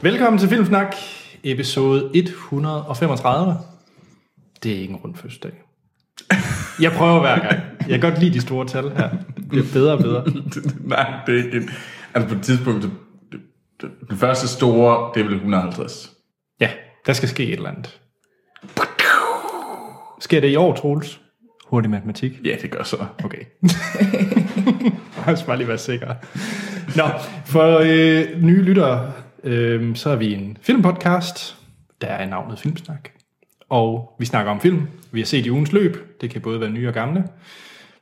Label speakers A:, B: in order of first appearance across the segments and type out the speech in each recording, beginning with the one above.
A: Velkommen til Filmsnak, episode 135. Det er ikke en rund fødselsdag. Jeg prøver hver gang. Jeg kan godt lide de store tal her. Det bliver bedre og bedre.
B: Nej, det er ikke en... Altså på et tidspunkt, det, det, det, det første store, det er vel 150.
A: Ja, der skal ske et eller andet. Sker det i år, Troels? Hurtig matematik.
B: Ja, det gør så. Okay.
A: Jeg skal bare lige være sikker. Nå, for øh, nye lyttere, øh, så er vi en filmpodcast, der er navnet Filmsnak. Og vi snakker om film, vi har set i ugens løb, det kan både være nye og gamle.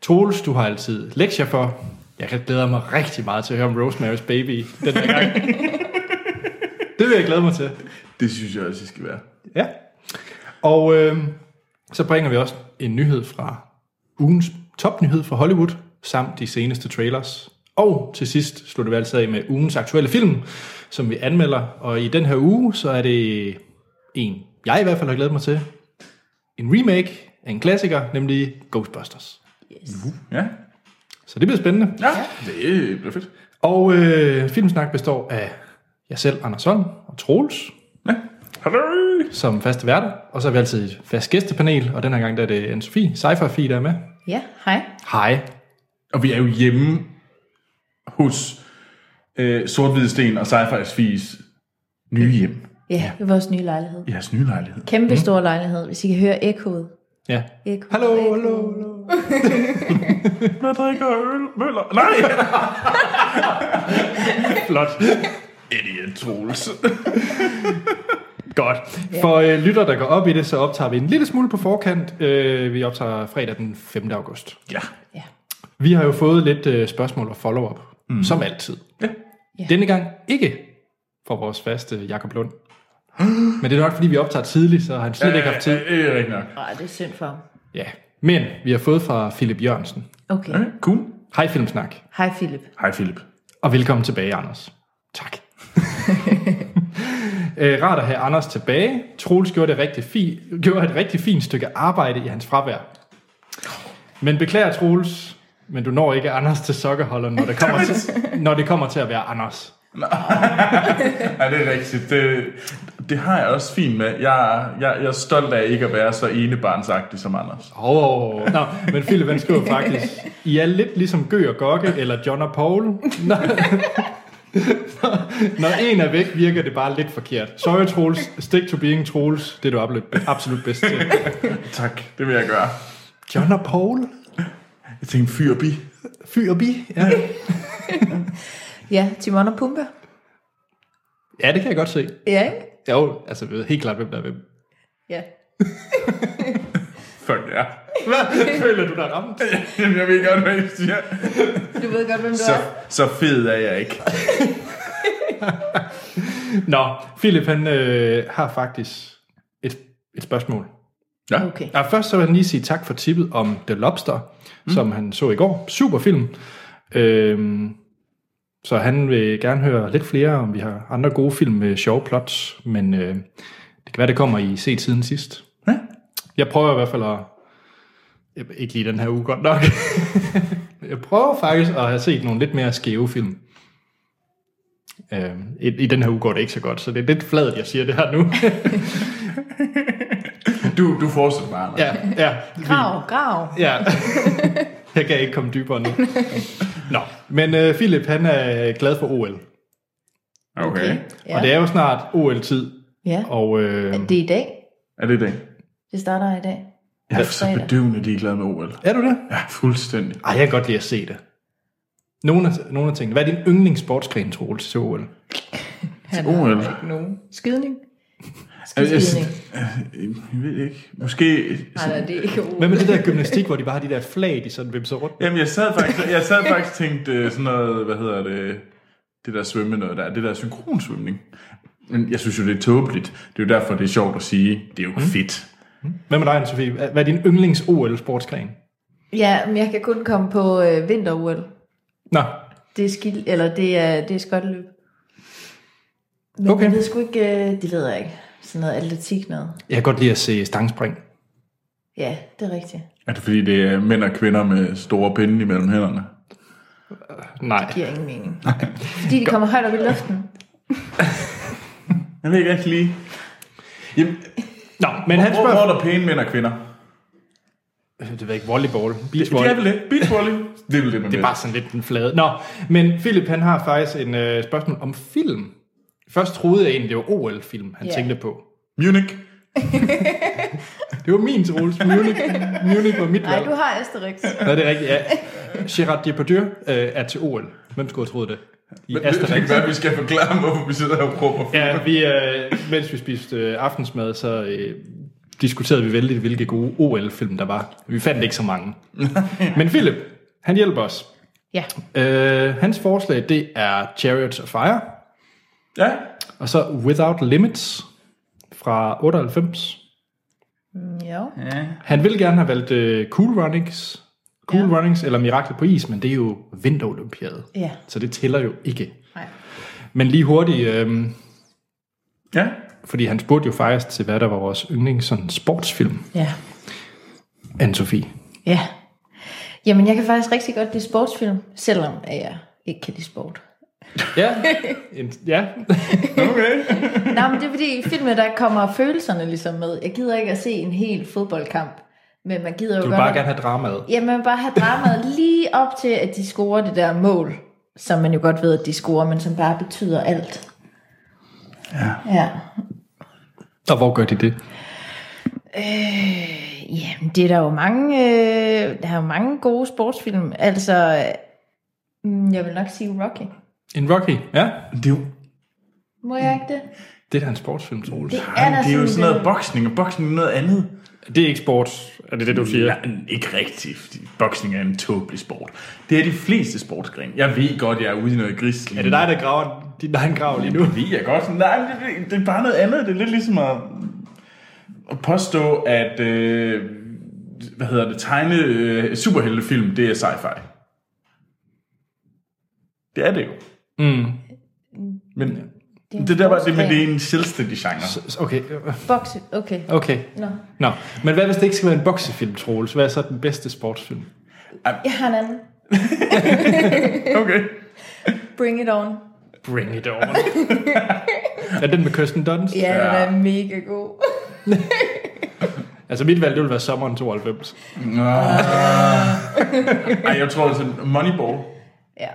A: Troels, du har altid lektier for. Jeg glæder mig rigtig meget til at høre om Rosemary's Baby den her gang. det vil jeg glæde mig til.
B: Det synes jeg også, det skal være.
A: Ja. Og øh, så bringer vi også en nyhed fra ugens topnyhed fra Hollywood, samt de seneste trailers. Og til sidst slutter vi altid af med ugens aktuelle film, som vi anmelder. Og i den her uge, så er det en, jeg i hvert fald har glædet mig til. En remake af en klassiker, nemlig Ghostbusters.
B: Ja.
A: Så det bliver spændende.
B: Ja. Det bliver fedt.
A: Og øh, Filmsnak består af jeg selv, Anders Holm og Troels,
B: Ja. Hallo.
A: som faste værter. Og så har vi altid et fast gæstepanel, og den her gang der er det Anne-Sophie, sci-fi der er med.
C: Ja, hej.
A: Hej.
B: Og vi er jo hjemme hos øh, sort Sten og Sci-Fi's Fis nye hjem.
C: Ja, det er vores nye lejlighed.
B: I jeres nye lejlighed.
C: Kæmpe stor lejlighed, hvis I kan høre ekkoet.
A: Ja.
C: Ekkoet,
A: Mm-hmm. Hallo,
C: ekkoet.
A: hallo, hallo.
B: Jeg drikker øl, møller. Nej!
A: Flot.
B: Idiot Troels.
A: Godt. For øh, lytter, der går op i det, så optager vi en lille smule på forkant. Øh, vi optager fredag den 5. august.
B: Ja.
C: Ja.
A: Vi har jo fået lidt øh, spørgsmål og follow-up, mm. som altid.
B: Ja.
C: Ja.
A: Denne gang ikke fra vores faste Jakob Lund. Men det er nok, fordi vi optager tidligt, så har han slet ikke haft tid.
B: Øh, øh, rigtig nok.
C: Ej, det er synd for ham.
A: Ja. Men vi har fået fra Philip Jørgensen.
C: Okay.
B: Okay, cool.
A: Hej Filmsnak,
C: Hej Philip.
B: Hej Philip.
A: og velkommen tilbage, Anders. Tak. Øh, Rart at have Anders tilbage. Troels gjorde, det rigtig fi, gjorde et rigtig fint stykke arbejde i hans fravær. Men beklager, Troels, men du når ikke Anders til sokkerholderen, når det kommer til, når det kommer til at være Anders.
B: Ja, det er rigtigt. Det, det har jeg også fint med. Jeg, jeg, jeg er stolt af ikke at være så enebarnsagtig som Anders.
A: Åh, oh, oh, oh. Nå, men Philip han skriver faktisk, I er lidt ligesom Gø og Gokke, eller John og Paul. Når, når en er væk, virker det bare lidt forkert. Sorry Troels, stick to being Troels, det er du absolut- absolut bedst til.
B: Tak, det vil jeg gøre.
A: John og Paul?
B: Jeg tænkte fyrbi.
A: Fy og bi? Ja.
C: Ja, Timon og Pumba.
A: ja, det kan jeg godt se.
C: Ja, ikke?
A: Jo, altså vi ved helt klart, hvem der er hvem.
C: Ja.
B: Fuck ja.
A: Hvad føler du dig ramt?
B: Jamen, jeg ved godt, hvad I siger.
C: Du ved godt, hvem du
B: Så,
C: er.
B: så fed er jeg ikke.
A: Nå, Philip han øh, har faktisk et, et spørgsmål.
B: Ja.
C: Okay.
A: Ja, først så vil jeg lige sige tak for tippet om The Lobster, mm. som han så i går. Super film. Øhm, så han vil gerne høre lidt flere, om vi har andre gode film med sjove plots, men øh, det kan være, det kommer i set siden sidst.
B: Ja.
A: Jeg prøver i hvert fald at... Jeg, ikke lige den her uge godt nok. jeg prøver faktisk at have set nogle lidt mere skæve film. Øh, i, I den her uge går det ikke så godt, så det er lidt fladt, jeg siger det her nu.
B: Du, du fortsætter bare, Anders.
A: ja, ja,
C: Grav, grav.
A: Ja. Jeg kan ikke komme dybere nu. Nå, men øh, Philip, han er glad for OL.
B: Okay.
A: Ja. Og det er jo snart OL-tid.
C: ja.
A: Og øh,
C: Men det er i dag.
B: Er det det?
C: Det starter i dag.
B: Jeg er
C: Det er
B: så
C: fredag.
B: bedøvende ligeglad med OL.
A: er du det?
B: Ja, fuldstændig.
A: Ej, jeg kan godt lide at se det. Nogle af, nogle af tingene. Hvad er din yndlingssportsgren, Troels, til OL?
C: Han
B: OL.
C: har ikke nogen. Skydning?
A: Øh,
B: Jeg, jeg,
C: Skidskydning.
B: jeg, jeg ved ikke. Måske...
C: Nej, nej, det er ikke OL.
A: Hvad med det der gymnastik, hvor de bare har de der flag, de sådan vimser rundt?
B: Jamen, jeg sad faktisk, jeg sad faktisk tænkt øh, sådan noget, hvad hedder det, det der svømme noget der, det der synkronsvømning. Men jeg synes jo, det er tåbeligt. Det er jo derfor, det er sjovt at sige, det er jo mm. fedt.
A: Hvad med dig, Anne-Sophie? Hvad hvad er din yndlings-OL-sportsgren?
C: Ja, men jeg kan kun komme på øh, vinter-OL.
A: Nå,
C: Det er skil, eller det er, det er skotteløb. Men
A: Okay.
C: okay. jeg ved sgu ikke, øh, det ved jeg ikke. Sådan noget atletik noget.
A: jeg kan godt lide at se stangspring.
C: Ja, det er rigtigt.
B: Er det fordi, det er mænd og kvinder med store pinde imellem hænderne?
A: Nej.
C: Giver ingen mening. Fordi de kommer højt op i luften.
B: Jeg ved ikke rigtig lige. Jamen,
A: Nå, men han
B: hvor, hvor
A: spørger...
B: er der pæne mænd og kvinder?
A: Øh, Det ved jeg ikke, volleyball. Beach
B: Det er
A: volley.
B: vel det. Beach volley. Det er vel det, man
A: Det er bare sådan lidt den flade. Nå, men Philip han har faktisk en øh, spørgsmål om film. Først troede jeg egentlig, det var OL-film, han
C: Ja.
A: tænkte på.
B: Munich.
A: Det var min Troels. Munich, Munich var mit
C: Nej,
A: valg.
C: du har Asterix.
A: Nå, det er rigtigt, ja. Gerard Depardieu øh, er til OL. Hvem skulle have troet det? I
B: Men det kan
A: Asterix.
B: være, at vi skal forklare, hvorfor vi sidder her og råber.
A: Ja, vi, øh, mens vi spiste øh, aftensmad, så øh, diskuterede vi vældig, hvilke gode OL-film der var. Vi fandt ikke så mange. Men Philip, han hjælper os.
C: Ja.
A: Øh, hans forslag, det er Chariots of Fire,
B: Ja.
A: og så Without Limits fra 98.
C: Jo.
B: ja.
A: Han ville gerne have valgt øh, Cool Runnings, Cool
C: Ja.
A: ja. Runnings eller Mirakel på is, men det er jo vinterolympiade.
C: Ja.
A: Så det tæller jo ikke.
C: Nej.
A: Men lige hurtigt, øh,
B: Ja.
A: fordi han spurgte jo faktisk til, hvad der var vores yndlings sådan sportsfilm,
C: Ja.
A: Anne-Sophie.
C: Ja. Jamen, jeg kan faktisk rigtig godt lide sportsfilm, selvom at jeg ikke kan lide sport.
A: Ja, en, ja.
B: Okay.
C: Nej, men det er fordi i filmen, der kommer følelserne ligesom med. Jeg gider ikke at se en hel fodboldkamp, men man gider jo
A: Du vil
C: godt
A: bare
C: at-
A: gerne have dramaet.
C: Jamen bare have dramaet lige op til, at de scorer det der mål, som man jo godt ved, at de scorer, men som bare betyder alt. Ja. ja.
A: Og hvor gør de det?
C: Øh, jamen, det er der jo mange, øh, der er jo mange gode sportsfilm. Altså, mm, jeg vil nok sige Rocky.
A: En Rocky, ja.
B: Det er jo,
C: Må jeg ikke det?
A: Det er da en sportsfilm, Troels.
C: Det er,
B: Ej,
C: da
B: det er jo sådan noget
C: lidt-
B: boksning, og boksning er noget andet.
A: Det er ikke sport, er det det, du siger?
B: Nej, ikke rigtigt, fordi boksning er en tåbelig sport. Det er de fleste sportsgrene. Jeg ved godt, jeg er ude i noget gris.
A: Er det dig, der graver din egen grav lige nu?
B: Det ved jeg godt. Nej, men det, det er bare noget andet. Det er lidt ligesom at, at påstå, at øh, hvad hedder det, tegne øh, superheltefilm, det er sci-fi. Det er det jo.
A: Mm.
B: Men
C: Det er en
B: det, der var, det, men
C: sportsgren.
B: det er en selvstændig genre.
A: S- Okay, øh,
C: Bokse, okay.
A: okay.
C: Nå.
A: Nå, men hvad hvis det ikke skal være en boksefilm, Troels? Hvad er så den bedste sportsfilm?
C: Jeg har en anden.
B: Okay.
C: Bring it on.
A: Bring it on. er den med Kirsten Dunst?
C: Ja, den
B: Ja.
C: er mega god.
A: Altså mit valg, det ville være sommeren 92.
B: Nå. Ej, jeg tror, at Moneyball,
C: ja,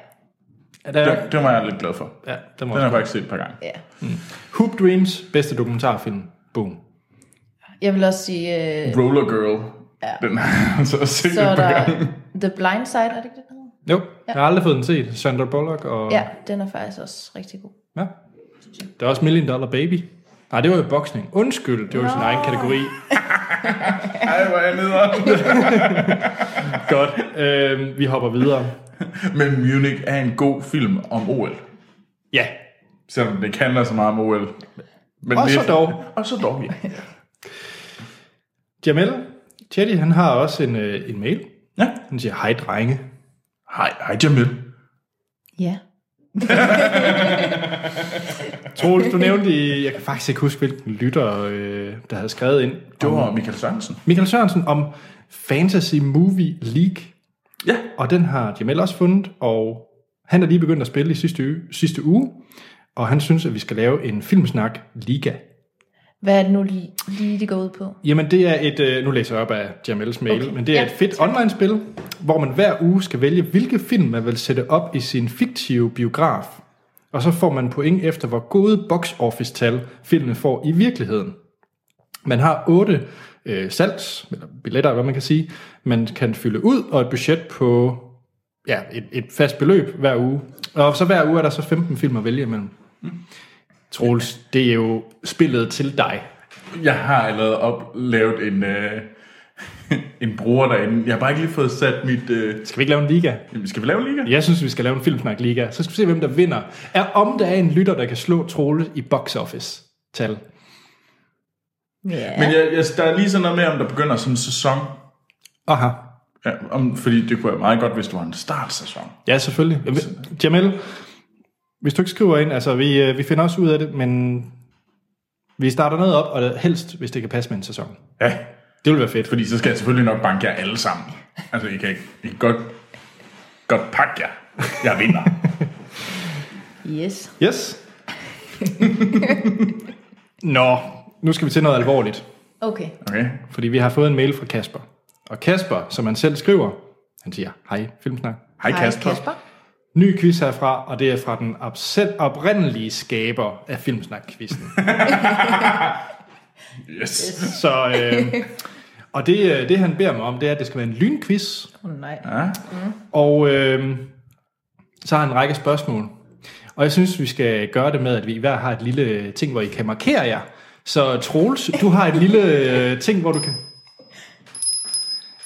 A: Er der,
B: den, den var jeg lidt glad for.
A: ja, den
B: Den har jeg
A: var
B: faktisk set et par gange.
C: ja.
A: Hoop Dreams, bedste dokumentarfilm. Boom.
C: Jeg vil også sige... Øh,
B: Roller Girl.
C: Ja.
B: Den har jeg så set
C: Så
B: et
C: er
B: par
C: der
B: gange.
C: The Blind Side, er det ikke det, den hedder?
A: Jo, jeg har aldrig fået den set. Sandra Bullock og...
C: Ja, den er faktisk også rigtig god.
A: Ja. Der er også Million Dollar Baby. Nej, det var jo boksning. Undskyld, det var jo sin
C: Nå.
A: egen kategori.
B: Ej, hvor er jeg nederen.
A: Godt. Øhm, vi hopper videre.
B: Men Munich er en god film om OL.
A: Ja.
B: Selvom det ikke handler så meget om OL. Men
A: Og så
B: lidt-
A: dog.
B: Og så dog, ja.
A: Jamel, Chetty, han har også en, øh, en mail.
B: ja.
A: Han siger, hej drenge.
B: Hej, hej Jamil.
C: Ja.
A: Troels, du nævnte i, jeg kan faktisk ikke huske, hvilken lytter, øh, der havde skrevet ind.
B: Det var Michael Sørensen.
A: Michael Sørensen om Fantasy Movie League.
B: Ja.
A: Og den har Jamel også fundet, og han er lige begyndt at spille i sidste uge, sidste uge. Og han synes, at vi skal lave en filmsnak liga.
C: Hvad er det nu lige, lige det går ud på?
A: Jamen det er et, øh, nu læser jeg op af Jamels mail,
C: Okay.
A: okay. men det er
C: Ja,
A: ja, et fedt online-spil, hvor man hver uge skal vælge, hvilke film man vil sætte op i sin fiktive biograf. Og så får man point efter, hvor gode box office-tal filmene får i virkeligheden. Man har otte øh, salgs, eller billetter, eller hvad man kan sige, man kan fylde ud, og et budget på ja, et, et fast beløb hver uge. Og så hver uge er der så 15 film at vælge imellem.
C: Mm.
A: Troels, det er jo spillet til dig.
B: Jeg har allerede op, lavet en, øh, en bruger derinde. Jeg har bare ikke lige fået sat mit... Øh,
A: Skal vi ikke lave en liga?
B: jamen, skal vi lave en liga?
A: Jeg synes, vi skal lave en filmsnak liga. Så skal vi se, hvem der vinder. Er om der er en lytter, der kan slå Trolle i box office tal.
C: Ja.
B: Men jeg, jeg, der er lige sådan noget med, om der begynder sådan en sæson.
A: Aha.
B: Ja, om, fordi det kunne være meget godt, hvis du var en startsæson.
A: Ja, selvfølgelig. Jeg ved- Jamel, hvis du ikke skriver ind, altså vi, øh, vi finder også ud af det, men vi starter noget op, og helst, hvis det kan passe med en sæson.
B: Ja,
A: Det ville være fedt.
B: Fordi så skal jeg selvfølgelig nok banke jer alle sammen. Altså, I kan, ikke- I kan godt, godt pakke jer. Jeg vinder.
C: Yes.
A: Yes. Nå, nu skal vi til noget alvorligt.
C: Okay.
B: Okay.
A: Fordi vi har fået en mail fra Kasper. Og Kasper, som han selv skriver, han siger, hej Filmsnak.
B: Hej Kasper.
C: Kasper.
A: Ny quiz herfra, og det er fra den absent oprindelige skaber af Filmsnak-quizzen.
B: Yes.
A: Så, øh, og det, øh, det han beder mig om, det er, at det skal være en lynquiz.
C: Oh, nej.
B: Ja.
A: Og øh, så har han en række spørgsmål. Og jeg synes, vi skal gøre det med, at vi hver har et lille øh, ting, hvor I kan markere jer. Så Troels, du har et lille øh, ting, hvor du kan...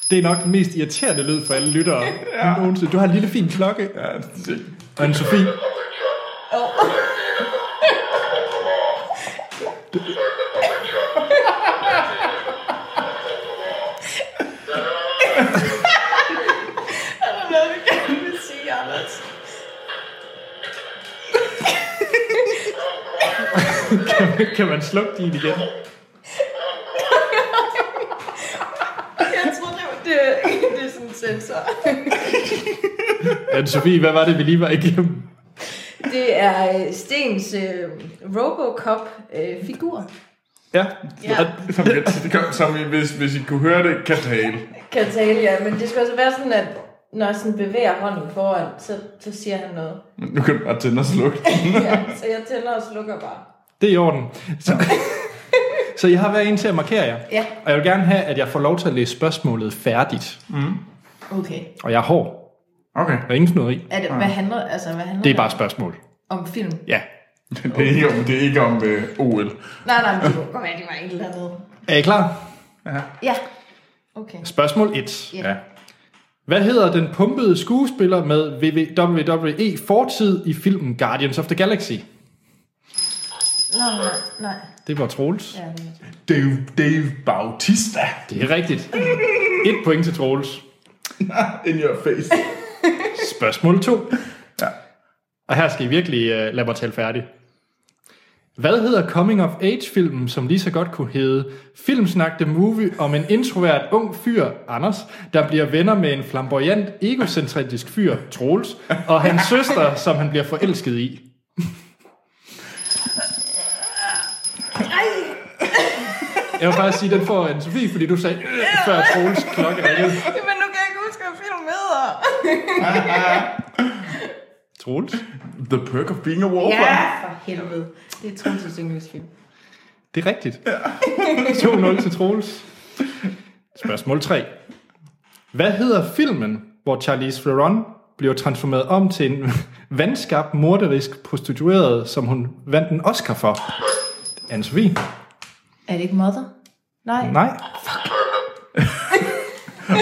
A: Det er nok den mest irriterende lyd for alle lyttere ja. nogensinde. Du har en lille fin klokke.
B: Ja, det-
A: Og en Sofie.
C: Hvad vil gerne vil sige, Anders?
A: Kan man slukke din igen?
C: Jeg tror, det, var, det, det er sådan en sensor.
A: anne Sofie, hvad var det, vi lige var igennem?
C: Det er øh, Stens øh, Robocop-figur.
A: Ja.
C: Ja.
A: Og-
B: Som, det kom, som I, hvis, hvis I kunne høre det, kan tale.
C: kan tale, ja. Men det skal også være sådan, at når jeg sådan bevæger hånden foran, så, så siger han noget.
B: Men nu kan du bare tænde og slukke.
C: Ja, så jeg tænder og slukker bare.
A: Det er i orden. Så, så jeg har været en til at markere jer.
C: Ja.
A: Og jeg vil gerne have, at jeg får lov til at læse spørgsmålet færdigt.
C: Okay.
A: Og jeg er hård.
B: Okay.
A: Der er ingen snøderi.
C: Er det, hvad handler, altså, hvad handler
A: Ah. Det er bare et spørgsmål.
C: om film?
A: Ja.
B: Det er ikke om, det er ikke om øh, OL.
C: Nej, nej, men det kunne godt være, det var et eller andet.
A: Er I klar?
C: Ja. Okay.
A: Spørgsmål 1.
C: Ja.
A: Hvad hedder den pumpede skuespiller med WWE E fortid i filmen Guardians of the Galaxy?
C: Nå, nej, nej.
A: Det var Troels.
C: Ja, men-
B: Dave, Dave Bautista.
A: Det er rigtigt. Et point til Troels.
B: In your face.
A: Spørgsmål 2.
B: Ja.
A: Og her skal I virkelig uh, lade mig tale færdig. Hvad hedder Coming of Age-filmen, som lige så godt kunne hedde Filmsnak The Movie om en introvert ung fyr, Anders, der bliver venner med en flamboyant, egocentrisk fyr, Troels, og hans søster, som han bliver forelsket i? Jeg vil faktisk sige, den får en Sofie, fordi du sagde, øh, før Troels klokke ringede.
C: Jamen, nu kan jeg ikke huske, hvad film hedder.
A: Troels?
B: The perk of being a
C: Ja,
B: warfare.
C: for helvede. Det er Troels' yndlingsfilm.
A: Det er rigtigt. Ja. 2-0 til Troels. Spørgsmål 3. Hvad hedder filmen, hvor Charlize Theron bliver transformeret om til en vandskab morderisk prostitueret, som hun vandt en Oscar for? anne -Sophie?
C: Er det ikke Mother? Nej.
A: Nej,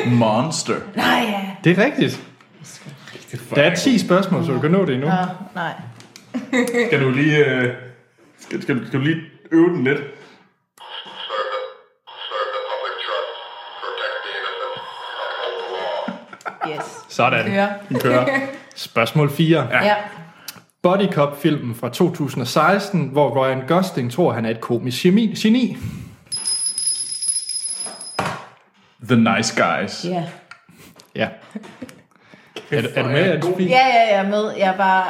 B: Monster.
C: Nej, ja.
A: det er rigtigt. Der er 10 spørgsmål, så du kan nå det endnu.
C: Nå, nej.
B: Skal du lige... Øh, skal, skal, du- skal du lige øve den lidt?
C: Yes.
A: Sådan.
C: Kør.
B: Den kører.
A: Spørgsmål 4.
C: Ja.
A: Body Cop-filmen fra 2016, hvor Ryan Gosling tror, han er et komisk geni. geni.
B: The nice guys.
C: Ja.
A: Ja. Er, du- er du med, Anne-Sophie?
C: Ja, ja, jeg er med. Jeg er bare...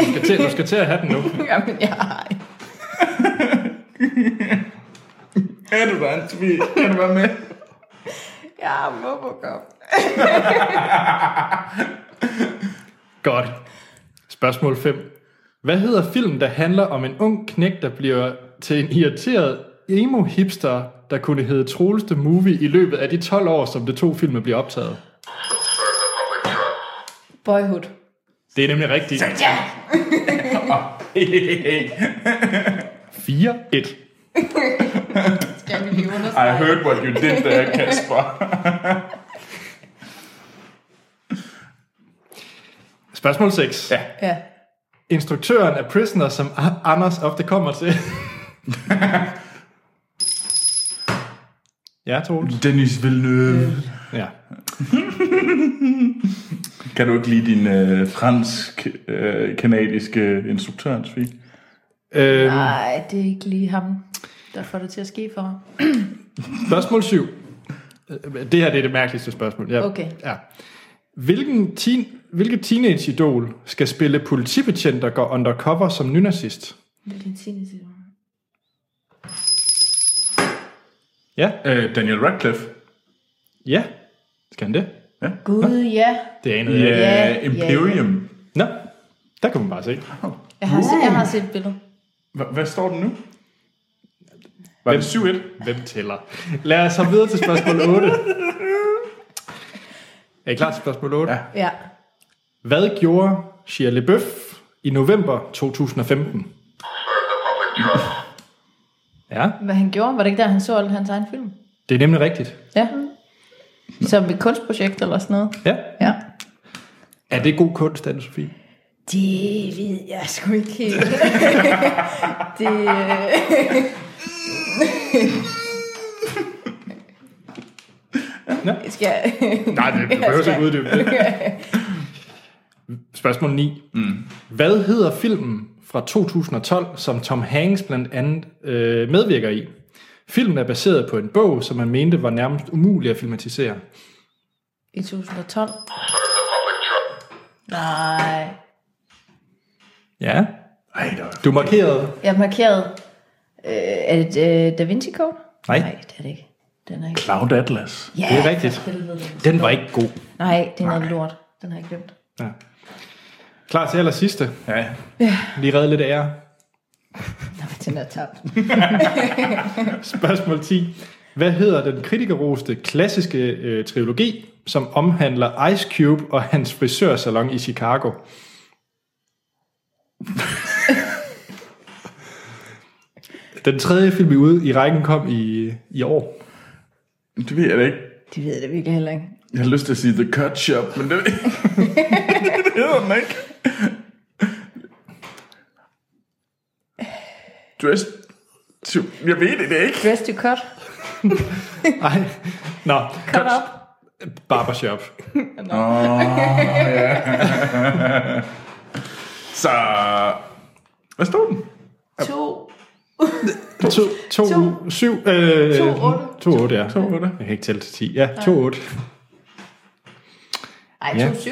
A: Du skal til- Du skal til at have den nu.
C: Jamen, jeg har ikke.
B: Er du der, Antobi? Kan du være med?
C: Jeg har Robocop.
A: Godt. Spørgsmål 5. Hvad hedder filmen, der handler om en ung knæk, der bliver til en irriteret emo-hipster, der kunne hedde Troels The Movie i løbet af de 12 år, som det to film bliver optaget?
C: Boyhood.
A: Det er nemlig rigtigt.
C: Ja.
A: 4-1.
C: Skal vi lige
B: I
C: understrege?
B: heard what you did there, Kasper.
A: Spørgsmål 6. Ja.
C: Ja.
A: Instruktøren af Prisoner, som A- Anders ofte kommer til. ja, Troels.
B: Dennis Villeneuve.
A: Ja.
B: Kan du ikke lide din øh, fransk-kanadiske instruktør, Antobi?
A: Øhm,
C: Nej, det er ikke lige ham, der får det til at ske for ham.
A: Spørgsmål 7. Det her det er det mærkeligste spørgsmål. Ja.
C: Okay.
A: Ja. Hvilken teen, hvilket teenage-idol skal spille politibetjent, der går undercover som nynazist?
C: Det er din sine
A: Ja,
B: Øh, Daniel Radcliffe.
A: ja. Skal han det?
C: Gud, ja.
A: Det anede
B: Ja,
A: jeg ikke.
C: Ja, ja,
B: Imperium.
A: Nå, der kan man bare se.
D: Jeg har, se- jeg har set et billede.
B: Hva- Hvad står den nu? Var det 7-1?
A: Hvem tæller? Lad os hoppe videre til spørgsmål 8. Er I klar til spørgsmål 8?
B: Ja.
D: Ja.
A: Hvad gjorde Shia LaBeouf i november 2015? Ja,
D: Hvad han gjorde, var det ikke der, han så alle hans egen film?
A: det er nemlig rigtigt.
D: Ja.
C: Mm.
D: Som et kunstprojekt eller sådan noget.
A: Ja.
D: Ja.
A: Er det god kunst, anne Sofie?
C: Det ved jeg sgu ikke helt. det, øh, skal jeg...
A: Nej, det du behøver ikke uddybe det. Spørgsmål 9. Mm. Hvad hedder filmen fra 2012, som Tom Hanks blandt andet øh, medvirker i? Filmen er baseret på en bog, som man mente var nærmest umulig at filmatisere.
D: I 2012. Nej.
A: Ja.
B: Ej, der var...
A: Du markerede.
C: Jeg markerede... Øh, er det øh, Da Vinci Code?
A: Nej.
C: Nej, det er det ikke. Den er ikke.
B: Cloud Atlas.
C: Ja,
A: Det er rigtigt.
C: for helvede.
A: Den var ikke god.
C: Nej, det er noget lort. Den har jeg glemt.
A: Ja. Klar til aller sidste.
B: Ja.
A: Lige redde lidt ære.
C: Nej, den er tabt.
A: Spørgsmål 10. Hvad hedder den kritikerroste klassiske øh, trilogi, som omhandler Ice Cube og hans frisørsalon i Chicago? den tredje film i ude i rækken kom i, i år.
B: Det ved jeg da ikke.
C: Det ved jeg da virkelig heller ikke.
B: Jeg har lyst til at sige The Cut Shop, men det, det hedder den ikke. Dress... to- Jeg ved det ikke.
D: Dress to cut.
A: Nej. Nå,
D: Cut up.
A: Barbershop.
B: Så... Hvad stod den?
D: To.
A: 2, 2, 7, øh,
D: To, otte.
A: 2, 8, ja. 2,
B: 8.
A: Jeg kan ikke tælle til 10. Ja, 2, 8.
D: Ej,
A: Ja.
D: to syv.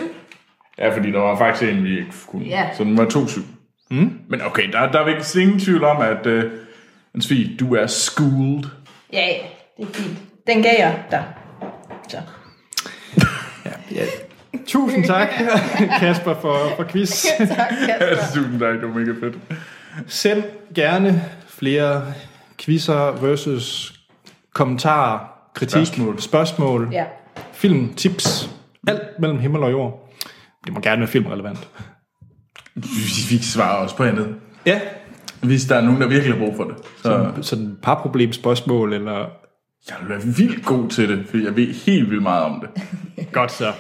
B: Ja, fordi der var faktisk en, vi ikke kunne.
D: Ja.
B: Så den var 2-7. Mm. Men okay, der, der er ikke ingen tvivl om, at... Uh, Svig, du er schooled.
D: Ja, ja. Det er fint. Den gav jeg dig. Så.
A: Ja. Tusind tak, Kasper, for, for quiz.
D: Tak, Kasper.
B: Tusind tak, det var mega fedt.
A: Send gerne flere quizzer versus kommentarer, kritik, spørgsmål,
B: Spørgsmål.
A: spørgsmål
D: Ja.
A: film, tips. Alt mellem himmel og jord. Det må gerne være filmrelevant.
B: Vi fik svar også på andet.
A: Ja.
B: Hvis der er nogen, der virkelig har brug for det. Så
A: Sådan et par problem, spørgsmål eller...
B: jeg vil være vildt god til det, fordi jeg ved helt vildt meget om det.
A: Godt så.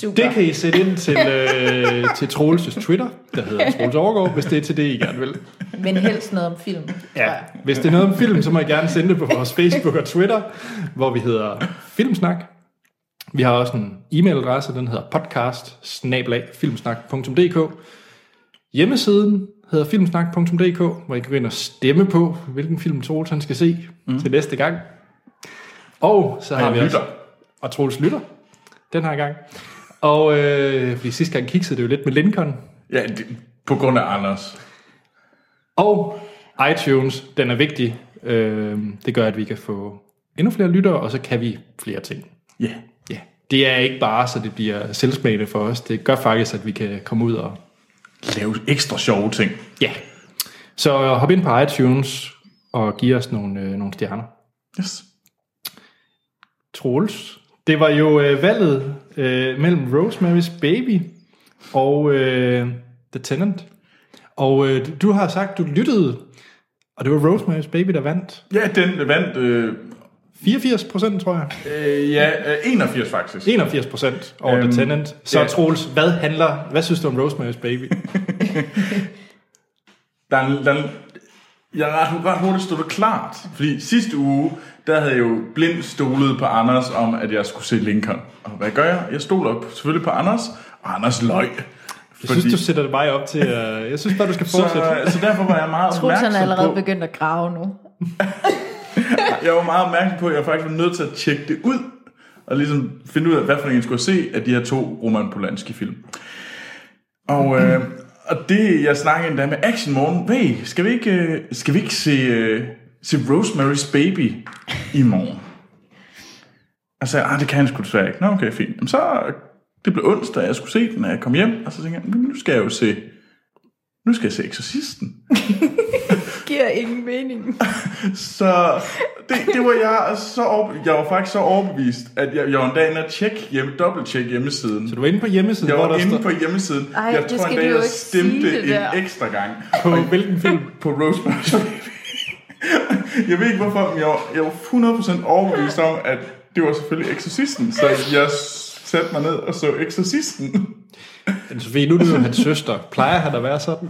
D: Super.
A: Det kan I sætte ind til, øh, til Troelses Twitter, der hedder Troels Overgaard, hvis det er til det, I gerne vil.
D: Men helst noget om film.
A: Ja, hvis det er noget om film, så må I gerne sende det på vores Facebook og Twitter, hvor vi hedder Filmsnak. Vi har også en e-mailadresse, den hedder podcast Hjemmesiden hedder filmsnak.dk, hvor I kan gå ind og stemme på, hvilken film Troels han skal se mm. til næste gang. Og så har
B: Og
A: vi
B: jeg
A: også...
B: lytter.
A: Og Troels lytter den her gang. Og øh, fordi sidste gang kiksede det jo lidt med Lincoln.
B: Ja, det, på grund af Anders.
A: Og iTunes, den er vigtig. Øh, det gør, at vi kan få endnu flere lyttere, og så kan vi flere ting.
B: Ja. Yeah.
A: Ja. Det er ikke bare, så det bliver selvsmagende for os. Det gør faktisk, at vi kan komme ud og...
B: Lave ekstra sjove ting.
A: Ja. Så hop ind på iTunes og giv os nogle, øh, nogle stjerner.
B: Yes.
A: Troels, det var jo øh, valget øh, mellem Rosemary's Baby og øh, The Tenant. Og øh, du har sagt, du lyttede, og det var Rosemary's Baby, der vandt.
B: Ja, den vandt... Øh,
A: 84 procent, tror jeg.
B: øh, ja, øh, 81 faktisk.
A: 81 procent over øhm,
B: Øhm,
A: The Tenant. Så
B: ja.
A: Troels, hvad handler, hvad synes du om Rosemary's Baby?
B: Der er, en- der er, en- jeg er ret, ret hurtigt stod det klart. Fordi sidste uge, der havde jeg jo blindt stolet på Anders om, at jeg skulle se Lincoln. Og hvad gør jeg? Jeg stoler selvfølgelig på Anders, og Anders løg.
A: Jeg synes, du sætter det bare op til, uh, jeg synes bare, du skal
B: så,
A: fortsætte. Så...
B: så derfor var jeg meget
D: Troels han er
B: opmærksom
D: allerede
B: på,
D: begyndt at grave nu.
B: jeg var meget opmærksom på, at jeg faktisk var nødt til at tjekke det ud, og ligesom finde ud af, hvad for en jeg skulle se af de her to Roman Polanski-film. Og, øh, og det, jeg snakkede endda med Action Morgen, hey, skal vi ikke, øh, skal vi ikke se, øh, se Rosemary's Baby i morgen? Og så sagde jeg, "Ah, det kan han sgu desværre ikke. Nå, okay, fint. Jamen, så, det blev onsdag, jeg skulle se den, og jeg kom hjem, og så tænkte jeg, "Men nu skal jeg jo se, nu skal jeg se Exorcisten.
D: Giver ingen mening.
B: Så det, det var jeg så overbe- jeg var faktisk så overbevist, at jeg, jeg var en dag inde og tjekke hjemme, dobbelttjekke hjemmesiden.
A: Så du er inde på hjemmesiden,
B: Jeg
A: hvor
B: var
A: der
B: inde
A: står,
B: på hjemmesiden.
D: Ej,
B: jeg
D: det
B: tror
D: skal
B: en dag,
D: de jo
B: jeg
D: ikke sige,
B: stemte
D: det
B: en
D: der.
B: ekstra gang
A: på hvilken film?
B: på Rosemary's Baby. jeg ved ikke hvorfor, men jeg var, jeg var 100% overbevist om, at det var selvfølgelig Exorcisten. Så jeg satte mig ned og så Exorcisten.
A: Men Sofie, nu er du jo hans søster. Plejer han at være sådan?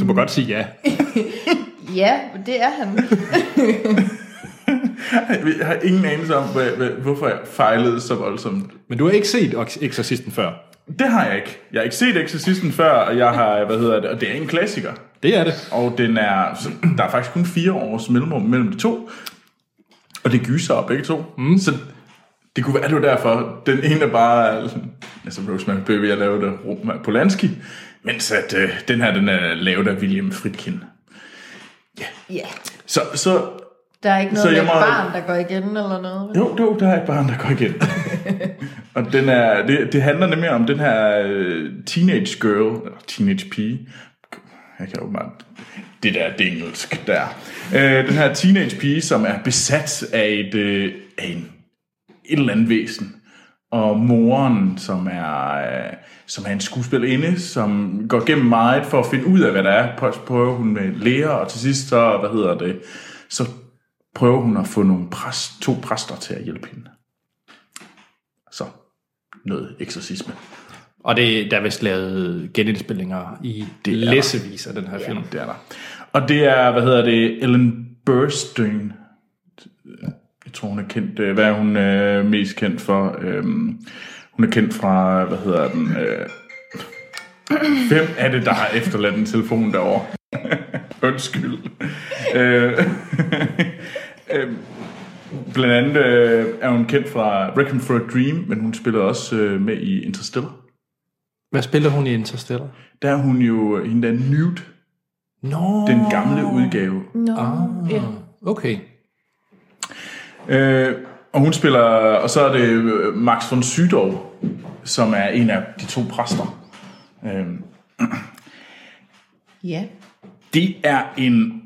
A: Du må godt sige ja.
D: Ja, det er han.
B: Jeg har ingen anelse om, hvad, hvad, hvorfor jeg fejlede så voldsomt.
A: Men du har ikke set Ox- Exorcisten før.
B: Det har jeg ikke. Jeg har ikke set Exorcisten før, og jeg har, hvad hedder det, og det er en klassiker.
A: Det er det.
B: Og den er, så der er faktisk kun fire års mellemrum mellem de to. Og det gyser op begge to. Mm. Så det kunne være, det var derfor. Den ene er bare, altså Rosemary Baby er lavet af Roman Polanski, mens at, øh, den her den er lavet af William Friedkin.
D: Ja. Yeah.
B: Så, så
C: Der er ikke
B: Så
C: noget
B: jeg
C: med et
B: må-
C: barn, der går igen eller noget. vel?
B: Jo, jo, der er et barn, der går igen. og den er, det, det handler nemlig om den her øh, teenage girl, eller teenage pige. Jeg kan jo bare... Det der, det er engelsk, der. Øh, den her teenage pige, som er besat af et, øh, af en, et eller andet væsen. Og moren, som er, øh, som er en skuespillerinde, som går gennem meget for at finde ud af, hvad der er. Prøver- Prøver hun med læger, og til sidst så, hvad hedder det, så prøver hun at få nogle præst, to præster til at hjælpe hende. Så noget eksorcisme.
A: Og det, der er vist lavet genindspillinger i det
B: er der.
A: læsevis af den her film.
B: Det er der. Og det er, hvad hedder det, Ellen Burstyn. Jeg tror, hun er kendt. øh, Hvad er hun øh, mest kendt for? Øhm, hun er kendt fra, hvad hedder den? Øh, hvem er det, der har efterladt en telefon derovre? Undskyld. Øh, øh, blandt andet øh, er hun kendt fra Reckon for a Dream, men hun spillede også øh, med i Interstellar.
A: Hvad spiller hun i Interstellar?
B: Der er hun jo øh, hende der Newt,
A: Nå,
B: den gamle udgave.
D: No. Ah. Ja.
A: okay.
B: Øh, og hun spiller, og så er det øh, Max von Sydow, som er en af de to præster. Øh,
C: Ja.
B: det er en...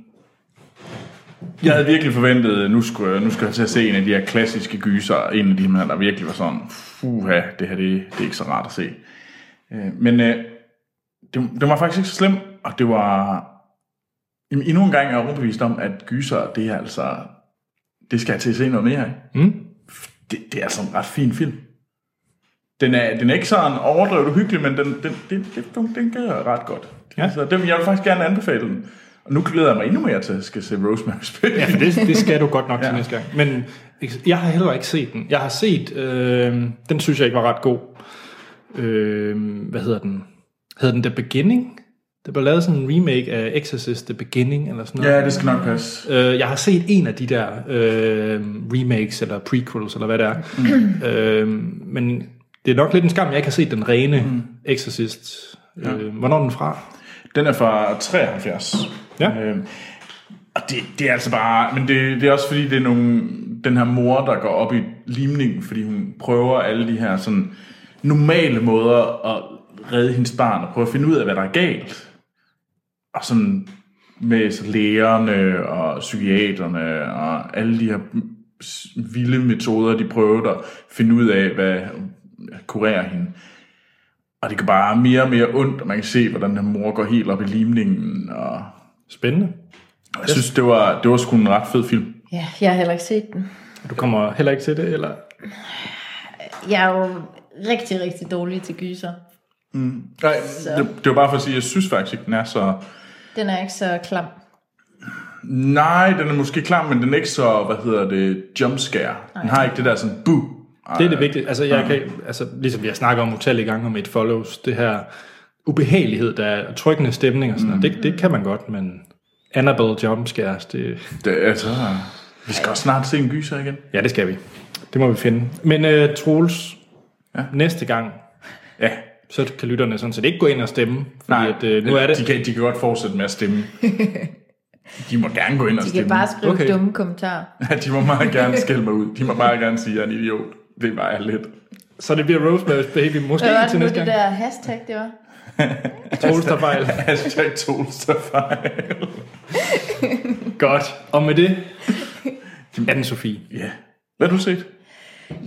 B: Jeg havde virkelig forventet, nu skulle, jeg- nu skulle jeg til at se en af de her klassiske gyser, en af de her, der virkelig var sådan, fuha, det her det, det er ikke så rart at se. Øh, men øh, det, det var faktisk ikke så slemt, og det var... Jamen, endnu en gang er jeg overbevist om, at gyser, det er altså... Det skal jeg til at se noget mere af.
A: Mm.
B: det, det er altså en ret fin film. Den er, den er ikke sådan overdrevet uhyggelig, men den, den, den, den, den, den gør ret godt. Ja.
A: Ja.
B: Så den, jeg vil faktisk gerne anbefale den. Og nu glæder jeg mig endnu mere til, at jeg skal se Rosemary's Baby.
A: Ja,
B: Ja.
A: for Altså, det, det skal du godt nok til
B: Ja.
A: næste gang. Men ex- jeg har heller ikke set den. Jeg har set, øh, den synes jeg ikke var ret god. Øh, hvad hedder den? Hedder den The Beginning? Der blev lavet sådan en remake af Exorcist The Beginning, eller sådan noget.
B: ja, det skal nok passe.
A: Øh, jeg har set en af de der øh, remakes, eller prequels, eller hvad det er.
B: Mm.
A: øh, men det er nok lidt en skam, at jeg ikke har set den rene mm. Exorcist. Øh, hvornår er den fra?
B: Den er fra 73.
A: Ja.
B: Øhm, og det, det er altså bare... Men det, det er også fordi, det er nogle, den her mor, der går op i limningen, fordi hun prøver alle de her sådan normale måder at redde hendes barn, og prøver at finde ud af, hvad der er galt. og sådan med så lægerne og psykiaterne og alle de her s- vilde metoder, de prøver at finde ud af, hvad at kurere hende. Og det kan bare mere og mere ondt, og man kan se, hvordan den her mor går helt op i limningen. Og
A: Spændende.
B: jeg synes, det var, det var sgu en ret fed film.
C: ja, jeg har heller ikke set den.
A: Du kommer heller ikke til det, eller?
C: Jeg er jo rigtig, rigtig dårlig til gyser.
B: Nej, det, det var bare for at sige, jeg synes faktisk ikke, den er så...
C: Den er ikke så klam.
B: Nej, den er måske klar, men den er ikke så, hvad hedder det, jumpscare. Den har ikke det der sådan, buh.
A: Det er det vigtige. Altså, jeg kan, altså, ligesom vi har snakket om utallige gange om et follows, det her ubehagelighed, der er trykkende stemning og sådan noget, det, det kan man godt, men Annabelle jumpscares, det,
B: Det, altså, vi skal også snart se en gyser igen.
A: ja, det skal vi. Det må vi finde. Men uh, Troels, ja. næste gang,
B: Ja,
A: så kan lytterne sådan set ikke gå ind og stemme, fordi
B: nej.
A: at, uh, nu er det,
B: De kan, de kan godt fortsætte med at stemme. de må gerne gå ind og
C: De
B: stemme.
C: kan bare skrive
A: Okay.
C: okay. dumme kommentarer.
B: Ja, de må meget gerne skælde mig ud. De må meget gerne sige, at jeg er en idiot. Det var jeg lidt.
A: Så det bliver Rosemary's Baby måske
C: Hvad var
A: til
C: det nu,
A: næste gang.
C: det der hashtag, det var?
A: Troels tager fejl.
B: Hashtag Tols der fejl.
A: Godt. Og med det, anne Sofie.
B: Ja. Hvad har du set?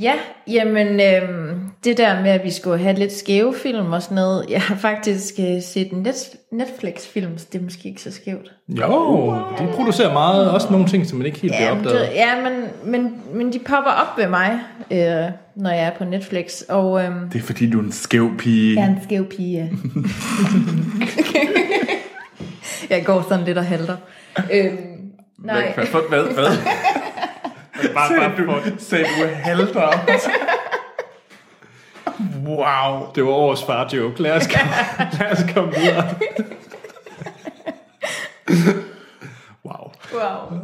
C: Ja, jamen øh, det der med, at vi skulle have lidt skæve film og sådan noget. Jeg har faktisk øh, set en net- Netflix-film, så det er måske ikke så skævt.
A: Jo, de producerer meget. Også nogle ting, som man ikke helt bliver
C: Jamen,
A: opdaget.
C: det, ja, men, men, men de popper op ved mig, øh, når jeg er på Netflix. Og øh,
B: Det er fordi, du er en skæv pige.
C: jeg er en skæv pige. jeg går sådan lidt og halter. Øh, nej.
B: Hvad? Hvad? Hvad? Hvad?
A: Bare,
B: Sagde du, sagde du halter? Wow.
A: Det var årets farjoke. Lad os, komme, lad os komme videre. Wow.
C: Wow.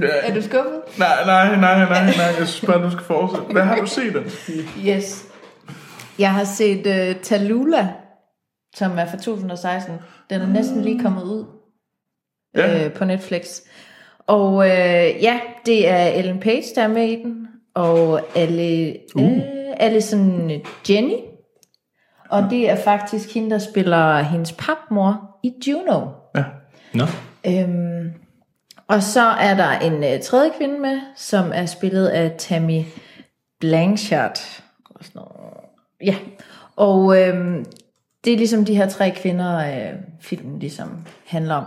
B: Ja.
C: Er du skuffet?
B: Nej, nej, nej, nej, nej. Jeg synes bare, du skal fortsætte. Hvad har du set den?
C: Yes. Jeg har set uh, Talula, som er fra 2016. Den er næsten lige kommet ud
B: Ja.
C: ja. øh, på Netflix. Og øh, ja, det er Ellen Page, der er med i den. Og alle, uh. øh, Alison Jenny. Og det er faktisk hende, der spiller hendes papmor i Juno.
B: Ja.
A: Nå.
C: Øhm, og så er der en øh, tredje kvinde med, som er spillet af Tammy Blanchard. Og sådan noget. Ja, og øhm, det er ligesom de her tre kvinder, øh, filmen ligesom handler om.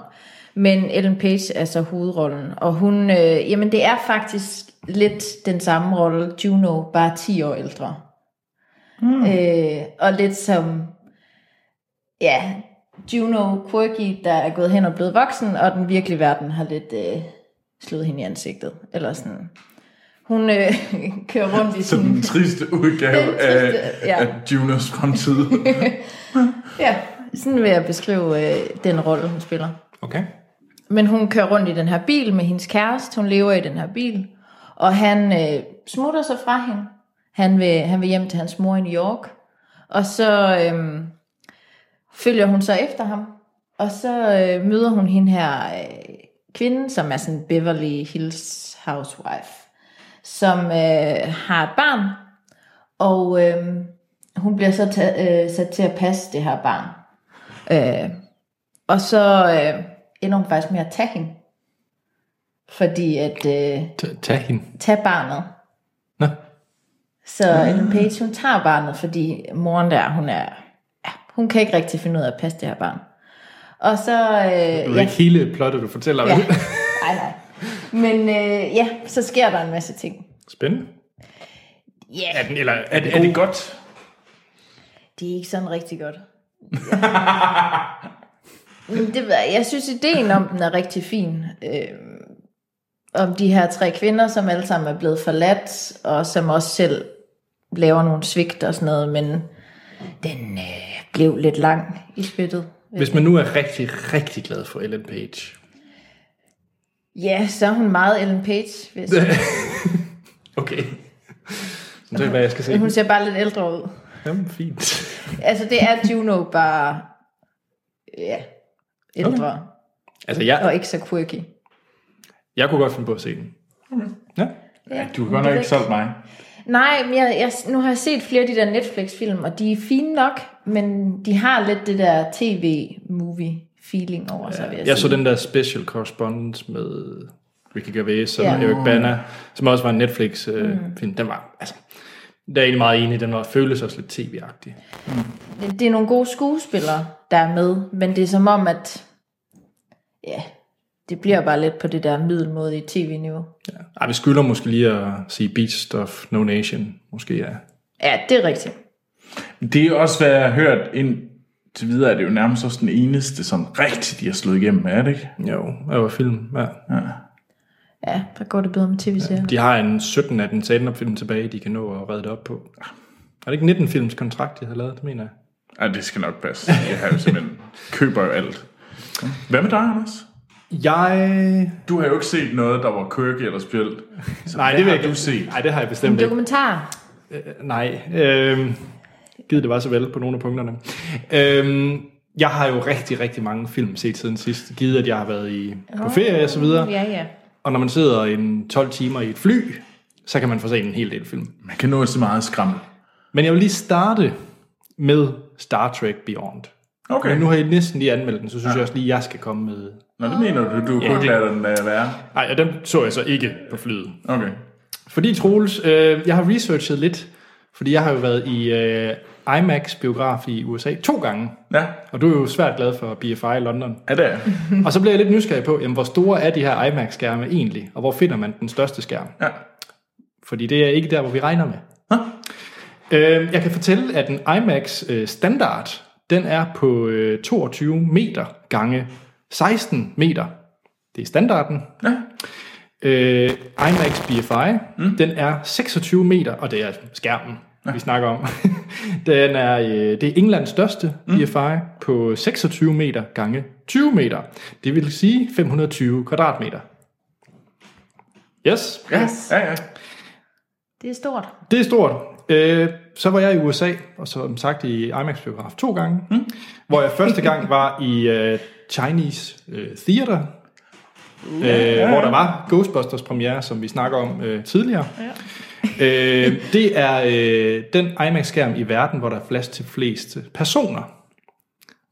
C: Men Ellen Page er så hovedrollen, og hun, øh, jamen det er faktisk lidt den samme rolle, Juno, bare 10 år ældre. Mm. Øh, og lidt som ja, Juno Quirky, der er gået hen og blevet voksen, og den virkelige verden har lidt øh, slået hende i ansigtet. Eller sådan. Hun øh, kører rundt i
B: Så
C: sådan...
B: den triste udgave
C: Den
B: af,
C: triste, ja.
B: af Junos fremtid.
C: Ja, sådan vil jeg beskrive øh, den rolle, hun spiller.
A: Okay.
C: Men hun kører rundt i den her bil med hendes kæreste. Hun lever i den her bil. Og han øh, smutter sig fra hende. Han vil, han vil hjem til hans mor i New York. Og så øh, følger hun så efter ham. Og så øh, møder hun hende her øh, kvinde, som er sådan Beverly Hills housewife. Som øh, har et barn. Og øh, hun bliver så ta- øh, sat til at passe det her barn. Øh, og så øh, ender hun faktisk med at tage hende. Fordi at øh,
A: T- tag hende.
C: tage barnet.
A: Nå.
C: Så Ellen Page, hun tager barnet, fordi moren der, hun er... Ja, hun kan ikke rigtig finde ud af at passe det her barn. Og så...
A: Det
C: Øh,
A: er
C: ja,
A: ikke hele plottet, du fortæller.
C: ja.
A: Ja.
C: Nej, nej. Men øh, ja, så sker der en masse ting.
A: Spændende.
C: Ja,
A: Er,
C: yeah,
A: den, eller, er, den
B: er det
A: god?
B: godt?
C: det er ikke sådan rigtig godt. Men det ved jeg. jeg synes, ideen om den er rigtig fin. Øh, om de her tre kvinder, som alle sammen er blevet forladt, og som også selv laver nogle svigt og sådan noget, men den øh, blev lidt lang i spyttet.
A: Hvis man nu er rigtig, rigtig glad for Ellen Page.
C: Ja, så er hun meget Ellen Page. Hvis
A: Okay. Så det er, hvad jeg skal se.
C: hun ser bare lidt ældre ud.
A: Jamen, fint.
C: Altså, det er Juno bare... Ja, ældre. Okay.
A: Altså, jeg,
C: Og ikke så quirky.
A: jeg kunne godt finde på at se den. Ja.
B: Ja, du har godt nok ikke solgt mig.
C: Nej, men jeg, jeg, nu har jeg set flere af de der Netflix-film, og de er fine nok, men de har lidt det der tv-movie-feeling over sig, vil jeg,
A: Jeg
C: sige.
A: så den der special correspondence med Ricky Gervais og
C: Ja.
A: yeah. Eric Bana, som også var en Netflix-film. Øh, mm. Den var, altså, der er jeg egentlig meget enig, den var føles også lidt tv-agtig.
C: Det, det er nogle gode skuespillere, der er med, men det er som om, at ja, det bliver bare lidt på det der middelmådige tv-niveau.
A: Ja. Ej, vi skylder måske lige at sige Beach Stuff, No Nation, måske er.
C: Ja, det er rigtigt.
B: Det er også, hvad jeg har hørt ind til videre, er det jo nærmest også den eneste, som rigtig de har slået igennem, er det ikke?
A: Jo, det var film. Ja.
C: Ja, der går det bedre med tv-serier.
A: De har en 17 af den stand film tilbage, de kan nå at redde det op på. Er det ikke 19 films kontrakt, de har lavet, det mener jeg?
B: Ej, det skal nok passe. Jeg har jo simpelthen køber jo alt. Hvad med dig, Anders?
A: Jeg...
B: Du har jo ikke set noget, der var quirky eller spjælt. Så
A: Nej,
B: hvad
A: det vil
B: har
A: jeg
B: du set?
A: Nej, det har jeg bestemt øhm, ikke.
C: Dokumentar.
A: Nej, øh, givet det var så vel på nogle af punkterne. Øh, jeg har jo rigtig, rigtig mange film set siden sidst, givet at jeg har været i, på ferie og så videre.
C: Ja, ja.
A: Og når man sidder en 12 timer i et fly, så kan man få set en hel del film.
B: Man kan nå så meget skræmmel.
A: Men jeg vil lige starte med Star Trek Beyond.
B: Okay.
A: Men nu har I næsten lige anmeldt den, så synes ja. jeg også lige, at jeg skal komme med.
B: Nå, det mener du. Du kunne ikke lade den øh, være.
A: Nej, og den så jeg så ikke på flyet.
B: Okay.
A: Fordi Troels, øh, jeg har researchet lidt, fordi jeg har jo været i øh, IMAX-biograf i USA to gange.
B: Ja,
A: Og du er jo svært glad for BFI i London.
B: ja det er jeg.
A: Og så blev jeg lidt nysgerrig på, jamen, hvor store er de her IMAX-skærme egentlig, og hvor finder man den største skærm?
B: Ja.
A: Fordi det er ikke der, hvor vi regner med. Øh, jeg kan fortælle, at en IMAX øh, standard, den er på øh, 22 meter gange 16 meter. Det er standarden.
B: Ja.
A: Øh, IMAX BFI, mm. den er 26 meter, og det er skærmen, ja. vi snakker om. den er, øh, det er Englands største mm. BFI på 26 meter gange 20 meter. Det vil sige 520 kvadratmeter. Yes.
B: Ja, ja, ja.
C: Det er stort.
A: Det er stort. Øh, så var jeg i USA, og som sagt i IMAX Biograf to gange, mm. hvor jeg første gang var i øh, Chinese øh, Theater, øh, hvor der var Ghostbusters premiere, som vi snakker om øh, tidligere. Ja. øh, det er øh, den IMAX-skærm i verden, hvor der er plads til flest personer.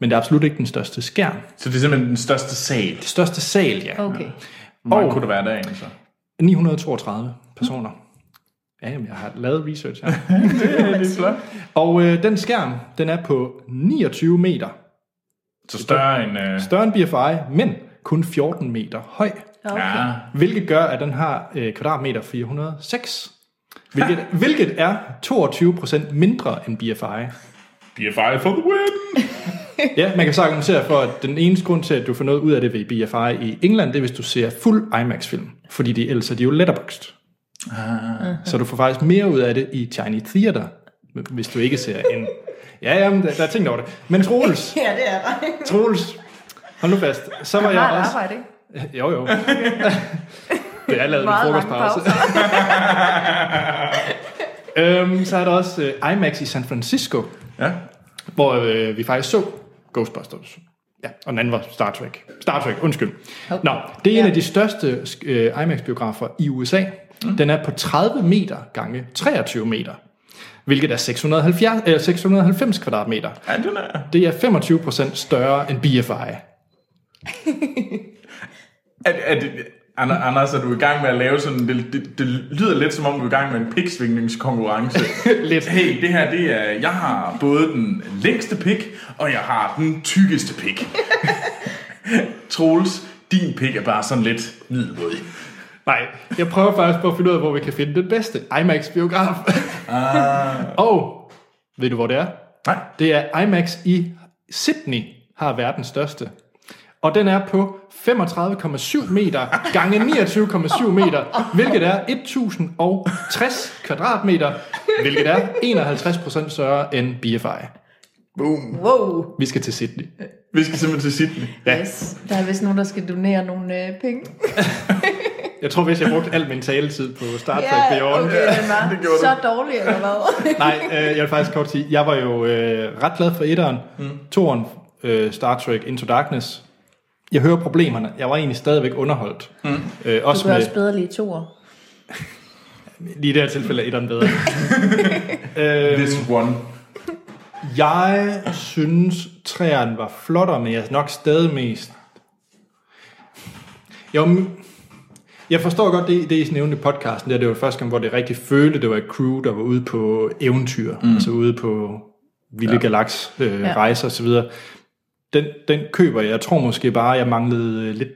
A: Men det er absolut ikke den største skærm.
B: Så det er simpelthen den største sal.
A: Det største sal, ja.
C: Okay.
B: Hvor
A: Og-
B: mange kunne det være derinde, så?
A: 932 personer. Ja, jamen, jeg har lavet research her.
B: Det er flot.
A: Og øh, den skærm, den er på 29 meter.
B: Så større end... Øh,
A: Større end BFI, men kun 14 meter høj.
C: okay.
B: ja,
A: Hvilket gør, at den har øh, kvadratmeter 406. Hvilket, hvilket er 22% mindre end BFI.
B: BFI for the win!
A: Ja, man kan så argumentere for, at den eneste grund til, at du får noget ud af det ved BFI i England, det er, hvis du ser fuld IMAX-film. Fordi de, ellers er de jo letterboxed. Ah. Så du får faktisk mere ud af det i Chinese Theater, hvis du ikke ser en... Ja, jamen, der, der er ting over det. Men Troels,
D: Ja, det er der.
A: Troels, hold nu fast. Så var
C: Jeg har
A: jeg
C: et
A: også...
C: arbejde, ikke?
A: Jo, jo. Det er lavet en
C: Meget lang
A: frokostpause. øhm, så er der også øh, IMAX i San Francisco,
B: Ja,
A: hvor øh, vi faktisk så Ghostbusters. Ja, og den anden var Star Trek. Star Trek, undskyld. Okay. Nå, det er en af de største øh, IMAX-biografer i USA. Mm. Den er på 30 meter gange 23 meter, hvilket er 670, øh, 690 kvadratmeter.
B: ja den er...
A: Det er 25% større end BFI.
B: Er, er det, Ander- Anders, er du i gang med at lave sådan... Det, det, det lyder lidt som om, du er i gang med en piksvingningskonkurrence.
A: Lidt.
B: Hey, det her, det er... Jeg har både den længste pik, og jeg har den tykkeste pik. Troels, din pik er bare sådan lidt middelmodig.
A: Nej, jeg prøver faktisk på at finde ud af, hvor vi kan finde den bedste IMAX-biograf. Ah. og ved du, hvor det er?
B: Nej.
A: Det er IMAX i Sydney, har verdens største. Og den er på 35,7 meter gange 29,7 meter, hvilket er 1060 kvadratmeter, hvilket er 51% større end BFI.
B: Boom.
C: Wow.
A: Vi skal til Sydney.
B: Vi skal simpelthen til Sydney.
A: Ja.
C: Yes. Der er vist nogen, der skal donere nogle øh, penge.
A: Jeg tror, hvis jeg brugte al min taletid på Star Trek Beyond,
C: okay, den var
B: Det gjorde
C: så dårlig, eller hvad?
A: Nej, øh, jeg vil faktisk kort sige, jeg var jo øh, ret glad for etteren, mm. toeren, øh, Star Trek Into Darkness. Jeg hører problemerne. Jeg var egentlig stadigvæk underholdt. Mm. Øh,
C: Du
A: også
C: kan
A: med,
C: også bedre lige to år.
A: lige i det her tilfælde er etteren bedre. øh,
B: This one.
A: jeg synes, træerne var flottere, men jeg er nok stadig mest... Jo, men- jeg forstår godt det, det I nævnte i podcasten, der det var første gang, hvor det rigtig følte, det var et crew, der var ude på eventyr, mm. altså ude på vilde ja. galaks øh, ja.
C: Ja.
A: rejser osv. Den, den køber jeg. Jeg tror måske bare, jeg manglede øh, lidt...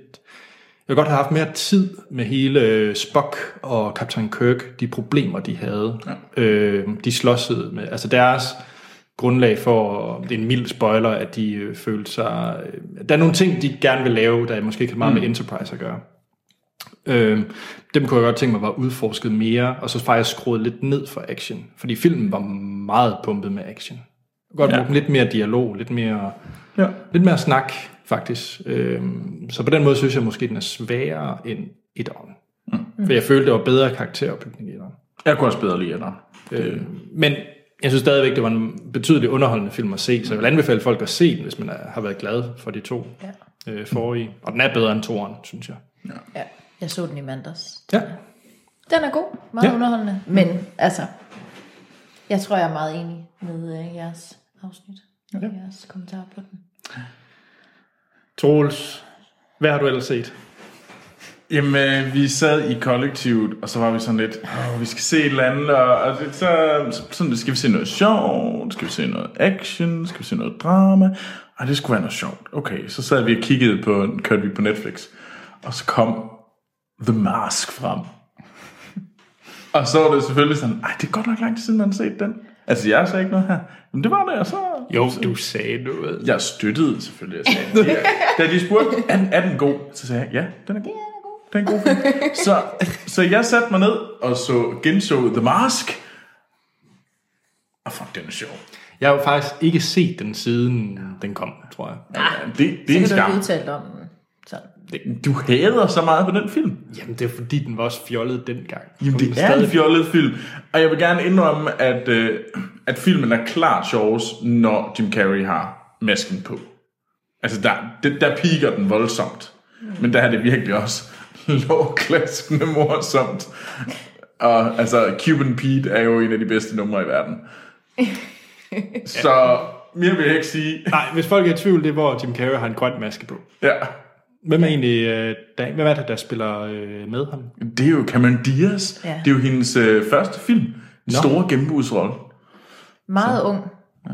A: Jeg kunne godt have haft mere tid med hele øh, Spock og Captain Kirk, de problemer, de havde. Ja. Øh, de slåsede med... Altså deres grundlag for, det er en mild spoiler, at de øh, følte sig... Øh, der er nogle ting, de gerne vil lave, der måske ikke har meget mm. med Enterprise at gøre. Øh, dem kunne jeg godt tænke mig var udforsket mere, og så faktisk skruet lidt ned for action. Fordi filmen var meget pumpet med action. Jeg kunne godt
B: Ja.
A: bruge lidt mere dialog, lidt mere,
B: Ja.
A: lidt mere snak, faktisk. Øh, så på den måde synes jeg måske, den er sværere end et år. Mm. For jeg følte, det var bedre karakteropbygning i etteren.
B: Jeg kunne også bedre lide etteren.
A: Øh, men Jeg synes stadigvæk, det var en betydelig underholdende film at se, så jeg vil anbefale folk at se den, hvis man er, har været glad for de to ja. øh, forrige. Og den er bedre end toeren, synes jeg.
C: Ja. Jeg så den i mandags.
A: Ja.
C: Den er god, meget
A: Ja.
C: ja. underholdende. Men altså, jeg tror, jeg er meget enig med øh, jeres afsnit. Og ja. jeres kommentarer på den.
A: Troels, hvad har du ellers set?
B: Jamen, øh, vi sad i kollektivet, og så var vi sådan lidt, Åh, vi skal se et eller andet, og, og det, så, så sådan, skal vi se noget sjovt, skal vi se noget action, skal vi se noget drama, og det skulle være noget sjovt. Okay, så sad vi og kiggede på, kørte vi på Netflix, og så kom The Mask frem. og så var det selvfølgelig sådan, ej, det er godt nok lang tid siden, man har set den. Altså, jeg sagde ikke noget her. Men det var det, og så...
A: Jo, du sagde noget.
B: Jeg støttede selvfølgelig. Jeg sagde, ja. Da de spurgte, er den, er den god? Så sagde jeg, ja, den er god. Den er god film. Så, så jeg satte mig ned og så genså The Mask. Og fuck, den er sjov.
A: Jeg har jo faktisk ikke set den, siden den kom, tror jeg.
B: Ah. Det, det er en
C: Kan du ikke
B: skam.
C: udtale om den? Sådan.
B: Du hader så meget på den film.
A: Jamen, det er fordi, den var også fjollet dengang.
B: Jamen, det er en fjollet film. Og jeg vil gerne indrømme, at, øh, at filmen er klart sjovest, når Jim Carrey har masken på. Altså, der, det, der piker den voldsomt. Men der er det virkelig også lovklaskende morsomt. Og altså, Cuban Pete er jo en af de bedste numre i verden. Så mere vil jeg ikke sige.
A: Nej, hvis folk er i tvivl, det er, hvor Jim Carrey har en grøn maske på.
B: Ja.
A: Hvem er egentlig, øh, der, hvem er det, der spiller øh, med ham?
B: Det er jo Cameron Diaz.
C: Ja.
B: Det er jo hendes øh, første film. Den
A: Nå.
B: store gennembrugsrolle.
C: Meget ung.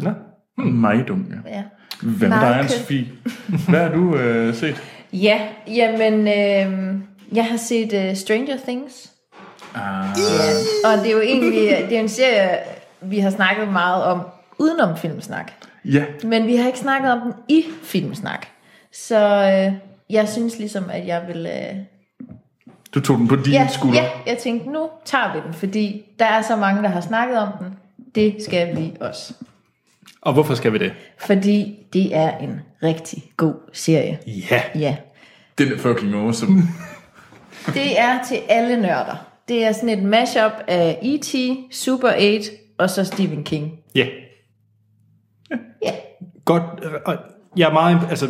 A: Nå.
B: Meget dum, Hmm. ja.
C: Ja.
B: Hvad med
C: Meget
B: dig,
C: kød.
B: Anne-Sophie? Hvad har du øh, set?
C: Ja, jamen, øh, jeg har set uh, Stranger Things. Ah. Og det er jo egentlig det er en serie, vi har snakket meget om udenom filmsnak.
B: Ja,
C: Men vi har ikke snakket om den i filmsnak. Så øh, jeg synes ligesom, at jeg vil... Øh,
B: du tog den på din
C: ja,
B: skulder.
C: ja, jeg tænkte, nu tager vi den, fordi der er så mange, der har snakket om den. Det skal vi også.
A: Og hvorfor skal vi det?
C: Fordi det er en rigtig god serie.
A: Ja.
C: Ja.
B: Den er fucking awesome.
C: Det er til alle nørder. Det er sådan et mashup af E.T., Super 8 og så Stephen King.
A: Ja.
C: Ja.
A: Godt. øh, Og jeg er meget... imp- Altså,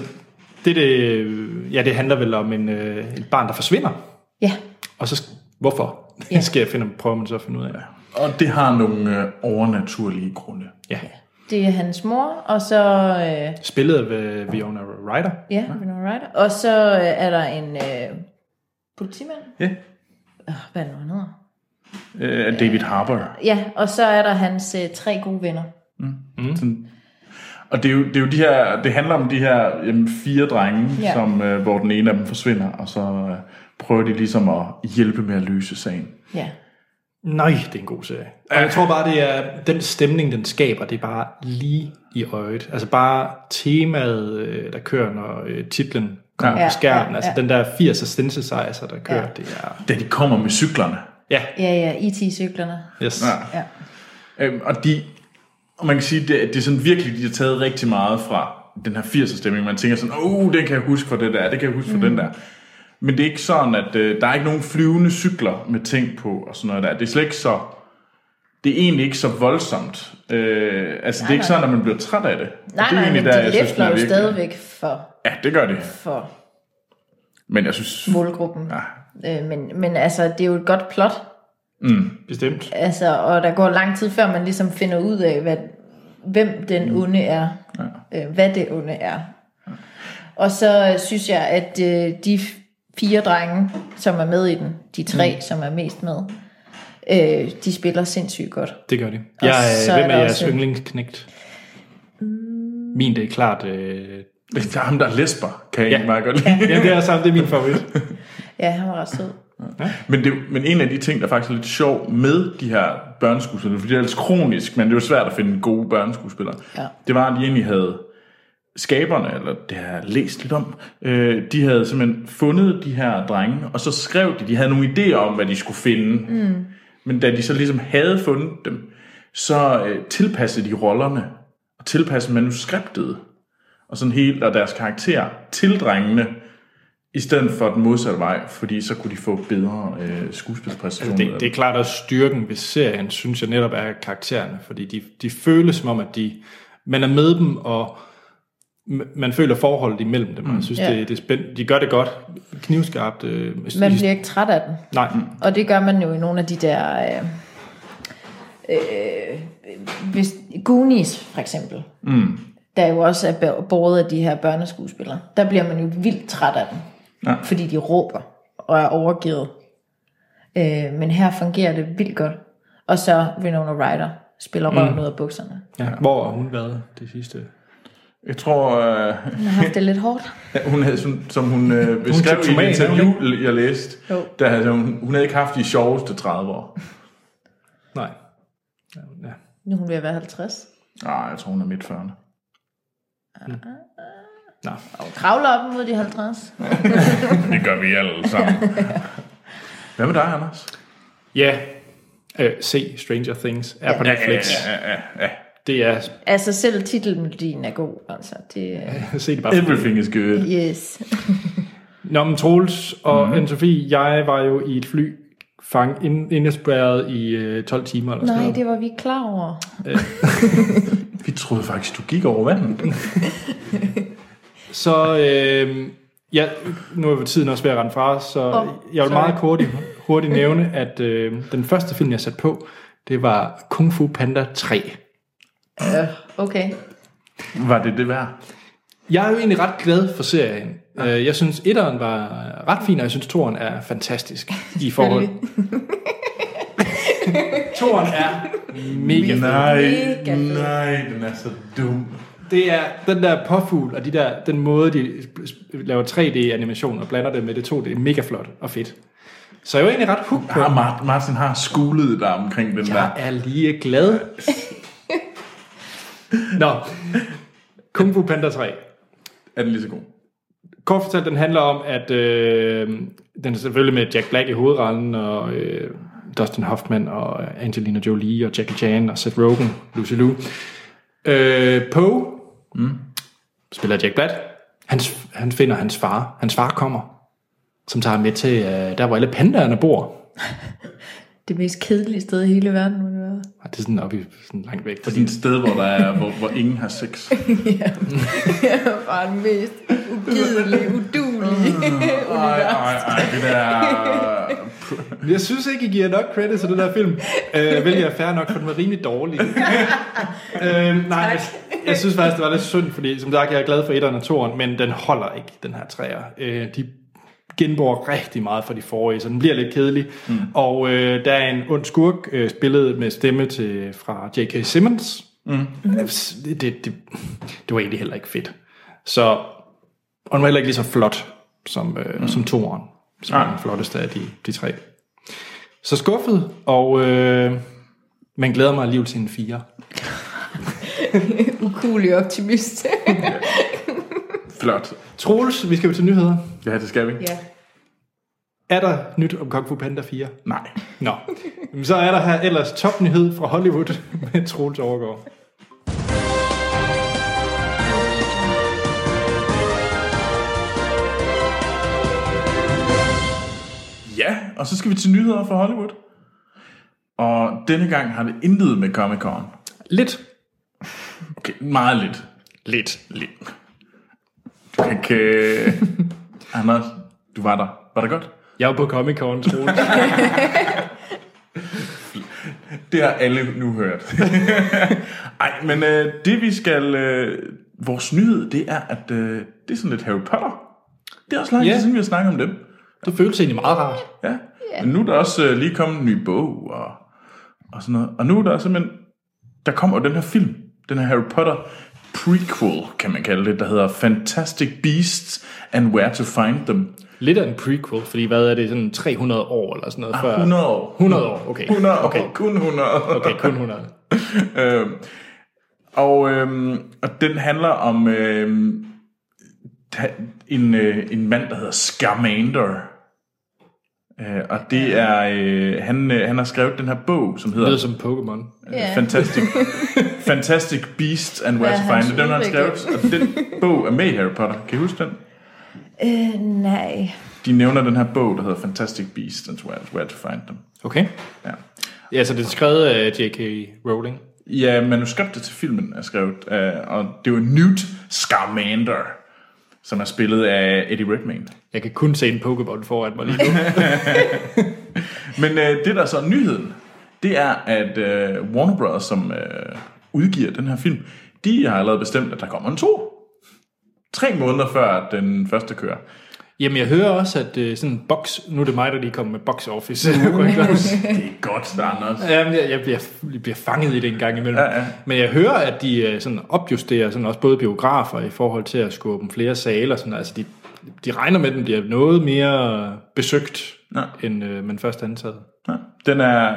A: det, det, øh, ja, det handler vel om en, øh, et barn, der forsvinder.
C: Ja.
A: Og så... sk- Hvorfor?
C: Ja.
A: Ja. skal jeg finde, prøver man så at finde ud af.
B: Og det har nogle øh, overnaturlige grunde.
A: Ja.
C: Det er hans mor, og så... Øh,
A: Spillet ved Viona Ryder.
C: ja, Winona Ryder. Og så øh, er der en øh, politimand.
B: Ja.
C: Oh, hvad er det nu, han hedder?
B: Øh, af David Harbour.
C: Ja, og så er der hans øh, tre gode venner.
B: Sådan. Og det er, jo, det er jo de her, det handler om de her jamen, fire drenge,
C: Ja.
B: som, øh, hvor den ene af dem forsvinder, og så øh, prøver de ligesom at hjælpe med at løse sagen.
C: Ja.
A: Nej, det er en god serie. Og jeg tror bare, det er den stemning, den skaber, det er bare lige i øjet. Altså bare temaet, øh, der kører, når øh, titlen kommer
B: Ja.
A: ja. på skærmen.
C: Ja, ja,
A: Altså
C: ja.
A: den der 80'er synthesizer, der kører,
C: Ja.
A: ja. det er...
B: Da de kommer med cyklerne.
A: Ja,
C: Ja, ja, IT-cyklerne.
A: yes.
B: Ja.
C: Ja.
B: Øhm, og de, og man kan sige, det, det er sådan virkelig, de har taget rigtig meget fra den her 80'er stemning. Man tænker sådan, åh, oh, den kan jeg huske fra det der, det kan jeg huske fra
C: Mm.
B: den der. Men det er ikke sådan, at øh, der er ikke nogen flyvende cykler med ting på og sådan noget der. Det er slet ikke så, det er egentlig ikke så voldsomt. Øh, altså, nej, det er ikke
C: nej.
B: sådan, at man bliver træt af det. Og
C: Nej,
B: det er
C: nej,
B: egentlig
C: men
B: der,
C: de
B: jeg synes, den
C: læfler
B: er
C: jo
B: virkelig-
C: stadigvæk for,
B: Ja, det gør det.
C: for
B: Men jeg
C: Mm.
B: synes,
C: målgruppen.
B: ja,
C: Øh, men, men altså, det er jo et godt plot,
A: Bestemt.
C: altså, og der går lang tid, før man ligesom finder ud af, hvad, hvem den onde er, Mm. ja. øh, hvad det onde er. Og så øh, synes jeg, at øh, de f- fire drenge, som er med i den, de tre, mm. som er mest med, øh, de spiller sindssygt godt.
A: Det gør det.
C: Og
A: Jeg,
C: så
A: er,
C: er
A: hvem er
C: der
A: jeres
C: også en-
A: yndlingsknægt? Min, det er klart... Øh...
B: det er ham, der lesber, kan jeg ja.
A: Ja.
B: egentlig meget godt lide.
A: Jamen, det er samme, det er min favorit.
C: Ja, han var ret sød.
B: Men, det, men en af de ting, der faktisk er lidt sjov med de her børneskuespillere, fordi det er altså kronisk, men det er jo svært at finde gode børneskuespillere,
C: Ja.
B: det var, at de egentlig havde skaberne, eller det har jeg læst lidt om, øh, de havde simpelthen fundet de her drenge, og så skrev de, de havde nogle idéer om, hvad de skulle finde. Mm. Men da de så ligesom havde fundet dem, så øh, tilpassede de rollerne, og tilpassede manuskriptet, og sådan helt, og deres karakter til drengene, I stedet for den modsatte vej, fordi så kunne de få bedre øh, skuespilspræstationer.
A: Altså, Det, det er klart også styrken ved serien, synes jeg netop er karaktererne, fordi de, de føles som om, at de, man er med dem, og m- man føler forholdet imellem dem. Mm. Jeg synes, ja.
C: Ja.
A: det, det er spændende. De gør det godt. Knivskarpt. Øh,
C: Man
A: his-
C: bliver Mm. ikke træt af den.
A: Nej,
C: Og det gør man jo i nogle af de der... Øh, øh, hvis, Goonies, for eksempel. Mm. Der jo også er bæ- båret af de her børneskuespillere. Der bliver man jo vildt træt af dem.
B: Ja.
C: Fordi de råber og er overgivet. Øh, men her fungerer det vildt godt. Og så Winona Ryder spiller røven ud af bukserne.
A: ja. Hvor har hun været det sidste?
B: Jeg tror, øh,
C: Hun har haft det lidt hårdt.
B: hun havde, som, som hun øh, beskrev
A: tog
B: i et
A: tomaten,
B: interview, jeg læste,
C: Jo.
B: der havde hun, hun havde ikke haft de sjoveste 30 år.
A: Nej. Ja, Ja.
C: Nu er hun ved at være 50.
B: Nej, Ah, jeg tror, hun er midt 40'erne.
A: Nå.
C: Og hun kravler op mod de 50.
B: Det gør vi alle sammen. Hvad med dig, Anders?
A: Ja. Øh, se Stranger Things er ja. på Netflix. Ja, ja,
B: Ja, ja, ja.
A: ja. Det
C: Altså selv titelmelodien er god. Altså, det,
A: er... se det bare.
B: Everything is good.
C: yes.
A: Nå, men Troels og mm. Anne-Sophie, jeg var jo i et fly fang, ind- indespærret i øh, 12 timer eller sådan
C: Nej,
A: noget.
C: det var vi ikke klar over.
B: Vi troede faktisk, du gik over vandet.
A: Så øh, ja, nu er tiden også ved at rende fra os, så
C: Åh,
A: oh, jeg vil
C: sorry.
A: meget hurtigt, hurtigt nævne, at øh, den første film, jeg satte på, det var Kung Fu Panda 3.
C: Okay.
B: Var det det værd?
A: Jeg er jo egentlig ret glad for serien. Ja. Jeg synes, etteren var ret fin, og jeg synes, toeren er fantastisk i forhold. toeren er mega fed.
B: Nej,
C: Mega fed.
B: nej, den er så dum.
A: Det er den der påfugl, og de der, den måde, de laver 3D-animation og blander det med det 2D, mega flot og fedt. Så jeg var egentlig ret hooked på
B: Har Martin, Ah, Martin har skulet dig omkring den
A: Jeg
B: der.
A: er lige glad. Nå, Kung Fu Panda 3.
B: Er den lige så god?
A: Kort fortalt, den handler om, at øh, den er selvfølgelig med Jack Black i hovedrollen, og øh, Dustin Hoffman, og Angelina Jolie, og Jackie Chan, og Seth Rogen, Lucy Liu. Øh, Poe, mm. spiller Jack Black, han, han finder hans far. Hans far kommer, som tager ham med til, øh, der hvor alle pandaerne bor.
C: Det mest kedelige sted i hele verden, må det være.
A: Og det er sådan oppe i, sådan langt væk.
B: Det er et sted, hvor, der er, hvor, hvor ingen har sex.
C: Bare den mest ugidelige, udulige.
B: Nej, nej, nej, det der...
A: Jeg synes ikke, I giver nok credit til den der film, øh, hvilket er fair nok, for den var rimelig dårlig. øh, nej, jeg, jeg synes faktisk, det var lidt synd, fordi som sagt, jeg er glad for etteren og toeren, men den holder ikke, den her træer. Øh, de genbruger rigtig meget fra de forrige, så den bliver lidt kedelig. Mm. Og øh, der er en ond skurk, øh, spillet med stemme til, fra J.K. Simmons. Mm. Det, det, det, det var egentlig heller ikke fedt. Så, og den var heller ikke lige så flot som, øh, mm. som toeren, som er den flotteste af de, de tre. Så skuffet, og øh, man glæder mig alligevel til en fire.
C: Ukulig optimist.
B: Flot.
A: Troels, vi skal jo til nyheder.
B: Ja, det skal vi.
C: ja.
A: Er der nyt om Kung Fu Panda 4?
B: Nej.
A: Nå, Jamen, så er der her ellers topnyhed fra Hollywood med Troels Overgaard.
B: Ja, og så skal vi til nyheder fra Hollywood. Og denne gang har det intet med Comic-Con.
A: Lidt.
B: Okay, meget lidt.
A: Lidt.
B: lidt. Du kan ikke... øh, Anders, du var der. Var det godt?
A: Jeg var på Comic Con, Troels.
B: Det har alle nu hørt. Ej, men øh, det vi skal... Øh, vores nyhed, det er, at øh, det er sådan lidt Harry Potter. Det er også lang tid
A: Ja.
B: yeah. siden, vi har snakket om dem.
A: det føles egentlig meget rart.
B: Ja. Yeah. Men nu er der også øh, lige kommet en ny bog og, og sådan noget. Og nu er der simpelthen... Der kommer jo den her film. Den her Harry Potter prequel, kan man kalde det, der hedder Fantastic Beasts and Where to Find Them.
A: Lidt af en prequel, fordi hvad er det, sådan 300 år eller sådan noget? Før?
B: 100 år.
A: 100 år, okay.
B: 100 år.
A: Okay.
B: Okay. Kun 100
A: Okay, kun 100.
B: øhm, og, øhm, og den handler om øhm, ta- en, øh, en mand, der hedder Scamander. Øh, og det er, øh, han, øh, han har skrevet den her bog, som
A: Det lyder
B: hedder
A: som Pokémon.
C: Ja.
B: Fantastic, Fantastic Beasts and Where
C: Ja,
B: to
C: hans
B: Find Them. Den har han skrevet,
C: udvikling.
B: og den bog er med i Harry Potter. Kan I huske den?
C: Øh, nej.
B: De nævner den her bog, der hedder Fantastic Beasts and Where, Where to Find Them.
A: Okay.
B: Ja.
A: Ja, så det er skrevet af J.K. Rowling.
B: Ja, øh, manuskriptet til filmen er skrevet, øh, og det var Newt Scamander, som er spillet af Eddie Redmayne.
A: Jeg kan kun se en Pokéball foran mig lige nu.
B: Men øh, det der så er nyheden, det er, at øh, Warner Bros., som øh, udgiver den her film, de har allerede bestemt, at der kommer en to. Tre måneder før den første kører.
A: Jamen, jeg hører også, at øh, sådan en box... Nu er det mig, der lige kommer med box office. rygter.
B: Det er godt, Anders.
A: Jamen, jeg, jeg, bliver, jeg bliver fanget i det en gang imellem.
B: Ja, ja.
A: Men jeg hører, at de øh, sådan opjusterer sådan også både biografer i forhold til at skubbe flere saler. Sådan, altså de, de regner med, at den bliver noget mere besøgt,
B: Ja.
A: end øh, man først antagede.
B: Ja, den er,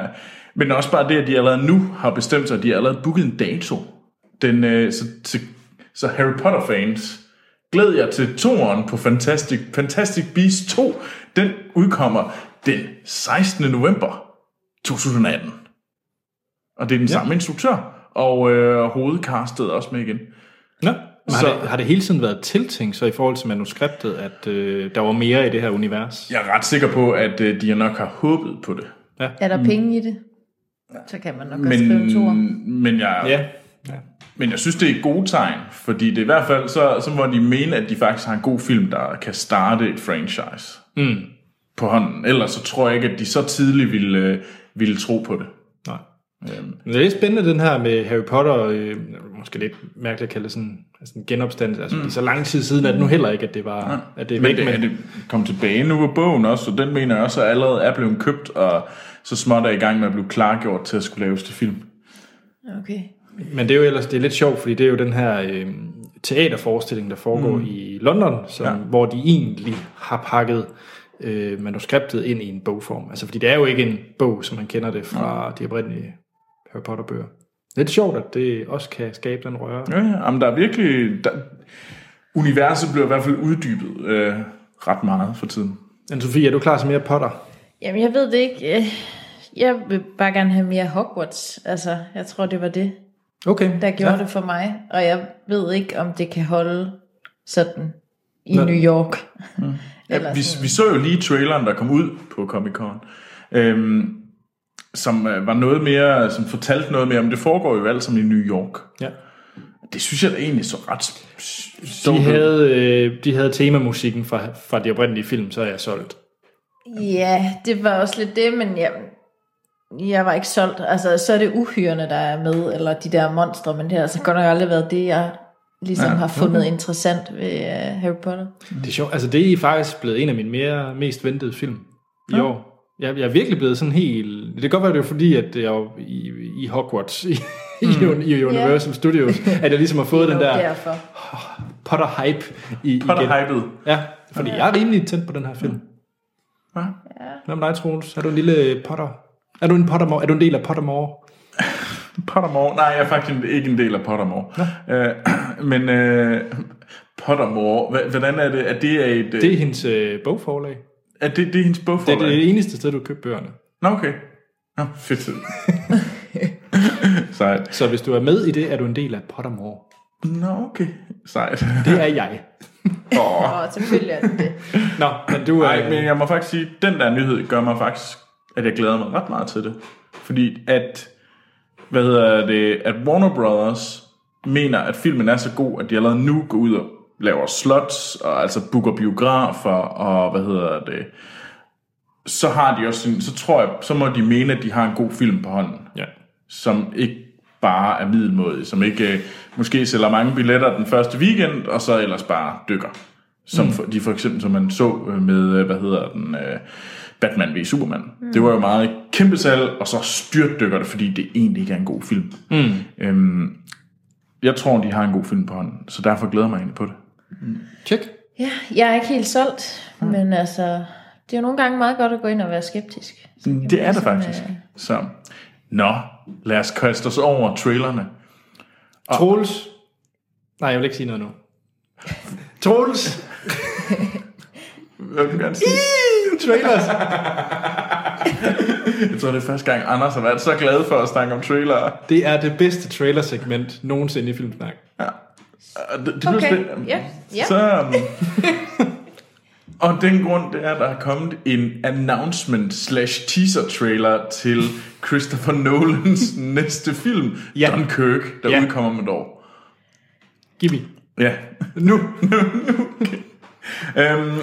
B: men også bare det, at de allerede nu har bestemt sig, at de har allerede booket en dato. Den, øh, så, så, så Harry Potter fans, glæd jer til toeren på Fantastic, Fantastic Beasts 2. Den udkommer den 16. november 2018. Og det er den ja. samme instruktør, og øh, hovedcastet er også med igen.
A: Nå. Men har,
B: Så-
A: det, har det hele tiden været tiltænkt så i forhold til manuskriptet, at øh, der var mere i det her univers?
B: Jeg er ret sikker på, at øh, de nok har håbet på det.
C: Er der penge i det? Så kan man nok men... også skrive en toer.
B: Men, men jeg,
A: Ja.
B: Men jeg synes, det er gode tegn, fordi det er i hvert fald, så, så må de mene, at de faktisk har en god film, der kan starte et franchise mm. på hånden. Ellers så tror jeg ikke, at de så tidligt ville, øh, ville tro på det.
A: Nej. Men det er lidt spændende, den her med Harry Potter, øh, måske lidt mærkeligt at kalde det sådan, altså en genopstandelse. Altså, mm. så lang tid siden er det nu heller ikke, at det var at det er
B: Men
A: væk.
B: det, er det kom tilbage nu på bogen også, og den mener jeg også, at allerede er blevet købt, og så småt er i gang med at blive klargjort til at skulle laves til film.
C: Okay.
A: Men det er jo ellers det er lidt sjovt, fordi det er jo den her øh, teaterforestilling, der foregår mm. i London, som, ja. hvor de egentlig har pakket øh, manuskriptet ind i en bogform. Altså, fordi det er jo ikke en bog, som man kender det fra de oprindelige Harry Potter-bøger. Lidt sjovt, at det også kan skabe den røre.
B: Ja, ja, jamen, der er virkelig... Der, universet bliver i hvert fald uddybet øh, ret meget for tiden.
A: Men Sofie, er du klar til mere Potter?
C: Jamen, jeg ved det ikke. Øh, Jeg vil bare gerne have mere Hogwarts. Altså, jeg tror, det var det,
A: Okay.
C: der
A: ja.
C: gjorde ja. det for mig. Og jeg ved ikke, om det kan holde sådan i
A: Nå.
C: Nå. New York.
B: Ja, vi, vi så jo lige traileren, der kom ud på Comic Con, øhm, som øh, var noget mere, som fortalte noget mere, men det foregår jo alt sammen i New York.
A: Ja.
B: Det synes jeg da egentlig så ret... Så
A: De havde, øh, de havde temamusikken fra, fra de oprindelige film, så er jeg solgt.
C: Ja, det var også lidt det, men jeg, jeg var ikke solgt. Altså, så er det uhyrene, der er med, eller de der monstre, men det har altså godt nok aldrig været det, jeg ligesom ja, har fundet okay. interessant ved uh, Harry Potter.
A: Det er sjovt. Altså, det er faktisk blevet en af mine mere, mest ventede film i ja. år. Jeg, jeg er virkelig blevet sådan helt... Det kan godt være, det er fordi, at jeg er i, i Hogwarts, i, mm. i, i Universal yeah. Studios, at jeg ligesom har fået den
C: Jo,
A: der
C: derfor.
A: Potter-hype i,
B: Potter
A: igen.
B: hyped.
A: Ja, fordi jeg er rimelig tændt på den her film.
B: Ja.
A: Hvad med dig, Troels? Er du en lille Potter... Er du en Pottermore? Er du en del af Pottermore?
B: Pottermore. Nej, jeg er faktisk ikke en del af Pottermore. Øh, men øh, Pottermore, hva- hvordan er det? Er det, et,
A: Det
B: det,
A: er hendes øh, bogforlag.
B: er det, det er hendes
A: Det er
B: bogforlag?
A: det eneste sted, du køber bøgerne.
B: Nå, okay. Nå, fedt. Sejt.
A: Så hvis du er med i det, er du en del af Pottermore.
B: Nå, okay. Sejt.
A: Det er jeg.
B: Åh.
C: Og selvfølgelig er det det.
A: Nå, men du er...
B: Nej, men jeg må faktisk sige, den der nyhed gør mig faktisk, at jeg glæder mig ret meget til det. Fordi at, hvad hedder det, at Warner Brothers mener, at filmen er så god, at de allerede nu går ud og laver slots, og altså booker biografer, og hvad hedder det, så har de også sådan, så tror jeg, så må de mene, at de har en god film på hånden
A: Ja.
B: som ikke bare er middelmådig, som ikke øh, måske sælger mange billetter den første weekend, og så ellers bare dykker. Som mm. for, de for eksempel, som man så øh, med, øh, hvad hedder den, øh, Batman v Superman. Mm. Det var jo meget kæmpe salg, og så styrtdykker det, fordi det egentlig ikke er en god film. Mm. Øhm, jeg tror, de har en god film på hånden, så derfor glæder jeg mig egentlig på det.
A: Tjek.
C: Ja, jeg er ikke helt solgt, mm. men altså, det er jo nogle gange meget godt at gå ind og være skeptisk. Så kan
B: Det er
C: man
B: det
C: sådan,
B: faktisk.
C: øh,
B: Så, nå, lad os kaste os over trailerne.
A: Troels. Nej, jeg vil ikke sige noget nu. Troels.
B: Hvad vil du gerne sige?
A: Trailers.
B: Jeg tror, det er første gang, Anders har været så glad for at snakke om trailere.
A: Det er det bedste trailersegment nogensinde i Filmsnak.
B: Og Det, det blev
C: Okay,
B: spændende.
C: ja, ja.
B: Så, um, Og af den grund det er, at der er kommet en announcement slash teaser trailer til Christopher Nolans næste film,
A: Ja.
B: ja. Dunkirk,
A: Ja.
B: der ja. udkommer om et år.
A: Giv me.
B: Ja.
A: Nu.
B: Øhm, øh,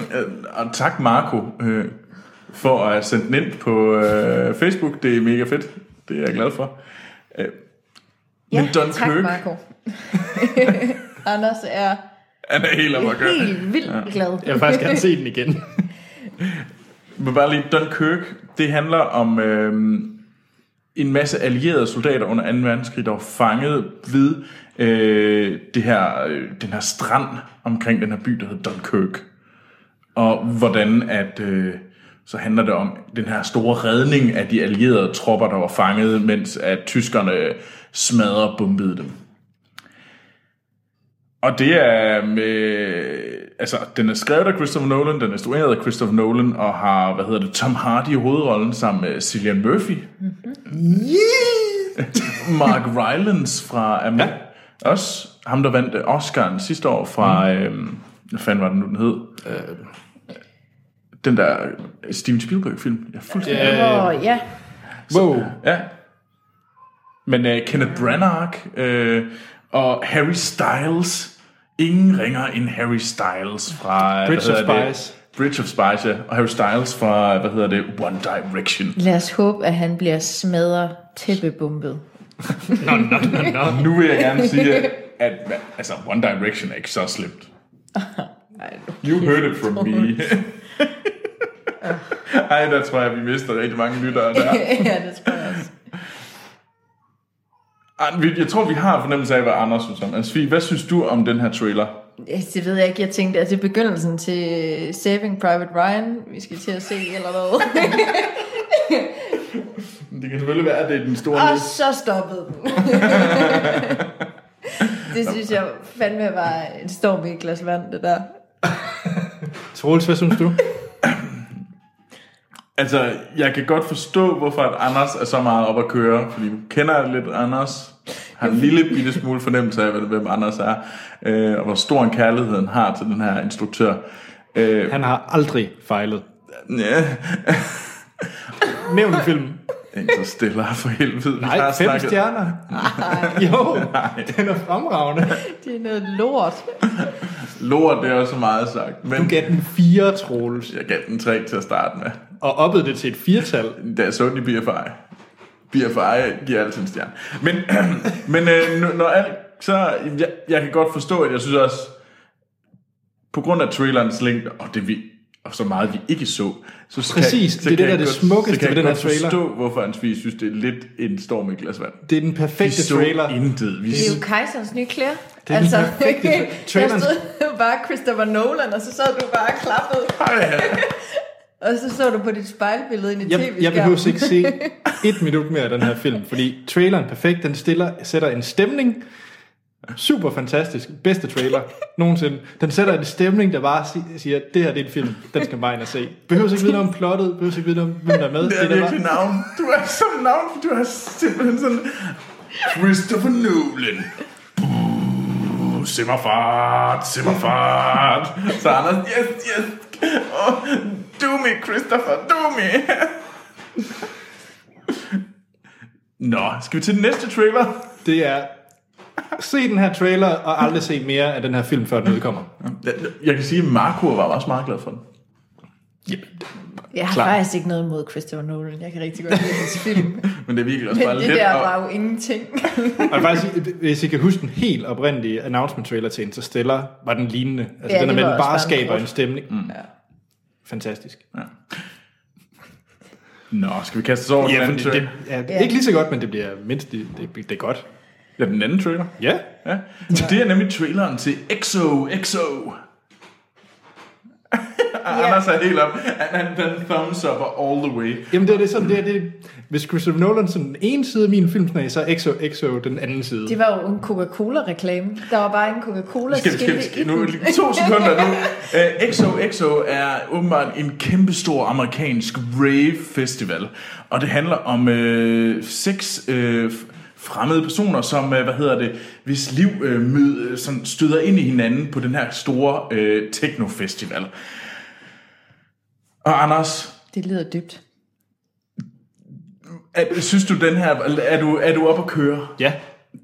B: og tak Marco øh, for at sende den ind på øh, Facebook. Det er mega fedt. Det er jeg glad for.
C: Ja,
B: Men Dunkirk-
C: tak Marco. Anders er
B: Han er helt om at gøre.
C: helt vildt ja. glad.
A: Jeg vil faktisk gerne se den igen.
B: Men bare lige, Dunkirk, det handler om øh, en masse allierede soldater under 2. verdenskrig, der var fanget ved øh, det her, øh, den her strand omkring den her by, der hedder Dunkirk. Og hvordan at... Øh, så handler det om den her store redning af de allierede tropper, der var fanget, mens at tyskerne smadrede og bombede dem. Og det er med, altså, den er skrevet af Christopher Nolan, den er instrueret af Christopher Nolan, og har, hvad hedder det, Tom Hardy i hovedrollen sammen med Cillian Murphy. Mm-hmm. Mark Rylance fra Am- ja. også ham, der vandt øh, Oscar'en sidste år fra, mm. øhm, hvad fanden var den nu, den hed? Øh, den der Steven Spielberg-film. Jeg er fuldstændig...
A: Ja.
C: Åh, ja.
A: Wow.
B: Ja. Men uh, Kenneth Branagh uh, og Harry Styles. Ingen ringer end Harry Styles fra... hvad
A: Bridge of
B: hedder det?
A: Spies.
B: Bridge of Spies, ja. Og Harry Styles fra, hvad hedder det, One Direction.
C: Lad os håbe, at han bliver smadret tæppebumpet.
A: Nå, nå, nå, nå.
B: Nu vil jeg gerne sige, at, at altså, One Direction er ikke så slemt. You heard it from me. Ej, der tror jeg, vi mister rigtig mange lyttere der.
C: ja, det tror jeg også.
B: Ej, vi- Jeg tror, vi har fornemmelse af, hvad Anders synes om. Altså, Fie, hvad synes du om den her trailer?
C: Ja, Det ved jeg ikke. Jeg tænkte, at det er begyndelsen til Saving Private Ryan. Vi skal til at se eller hvad.
B: Det kan selvfølgelig være, at det er den store
C: Og så stoppede den. det synes jeg fandme var en storm i et glas vand, det der.
A: Troels, hvad synes du?
B: Altså, jeg kan godt forstå, hvorfor at Anders er så meget op at køre, fordi du kender lidt Anders, har en lille bitte smule fornemmelse af, hvad- hvem Anders er, øh, og hvor stor en kærlighed han har til den her instruktør. Øh,
A: Han har aldrig fejlet.
B: ja,
A: Nævn en film.
B: Interstellar for helvede.
A: Nej, fem snakket. stjerner. Jo, den er fremragende.
C: Det er noget lort.
B: Lort, det er også meget sagt,
A: Du
B: men
A: gav den fire, Troels,
B: jeg gav den tre til at starte med.
A: og oppede det til et firtal.
B: da jeg så den i BFI. BFI giver altid en stjerne. Men, men øh, nu- når alt, så jeg, jeg kan godt forstå, at jeg synes også, på grund af trailerens længde, og det vi og så meget vi ikke så, så så
A: Præcis,
B: så
A: det er det,
B: jeg
A: der er det
B: godt-
A: smukkeste
B: så kan
A: ved
B: jeg
A: den her
B: godt
A: trailer.
B: forstå, hvorfor Hans Fie synes, det er lidt en storm i et glas vand.
A: Det er den
B: Vi
A: perfekte
B: så
A: trailer.
B: intet. Vi,
C: Det er jo kejserens nye klæder. Altså,
A: Det er den perfekte tra- traileren.
C: der stod bare Christopher Nolan, og så sad du bare og klappede.
B: Ej,
C: Og så så du på dit spejlbillede ind i
A: Jeg,
C: tv-skærmen.
A: jeg behøver ikke se et minut mere af den her film, fordi traileren er perfekt, den stiller, sætter en stemning. Super fantastisk. Bedste trailer nogensinde. Den sætter en stemning, der bare si- siger, det her det er en film, den skal man bare ind og se. Behøver ikke vide noget om plottet, behøver ikke vide noget om, hvem der er med.
B: Det er
A: der bare-
B: virkelig navn. Du er sådan navn, for du er simpelthen sådan... Christopher Nolan. Buh, Simmerfart, simmerfart. Så Anders, yes, yes. Oh, do me, Christopher, do me. Nå, skal vi til den næste trailer?
A: Det er, se den her trailer, og aldrig se mere af den her film, før den udkommer.
B: Jeg kan sige, at Marco var også meget glad for den.
C: Jeg har
A: Klar.
C: faktisk ikke noget imod Christopher Nolan. Jeg kan rigtig godt lide hans film.
B: Men det er virkelig også
C: Men
B: bare
C: det
B: lidt...
C: der
B: at-
C: var jo ingenting.
A: Og jeg vil faktisk, sige, hvis I kan huske den helt oprindelige announcement trailer til Interstellar, var den lignende. Altså
C: Ja,
A: ja, den er
C: det
A: med,
C: var
A: den
C: også
A: bare
C: bare en
A: skaber
C: kort.
A: en stemning. Mm.
C: Ja.
A: Fantastisk.
B: Nå, skal vi kaste os over den
A: Ja,
B: anden
A: fordi det
B: trailer?
A: er ja. ikke lige så godt, men det bliver mindst, det, det, det er godt.
B: Ja, den anden trailer.
A: Ja.
B: Ja. Så det er nemlig traileren til EXO, EXO. Ah, Anders er helt op. Han, han, han thumbs up all the way.
A: Jamen det er det er sådan, det er det. Hvis Christopher Nolan sådan den ene side af min filmsnag, så er XOXO den anden side.
C: Det var jo en Coca-Cola-reklame. Der var bare en
B: Skal, vi- skal, vi-
C: Coca-Cola-skilte i
B: skal, nu,
C: den.
B: lige to sekunder nu. Uh, EXO, EXO er åbenbart en kæmpestor amerikansk rave festival. Og det handler om øh, seks øh, fremmede personer, som, øh, hvad hedder det, hvis liv øh, mød, øh, sådan støder ind i hinanden på den her store øh, techno-festival. Og Anders,
C: Det lyder dybt.
B: er, synes du den her, er du, er du oppe at køre?
A: Ja,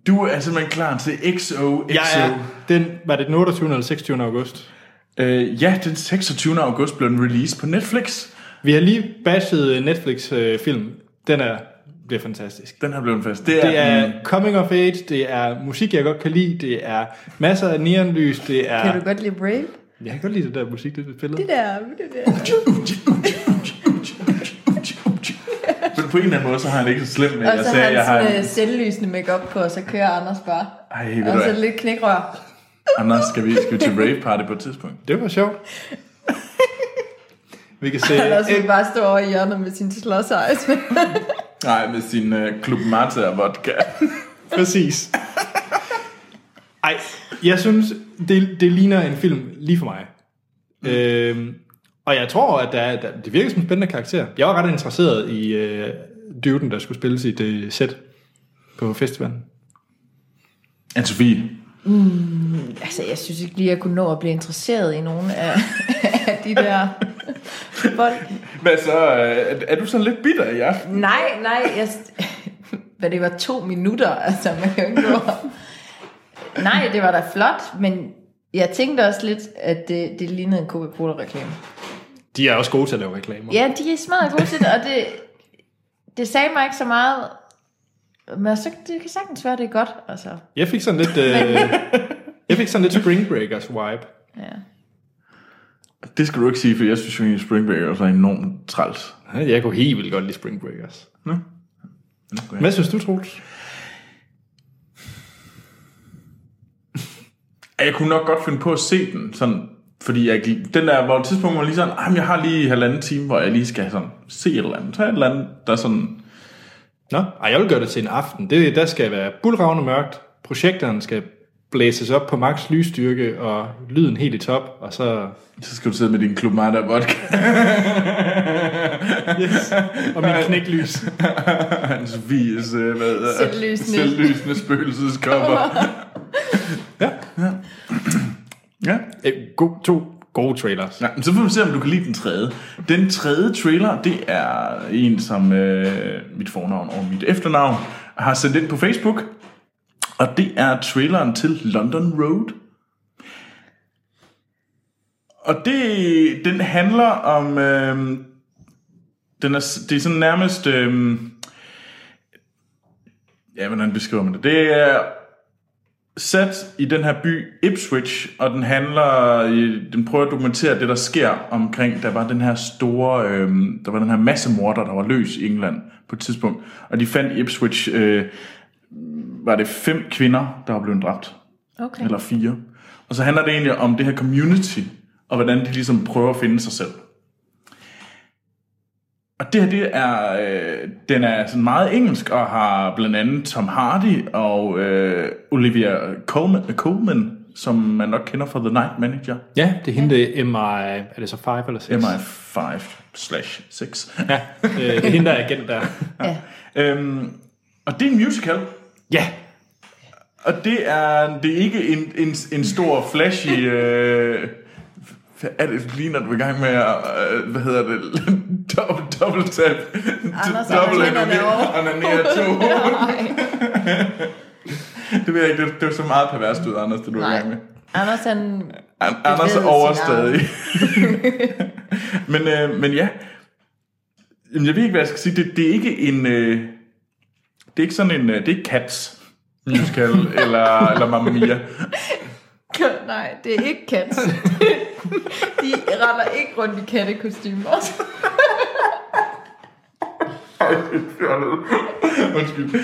B: Du er simpelthen klar til XOXO.
A: ja, ja. Den, var det den 28. eller 26. august?
B: Øh, ja, den 26. august blev den released på Netflix.
A: Vi har lige bashed øh, Netflix-film. Den er, det er fantastisk.
B: Den her blev den fast. Det er,
A: Det er coming of age, det er musik, jeg godt kan lide, det er masser af neonlys, det er...
C: Kan du godt lide Brave?
A: Jeg kan godt lide det der musik, det spiller.
C: Det der, det der.
B: Men på en eller anden måde, så har han det ikke så slemt med,
C: Og
B: jeg
C: så
B: sagde,
C: har
B: jeg
C: han
B: har...
C: sådan øh, selvlysende makeup på, og så kører Anders bare.
B: Ej, ved du
C: Og så
B: hvad?
C: lidt knækrør. øh,
B: Anders, skal vi, skal vi til rave party på et tidspunkt?
A: Det var sjovt. Vi kan se...
C: Anders vil bare stå over i hjørnet med sin slåsejs.
B: Nej, med sin øh, Club Mate og vodka.
A: Præcis. Ej, jeg synes, det, det ligner en film lige for mig. Mm. Øhm, og jeg tror, at der, er- der, det virker som en spændende karakter. Jeg var ret interesseret i øh, dyvden, der skulle spille sit øh, sæt på festivalen.
B: anne Sofie,
C: altså, jeg synes ikke lige, jeg kunne nå at blive interesseret i nogen af, af de der folk.
B: hvad så? øh, Er, er du så lidt bitter i aften?
C: Nej, nej, jeg... Hvad det var to minutter, altså man kan jo ikke nå. Nej, det var da flot, men jeg tænkte også lidt, at det, det lignede en Coca-Cola-reklame.
A: De er også gode til at lave reklamer.
C: Ja, de er smadret gode til det, og det, det sagde mig ikke så meget. Men så, det kan sagtens være, det er godt. Altså,
A: Jeg fik sådan lidt... Øh, jeg fik sådan lidt Spring Breakers vibe.
C: ja.
B: Det skal du ikke sige, for jeg synes jo egentlig, Spring Breakers er enormt træls.
A: Jeg kunne helt vildt godt lide Spring Breakers.
B: Okay.
A: Hvad synes du, Troels?
B: Jeg kunne nok godt finde på at se den, sådan, fordi jeg, gik- den der, hvor et tidspunkt var lige sådan, "Ej, men jeg har lige halvanden time, hvor jeg lige skal sådan, se et eller andet, tage et eller andet, der sådan,
A: Nå, ej, jeg vil gøre det til en aften. Det, der skal være bulravende mørkt, projekterne skal blæses op på max lysstyrke, og lyden helt i top, og så...
B: så skal du sidde med din Club Mate og vodka.
A: Og min knæklys.
B: Hans Sofies, øh, hvad hedder det?
C: Selvlysende.
B: selvlysende spøgelseskopper.
A: Ja.
B: ja.
A: Øh, go, to gode trailers.
B: Nå, men så får vi se, om du kan lide den tredje. Den tredje trailer, det er en, som øh, mit fornavn og mit efternavn har sendt ind på Facebook. Og det er traileren til London Road. Og det, den handler om... Øh, den er, det er sådan nærmest... Øh, ja, hvordan beskriver man det? Det er sat i den her by Ipswich, og den handler, i- den prøver at dokumentere det, der sker omkring, der var den her store, øh, der var den her massemorder, der var løs i England på et tidspunkt, og de fandt i Ipswich, øh, var det fem kvinder, der var blevet dræbt,
C: Okay.
B: eller fire. Og så handler det egentlig om det her community, og hvordan de ligesom prøver at finde sig selv. Og det her, det er, øh, den er sådan meget engelsk, og har blandt andet Tom Hardy og øh, Olivia Colman, Colman, som man nok kender fra The Night Manager.
A: Ja, det er hende, det er MI... Er det så 5 eller 6?
B: MI5 slash 6.
A: Ja, øh, det er hende, der er agent der.
C: Ja.
B: øhm, og det er en musical.
A: Ja,
B: Og det er, det er ikke en, en, en stor flashy... Øh, hvad er det, ligner du er i gang med at, øh, hvad hedder det, double, double tap,
C: Anders
B: double
C: Andersen er derovre.
B: onanere to.
C: Nej.
B: Det ved jeg ikke, det, det var så meget perverst ud, Anders, det du var i
C: Nej.
B: gang med.
C: Anders han...
B: An- Anders
C: ved sin
B: overstadig. men, øh, men ja, Jamen, jeg ved ikke, hvad jeg skal sige. Det, det er ikke en... Øh, det er ikke sådan en... Øh, det er ikke Cats musical, eller, eller Mamma Mia.
C: Nej, det er ikke kat. De render ikke rundt i kattekostymer.
B: Ej, det er fjollet. Undskyld. Ved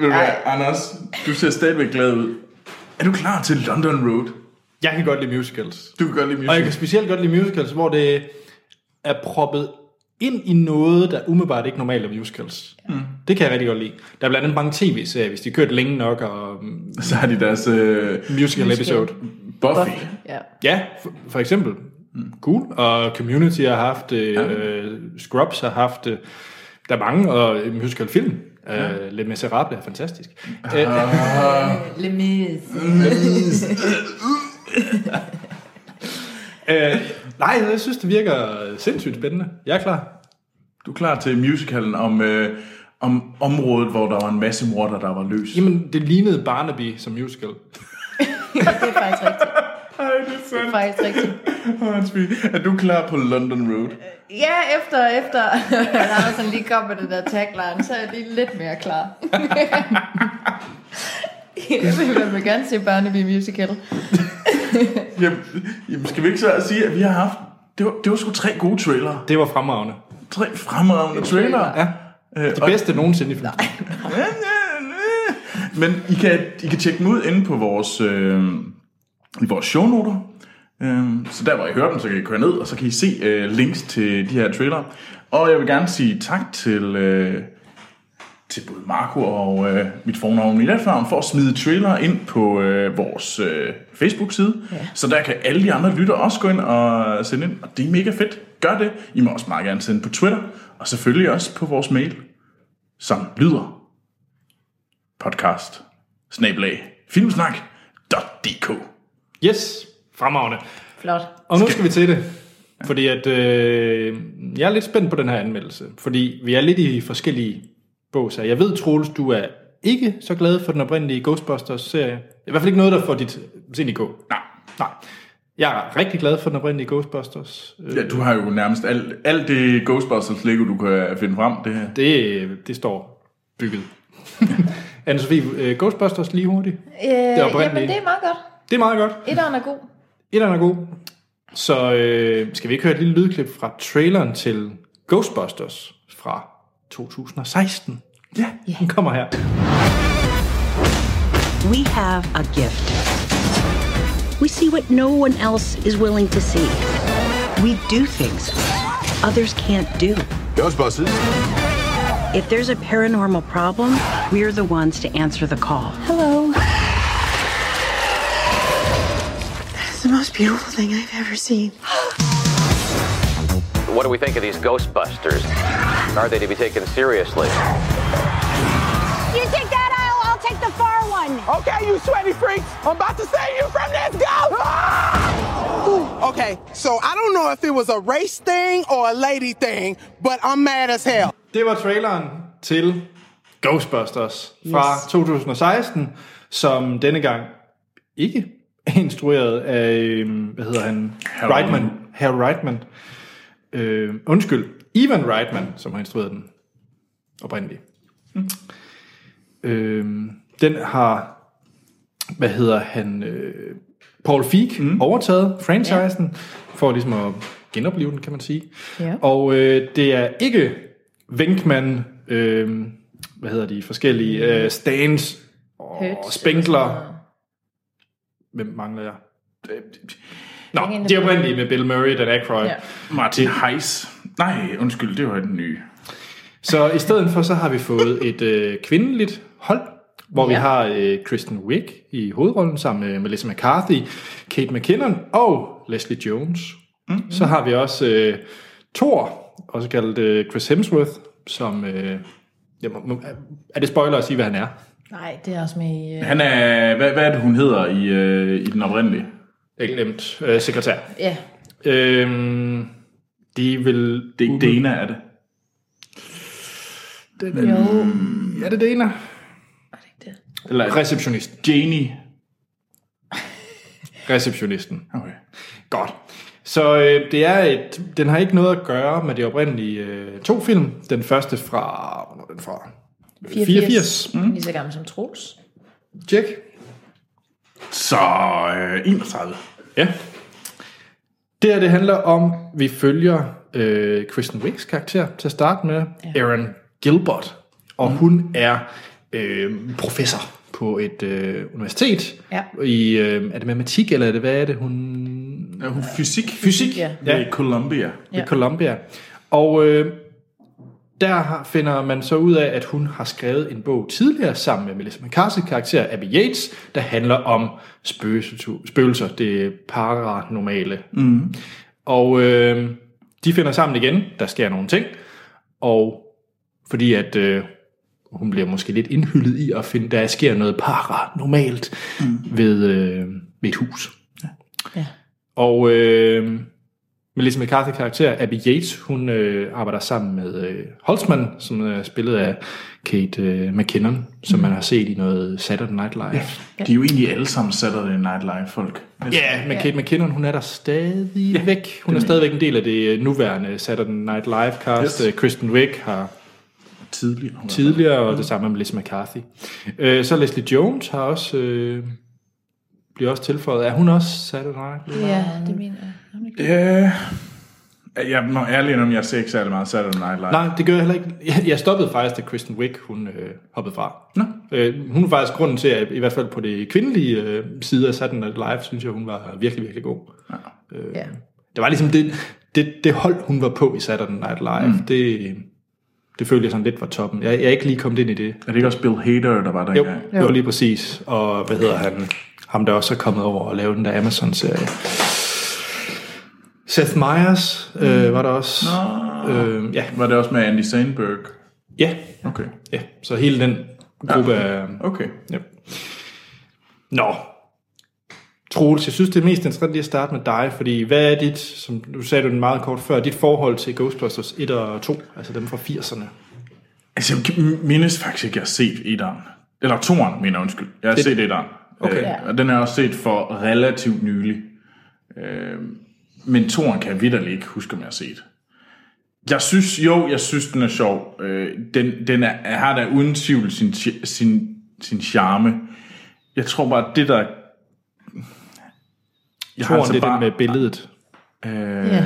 B: du hvad,
C: Ej.
B: Anders, du ser stadigvæk glad ud. Er du klar til London Road?
A: jeg kan godt lide musicals.
B: Du kan godt lide
A: Og jeg kan
B: musical.
A: specielt godt lide musicals, hvor det er proppet ind i noget, der umiddelbart ikke normalt er musicals. Mm. Det kan jeg rigtig godt lide. Der er blandt andet mange tv-serier, hvis de kørt længe nok, og mm,
B: Så har de deres øh,
A: musical episode.
B: Buffy.
C: Ja.
A: Ja, for, for eksempel. Cool. Og Community har haft det, øh, Scrubs har haft det. Der er mange, og en musical film. Ja. Øh, Les Misérables er fantastisk. Øh,
C: Lemis.
A: øh, Nej, jeg synes, det virker sindssygt spændende. Jeg er klar.
B: Du er klar til musicalen om, øh, om området, hvor der var en masse morder, der var løs.
A: Jamen, det lignede Barnaby som musical.
C: det er faktisk rigtigt.
B: Ej, det er
C: Det er
B: sandt.
C: faktisk rigtigt.
B: Åh, Hans-Pige, Er du klar på London Road?
C: Ja, efter, efter at Andersen lige kom med den der tagline, så er jeg lige lidt mere klar. jeg vil i hvert fald gerne se Barnaby Musical.
B: Jamen, jamen, skal vi ikke så sige, at vi har haft... Det var, det var sgu tre gode trailere.
A: Det var fremragende.
B: Tre fremragende trailere.
A: Ja.
B: Øh,
A: Det
B: og-
A: bedste nogensinde i film.
B: Men I kan, I kan tjekke dem ud inde på vores, øh, i vores shownoter. Øh, så der, hvor I hører dem, så kan I køre ned, og så kan I se øh, links til de her trailer. Og jeg vil gerne sige tak til, øh, til både Marco og øh, mit fornavn og mit efternavn for at smide trailer ind på øh, vores øh, Facebook-side. Ja. Så der kan alle de andre lytter også gå ind og sende ind. Og det er mega fedt. Gør det. I må også meget gerne sende på Twitter. Og selvfølgelig også på vores mail, som lyder podcast snablag filmsnak.dk
A: Yes, fremragende.
C: Flot.
A: Og nu skal vi til det. Fordi at, øh, jeg er lidt spændt på den her anmeldelse. Fordi vi er lidt i forskellige båser. Jeg ved, Troels, du er ikke så glad for den oprindelige Ghostbusters-serie. I hvert fald ikke noget, der får dit sind i gå.
B: Nej.
A: Nej. Jeg er rigtig glad for den oprindelige Ghostbusters. Øh,
B: Ja, du har jo nærmest alt, alt det Ghostbusters Lego, du kan finde frem. Det her.
A: Det, det står bygget. Anne-Sophie, øh, Ghostbusters lige hurtigt.
C: Øh, det
A: oprindelige.
C: jamen, det er meget godt.
A: Det er meget godt.
C: Etteren er god.
A: Et er god. Så øh, skal vi ikke høre et lille lydklip fra traileren til Ghostbusters fra 2016? Ja, yeah. den kommer her.
E: We have a gift. We see what no one else is willing to see. We do things others can't do.
F: Ghostbusters.
E: If there's a paranormal problem, we're the ones to answer the call.
G: Hello. That's the most beautiful thing I've ever seen.
H: What do we think of these Ghostbusters? Are they to be taken seriously?
I: You take that aisle, I'll take the far one.
F: Okay, you sweaty freaks. I'm about to save you from this ghost. Okay, so I don't know if it was a race thing or a lady thing, but I'm mad as hell.
A: Det var traileren til Ghostbusters fra yes. 2016, som denne gang ikke er instrueret af, øhm, hvad hedder han?
B: Harold.
A: Reitman. Harold Reitman. Øh, undskyld, Ivan Reitman, som har instrueret den oprindeligt. Mm. Øh, den har, hvad hedder han, øh, Paul Feig mm. overtaget franchisen, ja. for ligesom at genopleve den, kan man sige.
C: Ja.
A: Og øh, det er ikke Venkman, øh, hvad hedder de forskellige, øh, Stans og
C: Hertz eller sådan
A: Spengler.
C: noget.
A: Hvem mangler jeg? Øh, Nå, de er oprindelige med Bill Murray, Dan Aykroyd. Ja.
C: Ja.
B: Martin Heis. Nej, undskyld, det var den nye.
A: Så i stedet for, så har vi fået et øh, kvindeligt hold, hvor ja. vi har øh, Kristen Wiig i hovedrollen sammen med Melissa McCarthy, Kate McKinnon og Leslie Jones. Mm-hmm. Så har vi også øh, Thor, også kaldt øh, Chris Hemsworth, som... Øh, jeg må, må, er det spoiler at sige, hvad han er?
C: Nej, det er også med i... Øh,
B: Han er, hvad, hvad er det, hun hedder i, øh, i den oprindelige?
A: Ikke nemt. Øh, sekretær.
C: ja.
A: Øhm, de vil...
B: Det er ikke Dana, er det?
C: Jo.
A: Er det Dana?
B: Eller er det
A: Receptionisten.
B: Janie?
A: Receptionisten.
B: Okay.
A: Godt. Så øh, det er et, den har ikke noget at gøre med de oprindelige øh, to film. Den første fra, fra
C: 84.
A: 84.
C: Mm. Lige så gammel som Troels.
A: Tjek.
B: Så øh, 31.
A: Ja. Det her, det handler om, vi følger øh, Kristen Wiggs karakter til at starte med, ja. Aaron Gilbert. Og mm. hun er øh, professor på et øh, universitet
C: Ja.
A: i, øh, er det matematik, eller er det, hvad er det, hun
B: Er hun fysik?
A: Fysik,
C: ja.
B: Ja. Ved Columbia.
A: ved Columbia. Og øh, der har- finder man så ud af, at hun har skrevet en bog tidligere sammen med Melissa McCarthy, karakter Abby Yates, der handler om spøgelsetu- spøgelser, det paranormale. Mm. Og øh, de finder sammen igen, der sker nogle ting, og fordi at øh, hun bliver måske lidt indhyllet i at finde, der sker noget paranormalt mm. ved, øh, ved et hus.
C: Ja.
A: Og øh, Melissa McCarthy karakter, Abby Yates, hun øh, arbejder sammen med øh, Holtzman, som er spillet af Kate øh, McKinnon, som man har set i noget Saturday Night Live. Ja,
B: De er jo egentlig alle sammen Saturday Night Live folk.
A: yeah, men Kate McKinnon, hun er der stadigvæk. Hun er stadigvæk en del af det øh, nuværende Saturday Night Live cast.
B: Yes.
A: Yes. Kristen Wiig har
B: Tidligere. hun er-
A: tidligere, og det samme med Melissa McCarthy. Øh, så Leslie Jones har også... Øh, bliver også tilføjet. Er hun også Saturday Night Live?
C: Ja, det mener jeg. Har hun ikke
B: Ja. Jeg må ærlig indrømme, jeg ser ikke særlig meget Saturday Night Live.
A: Nej, det gør jeg heller ikke. Jeg- Jeg stoppede faktisk, da Kristen Wiig hun øh, hoppede fra. Nå. Øh, hun var faktisk grunden til, at i hvert fald på det kvindelige øh, side af Saturday Night Live, synes jeg, hun var virkelig, virkelig god. Øh,
C: Ja.
A: Det var ligesom det, det, det hold, hun var på i Saturday Night Live. Mm. Det, det følte jeg sådan lidt var toppen. Jeg, jeg er ikke lige kommet ind i det.
B: Er det ikke også Bill Hader, der var der
A: Jo,
B: engang?
A: det var lige præcis. Og hvad hedder han? Ham, der også er kommet over og lavet den der Amazon-serie. Seth Meyers øh, var der også. Nå. Øh, ja,
B: Var det også med Andy Sandberg?
A: ja,
B: Okay.
A: Ja, så hele den gruppe ja. af...
B: Okay.
A: Ja. Nå. Troels, jeg synes, det er mest interessant lige at starte med dig, fordi hvad er dit, som du sagde du den meget kort før, dit forhold til Ghostbusters 1 og 2, altså dem fra 80'erne?
B: Altså, jeg kan- mindes faktisk ikke, jeg har set etteren. Eller toeren, mener jeg, undskyld. Jeg har
A: Det-
B: set etteren.
A: Okay.
B: Øh, og den har jeg også set for relativt nylig. Øh, men toeren kan jeg vidderlig ikke huske, om jeg har set. Jeg synes, jo, jeg synes, den er sjov. Øh, den, den er, har da uden tvivl sin, chi- sin, sin charme. Jeg tror bare, det der... Jeg
A: Toren, altså det er den med billedet.
B: Øh,
C: Ja.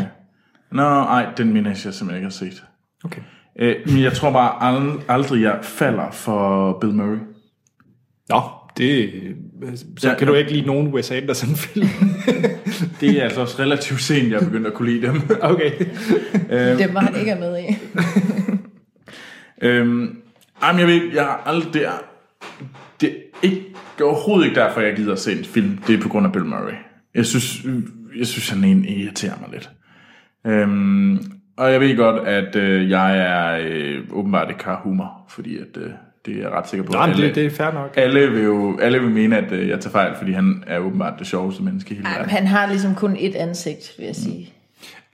B: Nå, ej, den minder jeg simpelthen ikke har set.
A: Okay.
B: Øh, men jeg tror bare ald- aldrig, jeg falder for Bill Murray.
A: Nå, det... Så
B: Ja,
A: ja, kan
B: ja.
A: du ikke lide nogen Wes Anderson film?
B: Det er altså også relativt sent, jeg er begyndt at kunne lide dem.
A: okay.
C: Det var han ikke er med i.
B: øhm, ej, men jeg ved, ikke, jeg har aldrig... Det er, det er ikke, det er overhovedet ikke derfor, jeg gider at se en film. Det er på grund af Bill Murray. Jeg synes, jeg synes han en irriterer mig lidt. Øhm, og jeg ved godt, at øh, jeg er øh, åbenbart ikke har humor, fordi at, øh, det er jeg ret sikker på.
A: Nå, men
B: alle-
A: det, det er fair nok.
B: alle vil jo alle vil mene, at øh, jeg tager fejl, fordi han er åbenbart det sjoveste menneske i hele verden.
C: Han har ligesom kun et ansigt, vil jeg sige.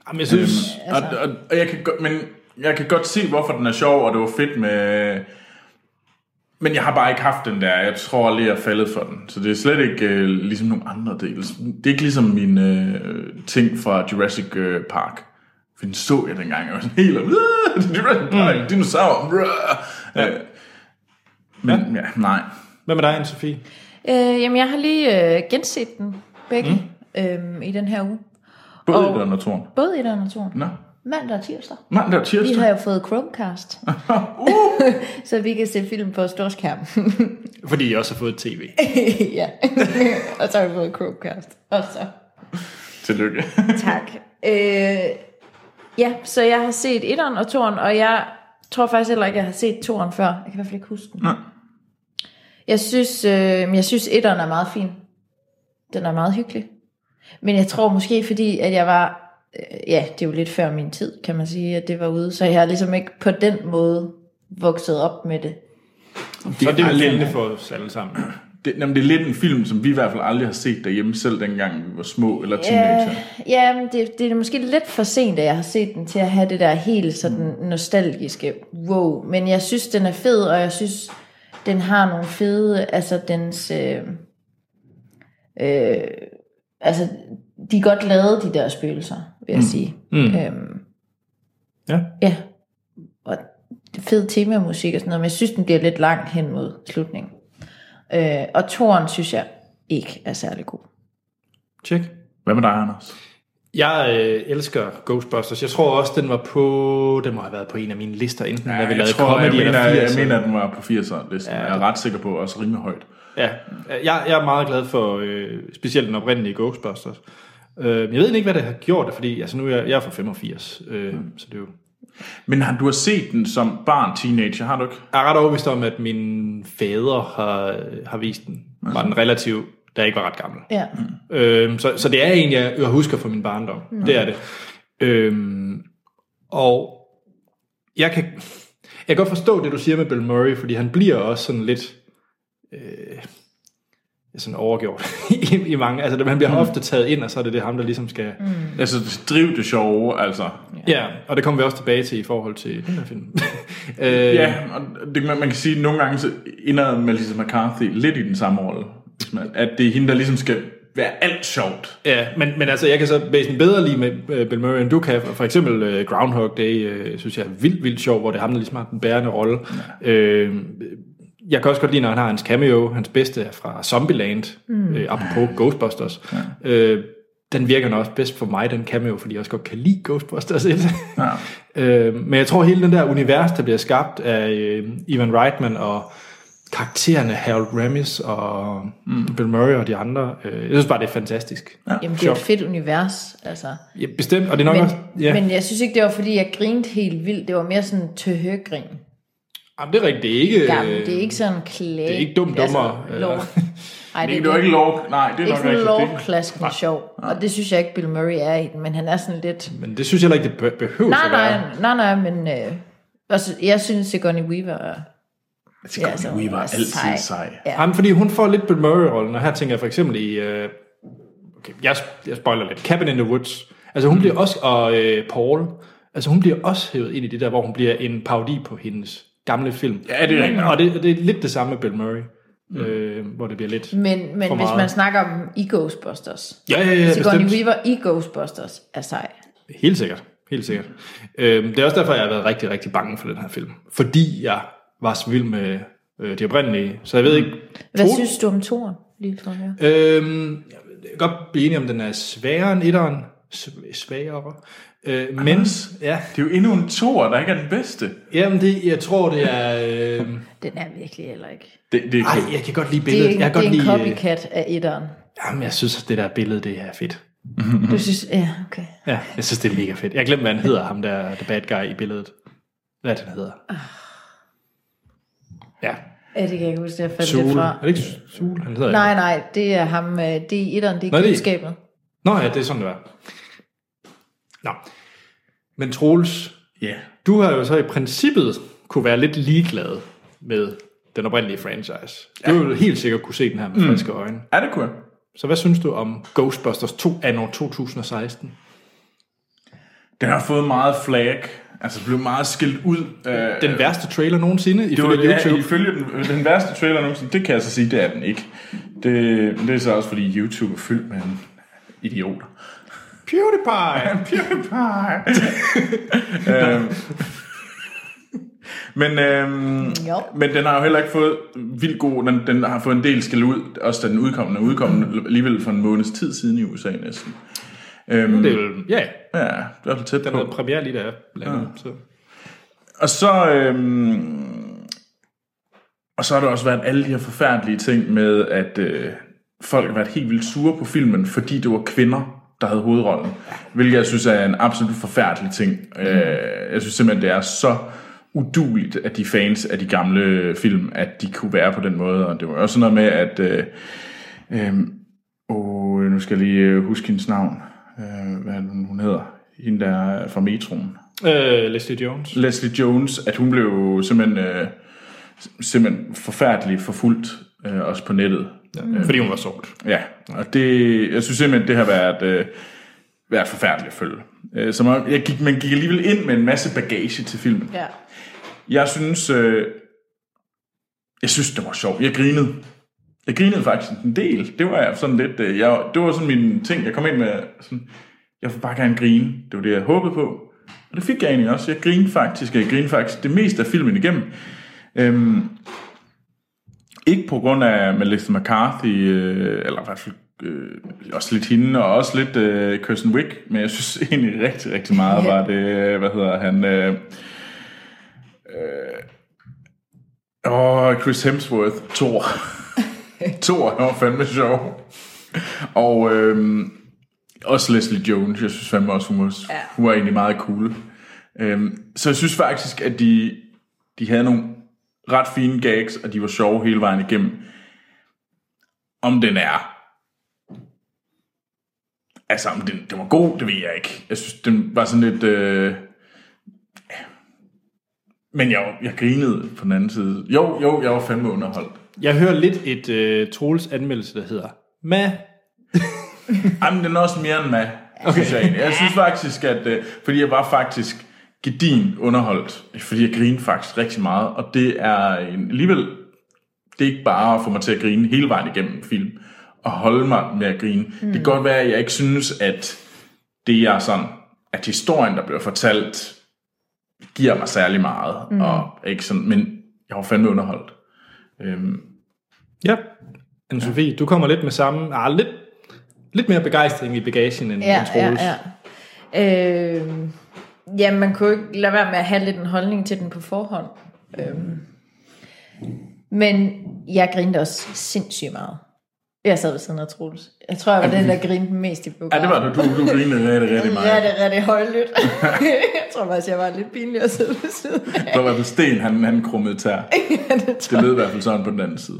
A: Jamen, jeg synes...
C: altså-
B: Og, og, og jeg kan godt, men jeg kan godt se, hvorfor den er sjov, og det var fedt med... Men jeg har bare ikke haft den der. Jeg tror lige, jeg er faldet for den. Så det er slet ikke øh, ligesom nogle andre dele. Det er ikke ligesom min øh, ting fra Jurassic øh, Park. For den så jeg dengang. Jeg var sådan helt... "Åh, det er Jurassic Park, mm. dinosaurer. Ja. Øh, men ja, nej.
A: Hvad med dig, Anne-Sophie?
C: Øh, jamen, jeg har lige øh, genset den begge mm. øhm, i den her uge.
B: Både
C: Og-
B: og... og Thorn.
C: Både i den og toren.
B: Nå.
C: Mandag og tirsdag.
B: Mandag og
C: Vi
B: tirsdag.
C: har jo fået Chromecast. så vi kan se film på storskærm.
A: Fordi jeg også har fået tv.
C: ja. og så har vi fået Chromecast. Og så.
B: Tillykke.
C: Tak. Øh, ja, så jeg har set etteren og toren, og jeg tror faktisk heller ikke, jeg har set toren før. Jeg kan i hvert fald ikke huske den.
B: Nej.
C: Jeg synes, øh, men jeg synes etteren er meget fin. Den er meget hyggelig. Men jeg tror måske, fordi at jeg var... øh, Ja, det er jo lidt før min tid, kan man sige, at det var ude. Så jeg har ligesom ikke på den måde vokset op med det.
A: Så det er vel gældende for os alle sammen.
B: Det, jamen, det er lidt en film, som vi i hvert fald aldrig har set derhjemme, selv dengang vi var små eller teenager.
C: Ja, men det, det er måske lidt for sent, at jeg har set den til at have det der helt sådan nostalgiske wow. Men jeg synes, den er fed, og jeg synes, den har nogle fede, altså dens... Øh, øh, altså, de er godt lavet, de der spøgelser, vil jeg mm. sige. Mm. Øhm,
A: Ja.
C: ja. Og det fed temamusik og sådan noget, men jeg synes, den bliver lidt langt hen mod slutningen. Øh, og toren synes jeg ikke er særlig god.
A: Tjek.
B: Hvad med dig, Anders?
A: Jeg øh, elsker Ghostbusters. Jeg tror også, den var på... Den må have været på en af mine lister, enten ja, da vi lavede
B: jeg,
A: comedy
B: mener,
A: eller
B: jeg
A: 80'erne.
B: mener, at den var på 80'er-listen. Ja, jeg er ret sikker på, også rimelig højt.
A: Ja, jeg, jeg er meget glad for øh, specielt den oprindelige Ghostbusters. Øh, jeg ved ikke, hvad det har gjort, det, fordi altså, nu er jeg, jeg er fra 85, øh, så det er jo...
B: Men har, du har set den som barn, teenager, har du ikke?
A: Jeg er ret overbevist om, at min fader har, øh, har vist den. Var den relativ, da jeg ikke var ret gammel.
C: Ja.
A: Øhm, så, så det er en, jeg, jeg husker fra min barndom. Mm. Det er det. Øhm, og jeg kan, jeg kan godt forstå det, du siger med Bill Murray, fordi han bliver også sådan lidt... Øh, sådan overgjort i, i mange. Altså, man bliver mm. ofte taget ind, og så er det det ham, der ligesom skal... Mm.
B: Altså, driv det sjove, altså.
A: Ja, og det kommer vi også tilbage til i forhold til den her film. øh,
B: Ja, og det, man, man kan sige, at nogle gange så ender Melissa McCarthy lidt i den samme rolle. hvis man- At det er hende, der ligesom skal være alt sjovt.
A: Ja, men, men altså, jeg kan så væsentligt bedre lige med øh, Bill Murray, end du kan. For eksempel øh, Groundhog Day, øh, synes jeg er vildt, vildt sjov, hvor det er ham, der ligesom har den bærende rolle. Øh, jeg kan også godt lide, når han har hans cameo, hans bedste er fra Zombieland, mm. øh, apropos Ghostbusters. Ja. Øh, den virker nok også bedst for mig, den cameo, fordi jeg også godt kan lide Ghostbusters 1. Ja. øh, men jeg tror, hele den der univers, der bliver skabt af øh, Ivan Reitman og karaktererne Harold Ramis og mm. Bill Murray og de andre. Øh, jeg synes bare, det er fantastisk. Ja.
C: Jamen, det er jo et fedt univers, altså.
A: Ja, bestemt, og det er nok
C: Men,
A: også... Ja. Men,
C: men jeg synes ikke, det var, fordi jeg grinte helt vildt. Det var mere sådan tøhøgrin.
A: Jamen, det er rigtigt, det er ikke...
C: Gammel. Det er ikke sådan klæde.
A: det er ikke dum dummer,
C: Altså,
A: eller-
C: lov. Ej,
B: Det, det var ikke lov. Nej, det er
C: Det er
B: nok
C: ikke sådan
B: rigtigt. Det-
C: lovklaskende sjov, og det synes jeg ikke, Bill Murray er i den, men han er sådan lidt...
A: Men det synes jeg heller ikke, det bø- behøver
C: Nej,
A: at være.
C: nej, nej, nej, men øh, altså, jeg synes, Sigourney Weaver er... altså,
B: Sigourney Weaver er altid altså, sej.
C: Ja.
A: Jamen, fordi hun får lidt Bill Murray-rollen, og her tænker jeg for eksempel i... Øh, okay, jeg, jeg spoiler lidt. Cabin in the Woods. Altså, hun mm. bliver også... Og øh, Paul. Altså, hun bliver også hævet ind i det der, hvor hun bliver en parodi på hendes gamle film.
B: Ja, det er rigtigt.
A: Og det, det er lidt det samme med Bill Murray. Mm. Øh, hvor det bliver lidt...
C: Men, men
A: For
C: hvis
A: meget.
C: man snakker om i Ghostbusters,
A: Ja, ja, ja,
C: Sigourney
A: bestemt.
C: Weaver i Ghostbusters er sej.
A: Helt sikkert. Helt sikkert. Øhm, det er også derfor, jeg har været rigtig, rigtig bange for den her film. Fordi jeg var så vild med øh, de oprindelige. Så jeg ved ikke...
C: Hvad
A: Tro-
C: synes du om Toren, lige for her?
A: Øhm, jeg kan godt blive enig om, den er sværere end etteren. Sv- Sværere. Øh, men... Ja,
B: Det er jo endnu en toer, der ikke er den bedste.
A: jamen det, jeg tror, det er... Øh,
C: Den er virkelig heller ikke.
B: Det, det er
A: ej,
B: cool.
A: jeg kan godt lide
C: Det er,
A: billedet.
C: ikke,
A: Jeg
C: det er
A: kan
C: en
A: godt lide... Øh,
C: copycat af etteren.
A: jamen, jeg synes, at det der billede, det er fedt. Mhm.
C: Du synes, ja, okay.
A: Ja, jeg synes, det er mega fedt. Jeg glemte, hvad han hedder, ham der, the bad guy i billedet. Hvad er det, han hedder?
C: Ah.
A: Ja,
C: Ja, det kan jeg ikke huske, jeg fandt det
A: Zul.
C: fra.
A: Er det ikke Zul? Han hedder
C: Nej, nej, det er ham, øh, det er i etteren, det
A: Nå,
C: er
A: det er-
C: kundskabet.
A: Nå ja, det er sådan, det var. Nå. Men Troels,
B: Ja.
A: du har jo så i princippet kunne være lidt ligeglad med den oprindelige franchise. Du ville helt sikkert kunne se den her
B: Mm.
A: med friske øjne.
B: Er det cool?
A: Så hvad synes du om Ghostbusters 2 anno 2016?
B: Den har fået meget flag. Altså, blev meget skilt ud. Øh,
A: Den værste trailer nogensinde
B: Det var
A: ifølge
B: YouTube. Ja,
A: YouTube.
B: ifølge den, øh, den værste trailer nogensinde, det kan jeg så sige, det er den ikke. Det, men det er så også, fordi YouTube er fyldt med idioter.
A: PewDiePie!
B: PewDiePie! øhm, men, øhm,
C: Jo.
B: men den har jo heller ikke fået vildt god, den, den har fået en del skal ud, også da den udkom, den er udkommet alligevel for en måneds tid siden i USA næsten. Øhm,
A: Mm. Det er jo, ja,
B: ja, det er så tæt
A: den
B: på.
A: havde premiere lige der jeg
B: Mm.
A: landede. Så.
B: Og så... Øhm, og så har der også været alle de her forfærdelige ting med, at øh, folk har været helt vildt sure på filmen, fordi det var kvinder, der havde hovedrollen. Hvilket jeg synes er en absolut forfærdelig ting. Mm. Øh, jeg synes simpelthen, det er så uduligt, at de fans af de gamle film, at de kunne være på den måde. Og det var også sådan noget med, at... Øh, øh, åh, nu skal jeg lige øh, huske hendes navn. Øh, hvad er det, hun hedder? Hende, der er fra metroen.
A: Øh, Leslie Jones.
B: Leslie Jones, at hun blev jo simpelthen, øh, simpelthen forfærdelig forfulgt, øh, også på nettet. Ja.
A: Fordi hun var sort.
B: ja, og det, jeg synes simpelthen, det har været, øh, været forfærdeligt at følge. Øh, så man, jeg gik, man gik alligevel ind med en masse bagage til filmen.
C: Ja.
B: Jeg synes, øh, jeg synes, det var sjovt. Jeg grinede. Jeg grinede faktisk en del. Det var jeg sådan lidt, øh, jeg, det var sådan min ting, jeg kom ind med. Sådan, jeg vil bare gerne grine. Det var det, jeg håbede på. Og det fik jeg egentlig også. Jeg grinede faktisk, og jeg grinede faktisk det meste af filmen igennem. Øhm, ikke på grund af Melissa McCarthy, øh, eller i hvert fald øh, også lidt hende, og også lidt øh, Kirsten Wick, men jeg synes egentlig rigtig, rigtig meget var det, øh, hvad hedder han, øh, øh, åh, Chris Hemsworth, Thor. Thor, han var fandme sjov. Og øh, også Leslie Jones, jeg synes fandme også, hun var, ja. hun var egentlig meget cool. Øh, så jeg synes faktisk, at de, de havde nogle ret fine gags, og de var sjove hele vejen igennem. Om den er... Altså, om den, den var god, det ved jeg ikke. Jeg synes, den var sådan lidt... Øh... Men jeg, jeg grinede på den anden side. Jo, jo, jeg var fandme underholdt.
A: Jeg hører lidt et øh, Troels anmeldelse, der hedder Ma.
B: Jamen, den er også mere end mig, okay. synes jeg egentlig. Jeg synes faktisk, at... Øh, fordi jeg var faktisk gedin underholdt. Fordi jeg grinede faktisk rigtig meget. Og det er en, alligevel... Det er ikke bare at få mig til at grine hele vejen igennem en film. Og holde mig med at grine. Mm. Det kan godt være, at jeg ikke synes, at det er sådan... At historien, der bliver fortalt, giver mig særlig meget. Mm. Og ikke sådan, men jeg var fandme underholdt. Øhm,
A: Ja. anne Sofie, du kommer lidt med samme... Ah, lidt, lidt mere begejstring i bagagen end, ja, end Troels. Ja, ja.
C: ja. Øh, ja, man kunne jo ikke lade være med at have lidt en holdning til den på forhånd. Øh, men jeg grinede også sindssygt meget. Jeg sad ved siden af Troels. Jeg tror, jeg var den, der grinede mest i
B: ja,
C: biografen.
B: det var det. Du, du grinede rigtig, rigtig meget.
C: Mm, Ja, det er rigtig højlydt. jeg tror faktisk, jeg var lidt pinlig at sidde ved siden af.
B: Der var i hvert fald sten, han, han krummede tær.
C: Ja, det tror
B: Det lød i hvert fald sådan på den anden side.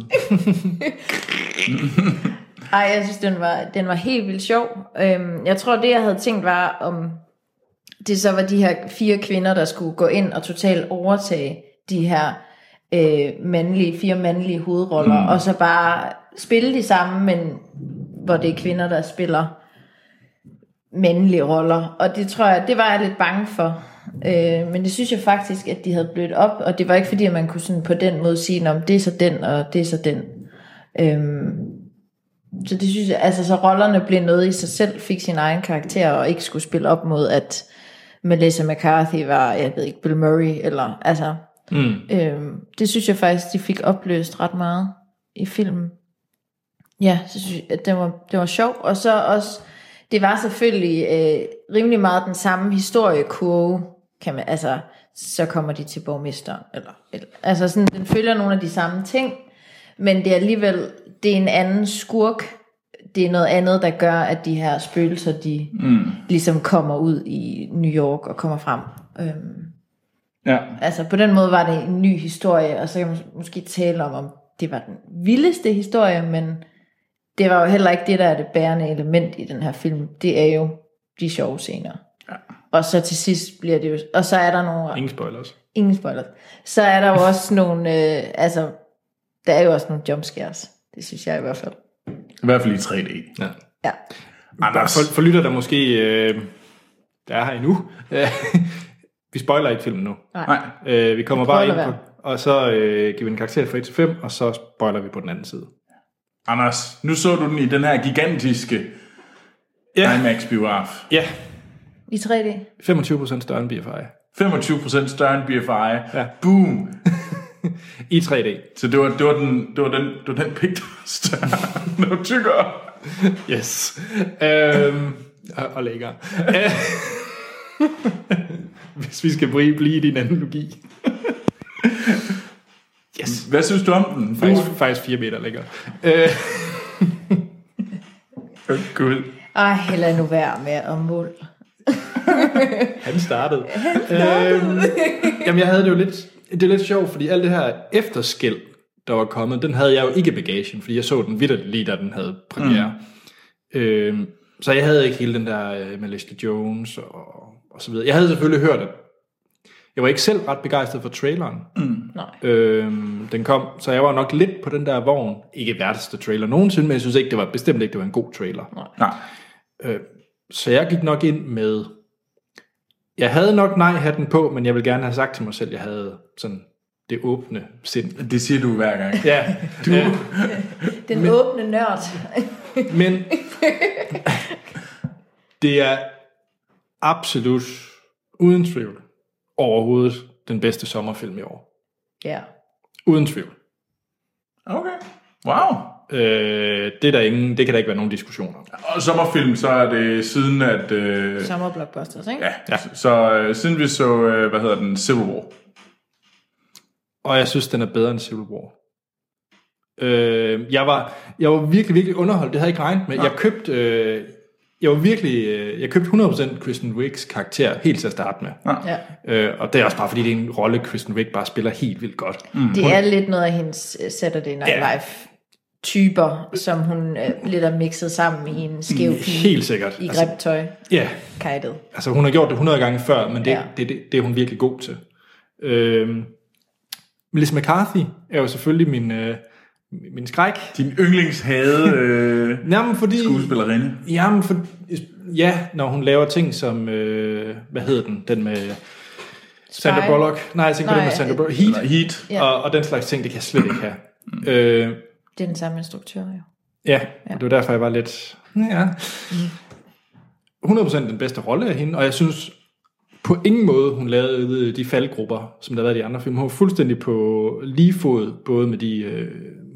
C: Ej, jeg synes, den var, den var helt vildt sjov. Øhm, jeg tror, det jeg havde tænkt var, om det så var de her fire kvinder, der skulle gå ind og totalt overtage de her øh, mandlige, fire mandlige hovedroller, mm. og så bare spille de samme, men hvor det er kvinder, der spiller mandlige roller. Og det tror jeg, det var jeg lidt bange for. Øh, men det synes jeg faktisk, at de havde blødt op, og det var ikke fordi, at man kunne sådan på den måde sige, om det er så den, og det er så den. Øhm, så det synes jeg, altså så rollerne blev noget i sig selv, fik sin egen karakter, og ikke skulle spille op mod, at Melissa McCarthy var, jeg ved ikke, Bill Murray, eller altså, mm. øhm, det synes jeg faktisk, de fik opløst ret meget i filmen. Ja, så synes jeg, at det var, det var sjovt, og så også, det var selvfølgelig øh, rimelig meget den samme historiekurve, kan man, altså, så kommer de til borgmesteren, eller, eller altså sådan, den følger nogle af de samme ting, men det er alligevel, det er en anden skurk, det er noget andet, der gør, at de her spøgelser, de mm. ligesom kommer ud i New York og kommer frem. Øhm,
B: Ja.
C: altså på den måde var det en ny historie, og så kan man måske tale om, om det var den vildeste historie, men det var jo heller ikke det, der er det bærende element i den her film. Det er jo de sjove scener. Ja. Og så til sidst bliver det jo, og så er der nogle
A: Ingen spoilers.
C: Ingen spoiler. Så er der jo også nogle, øh, altså, der er jo også nogle jumpscares. Det synes jeg i hvert fald.
B: I hvert fald i 3D.
A: Ja.
C: Ja.
B: Anders.
A: For, for lytter der måske, øh, der er her endnu, øh, vi spoiler ikke filmen nu.
B: Nej.
A: Øh, vi kommer
C: Vi prøver
A: bare ind
C: at lade
A: på, og så øh, giver vi en karakter fra 1 til 5, og så spoiler vi på den anden side.
B: Anders, nu så du den i den her gigantiske
A: Ja.
B: IMAX-biograf.
A: Ja,
C: I 3D.
A: 25% større end BFI.
B: 25% større end BFI.
A: Ja.
B: Boom!
A: I 3D.
B: Så det var, det var den, det var den, det var den pik, der var større. Den var tykkere.
A: Yes. Øhm, og, og lækker. Øh, Hvis vi skal bri- blive i din analogi. Yes.
B: Hvad synes du om den?
A: Faktisk, faktisk 4 meter lækker. Øh,
B: Åh, Gud.
C: Ej, heller nu være med at måle.
A: han startede. Han startede. Øhm, jamen, jeg havde det jo lidt... Det er lidt sjovt, fordi alt det her efterskæld, der var kommet, den havde jeg jo ikke i bagagen, fordi jeg så den vidderligt lige, da den havde premiere. Mm. Øhm, så jeg havde ikke hele den der øh, Melissa Jones og, og så videre. Jeg havde selvfølgelig hørt, at jeg var ikke selv ret begejstret for traileren. Mm.
C: Nej.
A: Øhm, den kom, så jeg var nok lidt på den der vogn. Ikke værteste trailer nogensinde, men jeg synes ikke, det var bestemt ikke, det var en god trailer. Nej.
B: Nej.
A: Så jeg gik nok ind med... Jeg havde nok nej-hatten på, men jeg vil gerne have sagt til mig selv, at jeg havde sådan det åbne sind.
B: Det siger du hver gang.
A: Ja, du. Øh,
C: Den men... åbne nørd.
A: men det er absolut, uden tvivl, overhovedet den bedste sommerfilm i år.
C: ja.
A: Uden tvivl.
B: Okay. Wow.
A: Øh, det, er der ingen, det kan der ikke være nogen diskussion om.
B: Og sommerfilm, så er det siden, at... Øh,
C: Sommerblockbusters, ikke?
B: ja, ja. Så øh, siden vi så, øh, hvad hedder den, Civil War.
A: Og jeg synes, den er bedre end Civil War. Øh, jeg, var, jeg var virkelig, virkelig underholdt. Det havde jeg ikke regnet med. Jeg købte... Øh, jeg var virkelig... Øh, jeg købte 100% Kristen Wiggs karakter helt til at starte med.
C: Ja.
A: Øh, og det er også bare, fordi det er en rolle, Kristen Wiig bare spiller helt vildt godt. Mm.
C: Det er lidt noget af hendes øh, Saturday Night
A: Ja.
C: Live typer, som hun øh, lidt har mixet sammen i en skæv pige.
A: Mm, Helt sikkert.
C: I
A: Altså-
C: grimt tøj.
A: Ja,
C: Kajtet.
A: altså hun har gjort det 100 gange før, men det, ja.
C: Ja.
A: det, det, det er hun virkelig god til. Øh, Melissa McCarthy er jo selvfølgelig min... Øh, min skræk.
B: Din yndlingshade øh,
A: Jamen fordi...
B: skuespillerinde.
A: Jamen for, ja, når hun laver ting som... Øh, hvad hedder den? Den med... Sandra
C: Spy.
A: Bullock. Nej, jeg tænker på
C: Nej,
A: den med Sandra Bullock.
B: Eller
A: Heat.
B: Heat.
A: Ja.
C: Ja.
A: Og, og den slags ting, det kan jeg slet ikke have. øh,
C: Det er den samme instruktør, jo.
A: Ja, ja. det var derfor, jeg var lidt... Ja. 100% den bedste rolle af hende, og jeg synes på ingen måde, hun lavede de faldgrupper, som der har været i de andre film. Hun var fuldstændig på lige fod, både med de øh,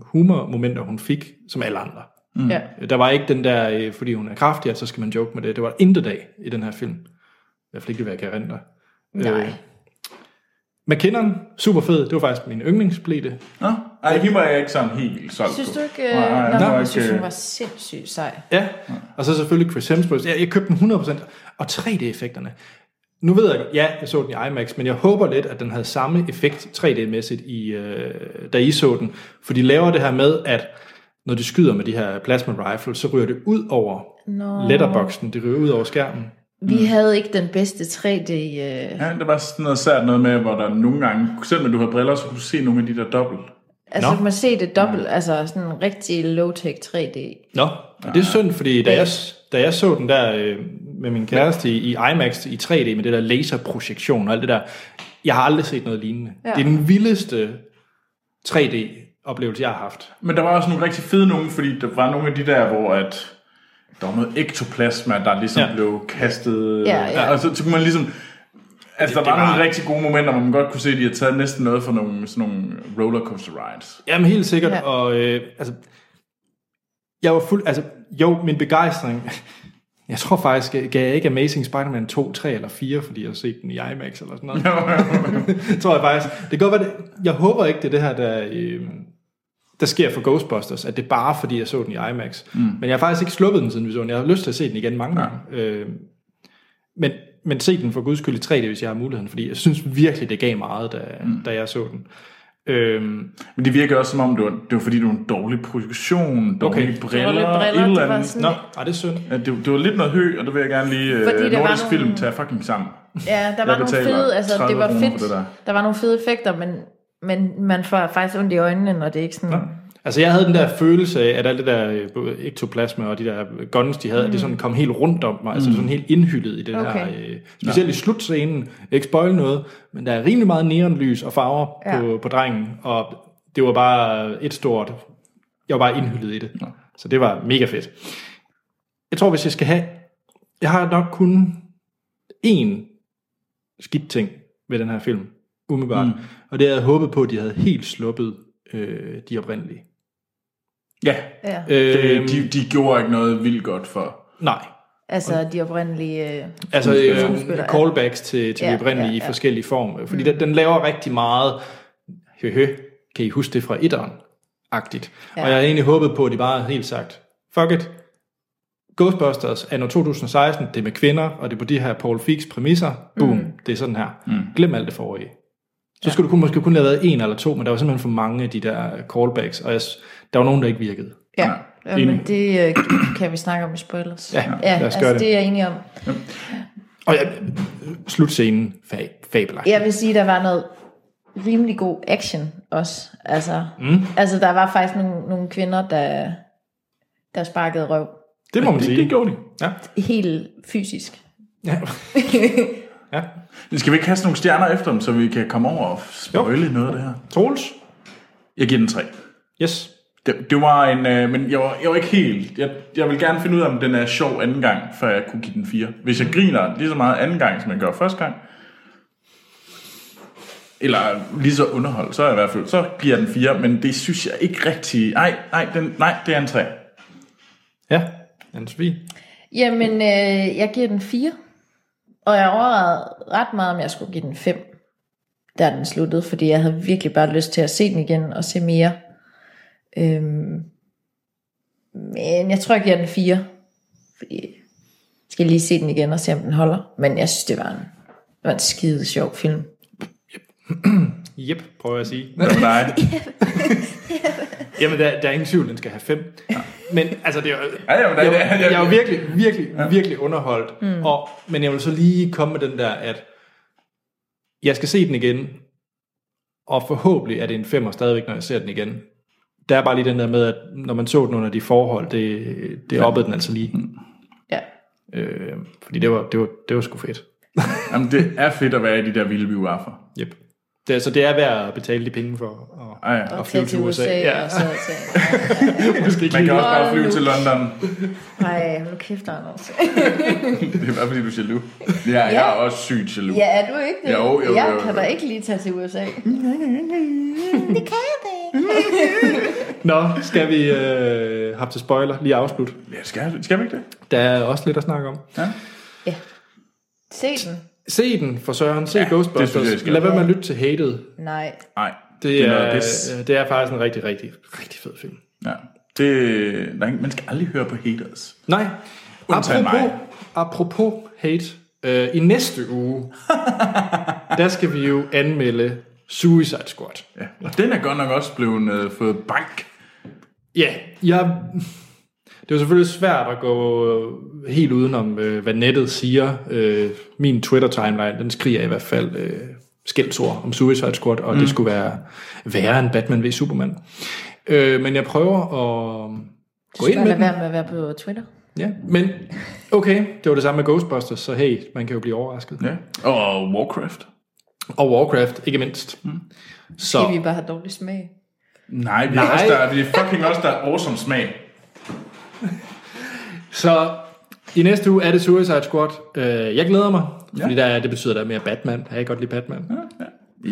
A: humormomenter, hun fik, som alle andre.
C: Mm. Ja.
A: Der var ikke den der, øh, fordi hun er kraftig, og så skal man joke med det. Det var intet dag i den her film. I hvert fald ikke, hvad jeg kan rente.
C: Nej.
A: Øh, McKinnon, super fed. Det var faktisk min yndlings, blev det.
B: Nå, ej, hende var jeg ikke sådan helt solgt
C: Synes
B: på.
C: du ikke... Øh,
B: Nej, nej, jeg
C: nej,
B: var
C: jeg
B: ikke,
C: synes, hun
B: øh,
C: var sindssygt sej.
A: Ja, og så selvfølgelig Chris Hemsworth. Jeg, jeg købte den 100%, og 3D-effekterne. Nu ved jeg godt, ja, jeg så den i IMAX, men jeg håber lidt, at den havde samme effekt 3D-mæssigt, i, øh, da I så den. For de laver det her med, at når de skyder med de her plasma rifle, så ryger det ud over no. letterboxen, det ryger ud over skærmen.
C: Vi havde ikke den bedste 3D... Øh,
B: Ja, der var sådan noget sært noget med, hvor der nogle gange, selv når du havde briller, så kunne du se nogle af de der dobbelt.
C: altså,
A: Nå.
C: man ser det dobbelt. Altså, sådan en rigtig low-tech 3D.
A: Nå, og det er synd, fordi da jeg, da jeg så den der øh, med min kæreste i, i IMAX i 3D, med det der laserprojektion og alt det der, jeg har aldrig set noget lignende. Ja. Det er den vildeste 3D-oplevelse, jeg har haft.
B: Men der var også nogle rigtig fede nogle, fordi der var nogle af de der, hvor at der var noget ektoplasma, der ligesom
A: Ja.
B: ja. blev kastet. øh,
C: Ja, ja.
B: Og så, så kunne man ligesom... Altså,
A: Det-
B: det, der var,
A: det var-
B: nogle rigtig gode momenter, hvor man godt kunne se, at de havde taget næsten noget fra nogle, sådan nogle rollercoaster rides.
A: Jamen helt sikkert, ja.
C: Ja.
A: og øh, altså, jeg var fuld, altså jo, min begejstring, jeg tror faktisk, jeg gav jeg ikke Amazing Spider-Man 2, 3 eller 4, fordi jeg har set den i IMAX eller sådan noget. tror jeg faktisk. Det kan godt være, det, jeg håber ikke, det er det her, der, øh, der sker for Ghostbusters, at det er bare fordi, jeg så den i IMAX. Mm. Men jeg har faktisk ikke sluppet den siden vi så den. Jeg har lyst til at se den igen mange gange. Øh, men, men se den for guds skyld i 3D, hvis jeg har muligheden, fordi jeg synes virkelig, det gav meget, da, mm. da jeg så den. Øhm,
B: Men det virkede også, som om det var, det var fordi, det var en dårlig projektion, dårlige
A: Okay.
B: okay. briller,
C: Dårlige briller,
B: et
C: det
B: eller
C: var
B: andet.
C: sådan-
A: Nå, ej, det er synd.
B: Ja, det, det var lidt noget hø, og det vil jeg gerne lige... Øh,
C: Fordi
B: nordisk
C: der var nogle-
B: film tager fucking sammen.
C: Ja, der var nogle
B: betaler
C: fede... Altså,
B: 30
C: det var
B: kroner
C: fedt.
B: for det der.
C: der. var nogle fede effekter, men, men man får faktisk ondt i øjnene, når det er ikke sådan...
A: Altså, jeg havde den der følelse af, at alt det der øh, både ektoplasma og de der guns, de havde, mm. at det sådan kom helt rundt om mig. Altså, sådan helt indhyldet i det okay. der.
C: Okay.
A: Øh, specielt i slutscenen. Jeg vil Ikke spoil noget, men der er rimelig meget neonlys og farver ja.
C: Ja.
A: på, på drengen. Og det var bare et stort... Jeg var bare indhyldet i det. Så det var mega fedt. Jeg tror, hvis jeg skal have... Jeg har nok kun én skidt ting ved den her film, umiddelbart. Mm. Og det havde jeg håbet på, at de havde helt sluppet øh, de oprindelige.
B: Ja,
C: Ja.
A: Øh,
B: det, de, de gjorde ikke noget vildt godt for...
A: nej.
C: Altså, de oprindelige... Øh,
A: Altså
C: Skuespiller,
A: øh,
C: ja.
A: callbacks til, til ja, de oprindelige ja, ja. i forskellige former. Fordi mm. den, den laver rigtig meget, høhø, kan I huske det fra etteren? Agtigt. Ja. Og jeg havde egentlig håbet på, at de bare havde helt sagt, fuck it, Ghostbusters er 2016, det er med kvinder, og det er på de her Paul Feig's præmisser. Boom, mm. det er sådan her. Mm. Glem alt det forrige. Så skulle du kun, måske kun have været en eller to, men der var simpelthen for mange af de der øh, callbacks, og jeg, s- der var nogen, der ikke virkede.
C: ja. ja.
B: enig.
C: men det øh, kan vi snakke om i spoilers.
A: Ja,
C: ja
A: lad os gøre
C: altså,
A: det.
C: det. er jeg enig om.
A: Og ja, slutscenen, fab, fabelagtig.
C: Jeg vil sige, der var noget rimelig god action også. Altså, mm. altså der var faktisk nogle, nogle kvinder, der, der sparkede røv.
A: Det må man
B: det,
A: sige.
B: Det gjorde de.
C: Helt fysisk.
A: Ja. ja.
B: Men Skal vi ikke kaste nogle stjerner efter dem, så vi kan komme over og spoile noget af det her?
A: Troels?
B: Jeg giver den tre.
A: Yes.
B: Det, det var en... Øh, men jeg var, jeg var ikke helt... Jeg, jeg vil gerne finde ud af, om den er sjov anden gang, før jeg kunne give den fire. Hvis jeg griner lige så meget anden gang, som jeg gør første gang, eller lige så underholdt, så er jeg i hvert fald... Så giver jeg den fire, men det synes jeg ikke rigtig... Nej, nej, den, nej det er en tre.
A: Ja, anne Sofie.
C: Jamen, øh, jeg giver den 4. Og jeg overvejede ret meget, om jeg skulle give den 5. Der den sluttede, fordi jeg havde virkelig bare lyst til at se den igen og se mere. Øhm, men jeg tror, jeg giver den 4. Fordi jeg skal lige se den igen og se, om den holder. Men jeg synes, det var en, det var en skide sjov film.
A: Jep, prøver jeg at sige.
B: Det var dig.
A: Jamen, der, der er ingen tvivl, den skal have fem. Men altså, det er, jo-
B: Ja, jamen, der-
A: jeg,
B: der-
A: jeg,
B: der-
A: jeg er jo virkelig, virkelig, virkelig underholdt. Mm. Og, men jeg vil så lige komme med den der, at jeg skal se den igen, og forhåbentlig er det en femmer stadigvæk, når jeg ser den igen. Der er bare lige den der med, at når man så den under de forhold, det, det ja. oppede den altså lige.
B: Mm.
C: Ja.
A: Øh, fordi det var, det, var, det var sgu fedt.
B: Jamen, det er fedt at være i de der vilde biografer.
A: Yep. Det, altså, det er værd at betale de penge for at,
B: Ah, ja.
A: at
C: Og
A: flyve
C: tage
A: til USA. Ja,
C: og så til...
A: måske ikke
B: Man kan
A: lige.
B: også bare flyve til London.
C: Ej, hold nu kæft, Anders.
B: Det er bare fordi, du er jaloux. Ja, jeg er også sygt jaloux.
C: Ja, er du ikke det?
B: Jo, jo,
C: jeg
B: jo, jo.
C: kan da ikke lige tage til USA. det kan jeg da ikke.
A: Nå, skal vi øh, have til spoiler lige afslut.
B: Ja, skal, skal vi ikke det?
A: Der er også lidt at snakke om.
C: Se den.
A: Se den for Søren. Se ja,
B: det synes jeg, I
A: Ghostbusters.
B: skal.
A: Lad være med at lytte til Hated.
C: Nej.
B: Nej.
A: Det
B: noget
A: er,
B: pis.
A: øh, det er faktisk en rigtig, rigtig, rigtig fed film.
B: Ja. Det, der er ingen, man skal aldrig høre på haters.
A: Nej.
B: Undtagen
A: Apropos,
B: mig.
A: apropos hate. Øh, I næste uge, der skal vi jo anmelde Suicide Squad.
B: Ja. Og den er godt nok også blevet øh, fået bank.
A: Ja, jeg, det er jo selvfølgelig svært at gå øh, helt udenom, øh, hvad nettet siger. Øh, min Twitter-timeline, den skriger i hvert fald øh, skældsord om Suicide Squad, og mm. det skulle være værre end Batman v Superman. Øh, men jeg prøver at gå ind
C: Bare
A: med
C: lad
A: den.
C: være med at være på Twitter.
A: Ja, men okay, det var det samme med Ghostbusters, så hey, man kan jo blive overrasket.
B: Ja. Og Warcraft.
A: Og Warcraft, ikke mindst. Mm. Så
C: Skal vi bare have dårlig smag?
B: Nej, vi,
A: Nej.
B: Er, også der, vi er fucking også der er awesome smag.
A: Så i næste uge er det Suicide Squad. Øh, jeg glæder mig, ja. fordi der er, det betyder, der er mere Batman. Jeg kan godt lide Batman. Ja.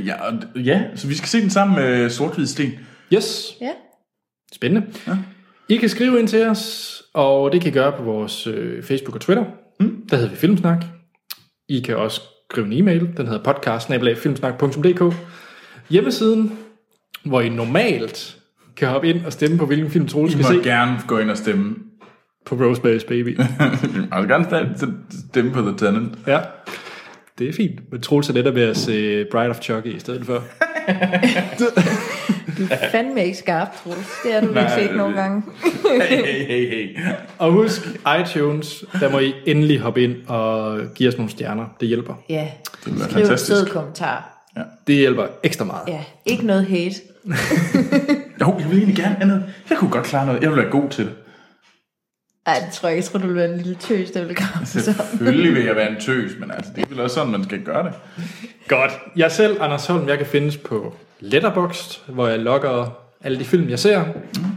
B: Ja, og d- ja, så vi skal se den sammen med sort Sten.
A: Yes,
C: Ja.
A: spændende. Ja. I kan skrive ind til os, og det kan I gøre på vores øh, Facebook og Twitter. Mm. Der hedder vi Filmsnak. I kan også skrive en e-mail. Den hedder podcast Hjemmesiden, hvor I normalt kan hoppe ind og stemme på, hvilken film Troels
B: I
A: skal
B: må
A: se
B: gerne gå ind og stemme.
A: på Rosemary's Baby.
B: Jeg vil gerne sta- stemme på The Tenant.
A: Ja, det er fint. Men Troels er lettere ved at se øh, Bride of Chucky i stedet for.
C: Fandme ikke skarp, Troels. Det har du ikke set nogen gange.
B: Hey, hey, hey, hey.
A: Og husk iTunes, der må I endelig hoppe ind og give os nogle stjerner. Det hjælper.
C: Ja.
B: Det bliver
C: Skriv en
B: fantastisk.
C: sød kommentar.
A: Det hjælper ekstra meget.
C: Ja. Ikke noget hate.
B: Jo, jeg vil egentlig gerne have noget. Jeg kunne godt klare noget. Jeg ville være god til det.
C: Ej, det tror jeg ikke. Jeg tror, du ville være en lille tøs, der ville komme så.
B: Selvfølgelig vil jeg være en tøs, men altså, det er vel også sådan, man skal gøre det.
A: Godt. Jeg selv, Anders Holm, jeg kan findes på Letterboxd, hvor jeg logger alle de film, jeg ser.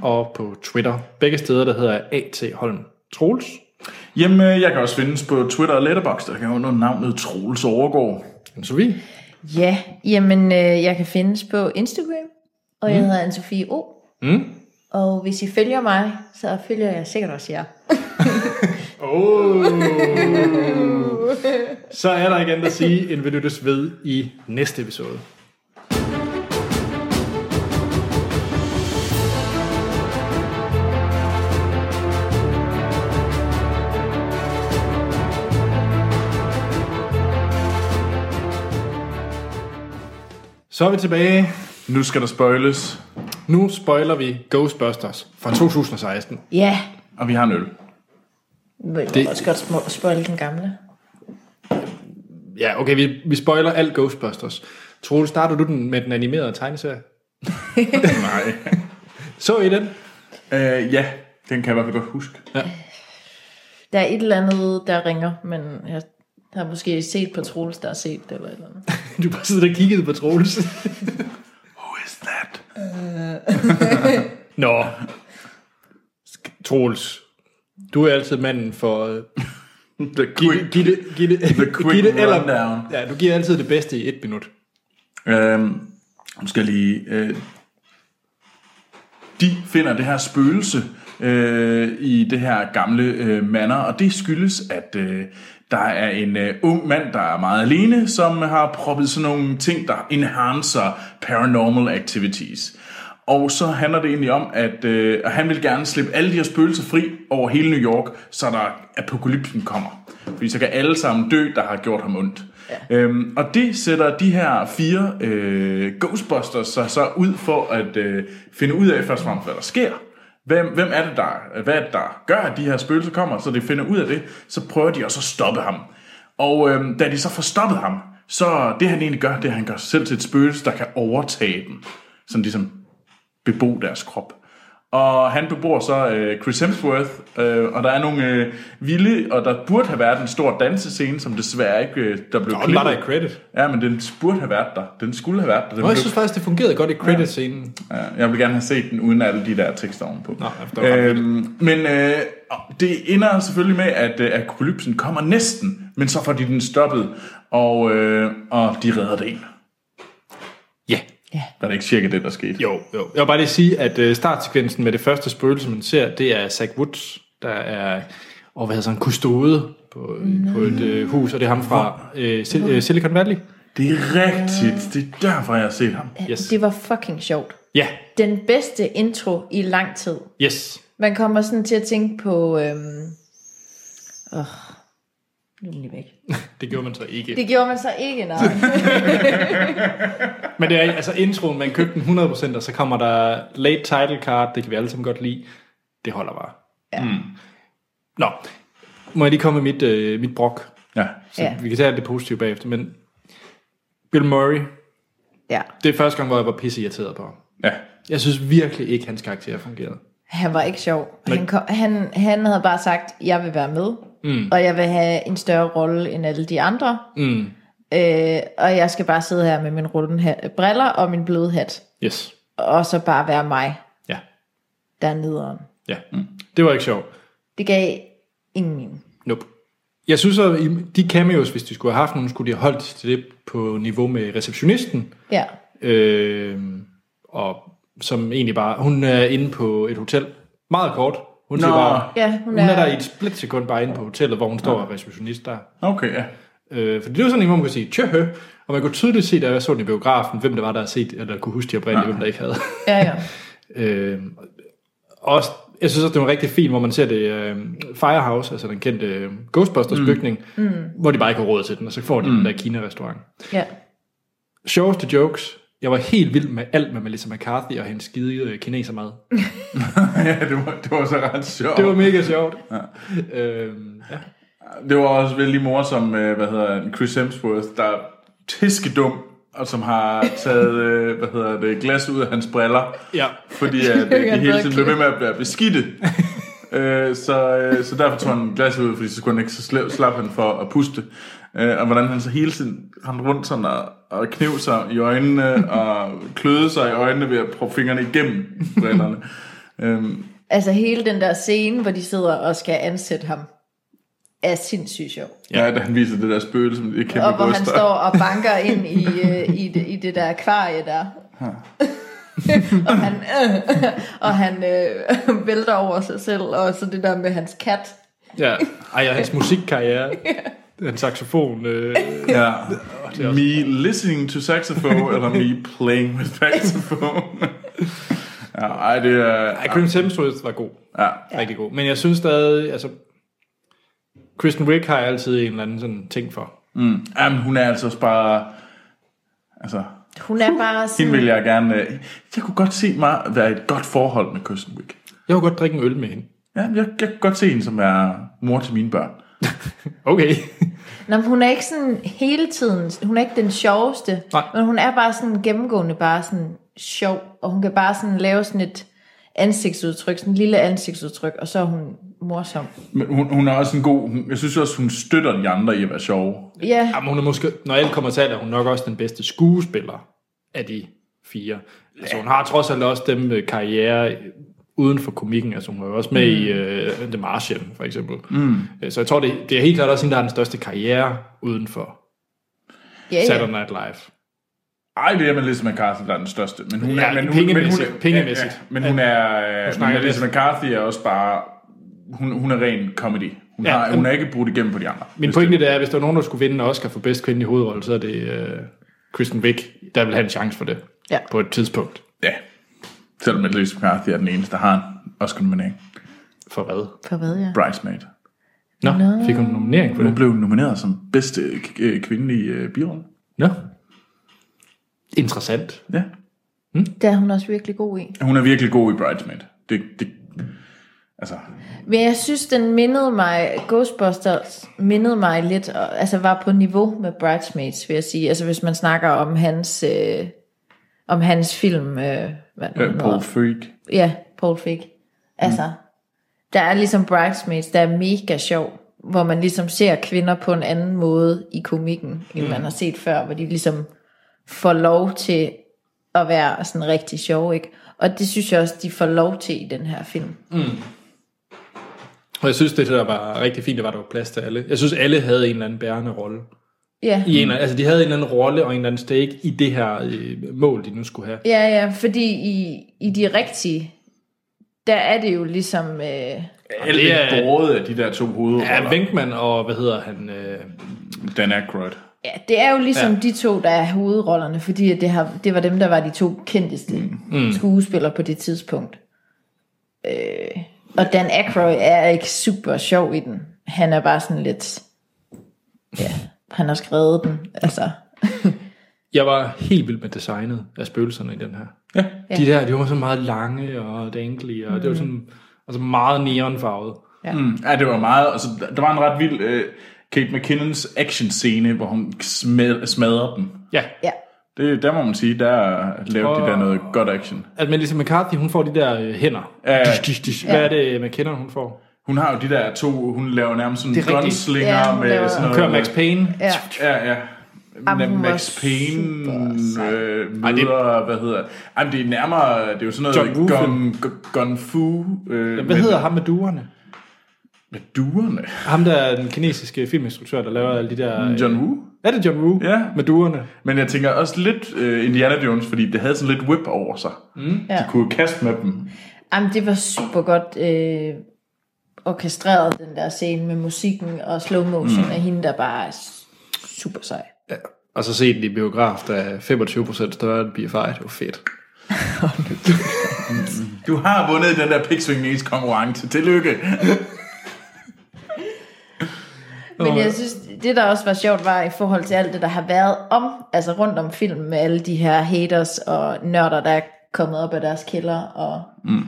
A: Og på Twitter. Begge steder, der hedder jeg A.T. Holm Troels.
B: Jamen, øh, jeg kan også findes på Twitter og Letterboxd, der kan jeg under navnet Troels Overgaard.
A: Men så vi.
C: Ja, jamen øh, jeg kan findes på Instagram, og jeg hedder Anne-Sophie O.
A: Mm.
C: Og hvis I følger mig, så følger jeg sikkert også jer.
A: Oh. Så er der igen at sige, end vi lyttes ved i næste episode. Så er vi tilbage.
B: Nu skal der spoiles,
A: Nu spoiler vi Ghostbusters fra 2016.
C: Ja,
B: og vi har en øl.
C: men det...
A: Det-
C: må også godt små- spoil den gamle.
A: Ja, okay, vi, vi spoiler alt Ghostbusters. Troel, starter du den med den animerede tegneserie?
B: Nej.
A: Så I den?
B: øh, ja, den kan jeg i hvert fald godt huske.
C: Der er et eller andet, der ringer, men jeg har måske set på Troels, der har set det eller et eller andet.
A: Du bare sidder og kiggede på Troels.
B: Who is that?
A: Nå. Sk- Troels, du er altid manden for... Uh,
B: The
A: Gitte,
B: quick,
A: Gitte, Gitte,
B: the quick
A: Gitte eller,
B: rundown.
A: ja, du giver altid det bedste i et minut.
B: Øhm, nu skal jeg lige... Øh, de finder det her spøgelse øh, i det her gamle øh, manor, og det skyldes, at øh, der er en øh, ung mand, der er meget alene, som har proppet sådan nogle ting, der enhancer paranormal activities. Og så handler det egentlig om, at øh, at han vil gerne slippe alle de her spøgelser fri over hele New York, så der apokalypsen kommer. Fordi så kan alle sammen dø, der har gjort ham ondt. Ja. Øhm, og det sætter de her fire øh, Ghostbusters sig så ud for at øh, finde ud af først og fremmest, hvad der sker. Hvem, hvem er det, der, hvad er det, der gør, at de her spøgelser kommer? Så de finder ud af det, så prøver de også at stoppe ham. Og øhm, da de så får stoppet ham, så det han egentlig gør, det er, at han gør sig selv til et spøgelse, der kan overtage dem. Sådan ligesom bebo deres krop. Og han bebor så øh, Chris Hemsworth, øh, og der er nogle øh, vilde, og der burde have været en stor dansescene, som desværre ikke øh, der blev
A: Og den var der i credit.
B: Ja, men den burde have været der. Den skulle have været der. Den
A: Nå, jeg
B: blev-
A: synes faktisk, det fungerede godt i credit-scenen.
B: Ja, jeg vil gerne have set den uden alle de der tekster ovenpå.
A: Nå, det var ret
B: øhm, men øh, det ender selvfølgelig med, at øh, apokalypsen kommer næsten, men så får de den stoppet, og, øh, og de redder det en.
A: Ja.
B: Var det ikke cirka det, der skete?
A: Jo, jo. Jeg vil bare lige sige, at øh, startsekvensen med det første spøgelse, man ser, det er Zach Woods, der er og hvad hedder sådan, kustode på, på et øh, hus, og det er ham fra øh, Sil- øh, Silicon Valley.
B: Det er rigtigt. Det er derfor, jeg har set ham.
A: Yes.
C: Det var fucking sjovt.
A: Ja,
C: Den bedste intro i lang tid.
A: yes.
C: Man kommer sådan til at tænke på... Øhm, åh, nu er den lige væk.
A: Det gjorde man så ikke.
C: Det gjorde man så ikke, nej.
A: Men det er altså introen, man købte den 100%, og så kommer der late title card, det kan vi alle sammen godt lide. Det holder bare. Ja. Mm. Nå, må jeg lige komme med mit, øh, mit brok?
B: Ja.
A: Så
C: Ja.
A: ja. vi kan tage alt det positive bagefter, men Bill Murray,
C: ja.
A: det er første gang, hvor jeg var pisse irriteret på ham.
B: ja.
A: Jeg synes virkelig ikke, hans karakter fungerede.
C: Han var ikke sjov. Han, kom, han, han havde bare sagt, jeg vil være med, mm. og jeg vil have en større rolle end alle de andre. Mm. Øh, og jeg skal bare sidde her med min rullende hat, briller og min bløde hat,
A: Yes.
C: og så bare være mig
A: Ja.
C: dernede om.
A: Ja. Mm. Det var ikke sjovt.
C: Det gav ingen mening.
A: Nope. Jeg synes at i- de cameos, hvis de skulle have haft nogen, skulle de have holdt til det på niveau med receptionisten.
C: Ja.
A: Øh, og som egentlig bare, hun er inde på et hotel. Meget kort. Hun, siger
B: Nå.
A: bare,
C: Ja, hun
A: hun er
C: er-
A: der i et splitsekund bare inde på hotellet, hvor hun står og er receptionist der.
B: Okay, ja.
A: Øh, for det var sådan en, hvor man kunne sige, tjøhø, og man kunne tydeligt se, da jeg så den i biografen, hvem der var, der havde set, eller kunne huske de oprindelige, hvem der ikke havde.
C: Ja, ja.
A: Øh, også, jeg synes også, det var en rigtig fint, hvor man ser det øh, Firehouse, altså den kendte øh, Ghostbusters mm. bygning, mm. hvor de bare ikke har råd til den, og så får de mm. den der Kina-restaurant.
C: ja.
A: Sjoveste jokes. Jeg var helt vild med alt med Melissa McCarthy og hendes skide øh, kinesermad.
B: ja det, var, det var så ret sjovt.
A: Det var mega sjovt. Ja. Øh, ja.
B: Det var også vældig morsom, øh, hvad hedder han, Chris Hemsworth, der er tiskedum, og som har taget, øh, hvad hedder det, glas ud af hans briller.
A: Ja.
B: Fordi at, øh, de
C: han
B: hele
C: bedre
B: tiden blev ved med at blive beskidte. øh, så, øh, så derfor tog han glas ud, fordi så skulle han ikke, så slap, slap han for at puste. Øh, og hvordan han så hele tiden rendte rundt sådan og, og knev sig i øjnene, og kløede sig i øjnene ved at proppe fingrene igennem brillerne. øhm,
C: Altså hele den der scene, hvor de sidder og skal ansætte ham, er sindssygt sjov.
B: ja. ja, da han viser det der spøgelse med det kæmpe
C: Og hvor han
B: bryster.
C: står og banker ind i, øh, i, det, i det der akvarie der. og han, øh, og han øh, vælter over sig selv, og så det der med hans kat.
A: ja. Ej, og hans musikkarriere. Den saxofon. Øh,
B: Ja. Me listening to saxophone, eller me playing with saxophone. ja, ej, det er...
A: ej, Chris Hemsworth var god.
B: Ja,
A: Rigtig god. Men jeg synes stadig, altså... Kristen Wiig har jeg altid en eller anden sådan ting for.
B: mm. Jamen, hun er altså også bare... Altså,
C: Hun er bare
B: hende
C: sådan,
B: vil jeg gerne... øh, Jeg kunne godt se mig være i et godt forhold med Kirsten Wick.
A: Jeg kunne godt drikke en øl med hende.
B: Ja, jeg, jeg kan godt se hende som er mor til mine børn.
A: Okay.
C: Nå, men hun er ikke sådan hele tiden, hun er ikke den sjoveste,
A: Nej.
C: men hun er bare sådan gennemgående bare sådan sjov, og hun kan bare sådan lave sådan et ansigtsudtryk, sådan en lille ansigtsudtryk, og så er hun morsom.
B: Men hun, hun er også en god... Hun, jeg synes også, hun støtter de andre i at være sjove.
C: Ja,
A: Jamen, hun er måske, når alt kommer til alt, er hun nok også den bedste skuespiller af de fire. Altså, hun har trods alt også dem med karriere uden for komikken. Altså, hun var jo også med mm. i uh, The Martian, for eksempel. Mm. Så jeg tror, det, det er helt klart også hende, der har den største karriere uden for
C: ja, ja.
A: Saturday Night Live.
B: Ej, det er Melissa McCarthy, der er den største. Men hun
A: Ja,
B: er, men hun,
A: pengemæssigt.
B: men hun,
A: Pengemæssigt.
B: Ja, ja, men hun er... Hun
A: snakker
B: Melissa
A: lidt.
B: McCarthy er også bare... Hun, hun er ren comedy. Hun,
A: Ja,
B: ja, har, hun
A: men-
B: er ikke brudt igennem på de andre.
A: Min pointe det er, at hvis der var nogen, der skulle vinde en Oscar for bedst kvinde i hovedrolle, så er det uh, Kristen Wiig, der vil have en chance for det.
C: Ja.
A: På et tidspunkt.
B: Ja. Selvom Melissa McCarthy er den eneste, der har en Oscar-nominering.
A: For hvad?
C: For hvad, ja.
B: Bridesmaid.
A: Nå, no. fik hun en nominering for
B: Hun
A: det?
B: blev nomineret som bedste øh, k- øh, kvindelige øh, birolle.
A: Nå. Interessant.
B: Ja.
C: Det er hun også virkelig god i.
B: Hun er virkelig god i Bridesmaid. Det, det, altså,
C: Men jeg synes, den mindede mig, Ghostbusters mindede mig lidt, og, altså var på niveau med Bridesmaids, vil jeg sige. Altså hvis man snakker om hans, øh, om hans film, øh, hvad den
B: øh,
C: hedder.
B: Paul Feig.
C: Ja, Paul fik. Altså, der er ligesom Bridesmaids, der er mega sjov, hvor man ligesom ser kvinder på en anden måde i komikken, end man har set før, hvor de ligesom får lov til at være sådan rigtig sjov, ikke? Og det synes jeg også, de får lov til i den her film.
A: Og jeg synes, det der var rigtig fint, det var, der var plads til alle. Jeg synes, alle havde en eller anden bærende rolle.
C: Ja.
A: I en, altså, de havde en eller anden rolle og en eller anden stake i det her øh, mål, de nu skulle have.
C: Ja, ja, fordi i, i de rigtige, der er det jo ligesom... Øh,
B: Alle
A: det
B: er
A: er-
B: båret af de der to
A: Ja,
B: hovedroller.
A: Venkman og, hvad hedder han, øh,
B: Dan Aykroyd.
C: ja, det er jo ligesom
A: Ja.
C: ja. de to, der er hovedrollerne, fordi at det, har, det var dem, der var de to kendteste mm. skuespillere på det tidspunkt. Øh, og Dan Aykroyd er ikke super sjov i den. Han er bare sådan lidt... Ja, han har skrevet den, altså...
A: jeg var helt vild med designet af spøgelserne i den her.
B: Ja.
A: De der, de var så meget lange og danglige, og mm. det
C: Mhm.
A: var sådan altså meget neonfarvet.
B: Mm, ja, det var meget. Altså, der- der var en ret vild øh, Kate McKinnons action scene, hvor hun smed, smadrer dem.
A: Ja,
C: Ja,
B: Det, der må man sige, der lavede de der noget godt action.
A: at Melissa McCarthy, hun får de der øh, hænder.
B: Ja.
A: Dish, dish, dish. Hvad er det, man kender, hun får?
B: Hun har jo de der to, hun laver nærmest sådan
A: Det er rigtigt.
B: gunslinger
C: Ja, hun
B: med
C: laver-
B: sådan noget.
A: Kører Max Payne.
C: ja.
B: Ja, ja.
C: Jamen,
B: Jamen,
C: hun var
B: Max Payne
C: super sej.
B: øh, møder, hvad hedder Jamen, det er nærmere, det er jo sådan noget
A: John Woo
B: gun, gun, gun fu. Øh,
A: Hvad hedder ham med duerne?
B: Med duerne.
A: Ham der er den kinesiske filminstruktør, der laver alle de der... øh,
B: John Woo?
A: Er det John Woo?
B: Ja.
A: Med duerne.
B: Men jeg tænker også lidt øh, Indiana Jones, fordi det havde sådan lidt whip over sig. Mm. De
C: Ja.
B: kunne jo kaste med dem.
C: Jamen, det var super godt øh, orkestreret, den der scene med musikken og slow motion mm. af hende, der bare er s- super sej.
A: Og så se den i biograf, der er 25% større end BFI. Det var fedt.
B: Du har vundet den der piksvingnings konkurrence. Tillykke.
C: Men jeg synes, det der også var sjovt, var i forhold til alt det, der har været om, altså rundt om filmen med alle de her haters og nørder, der er kommet op af deres kælder og... Mm.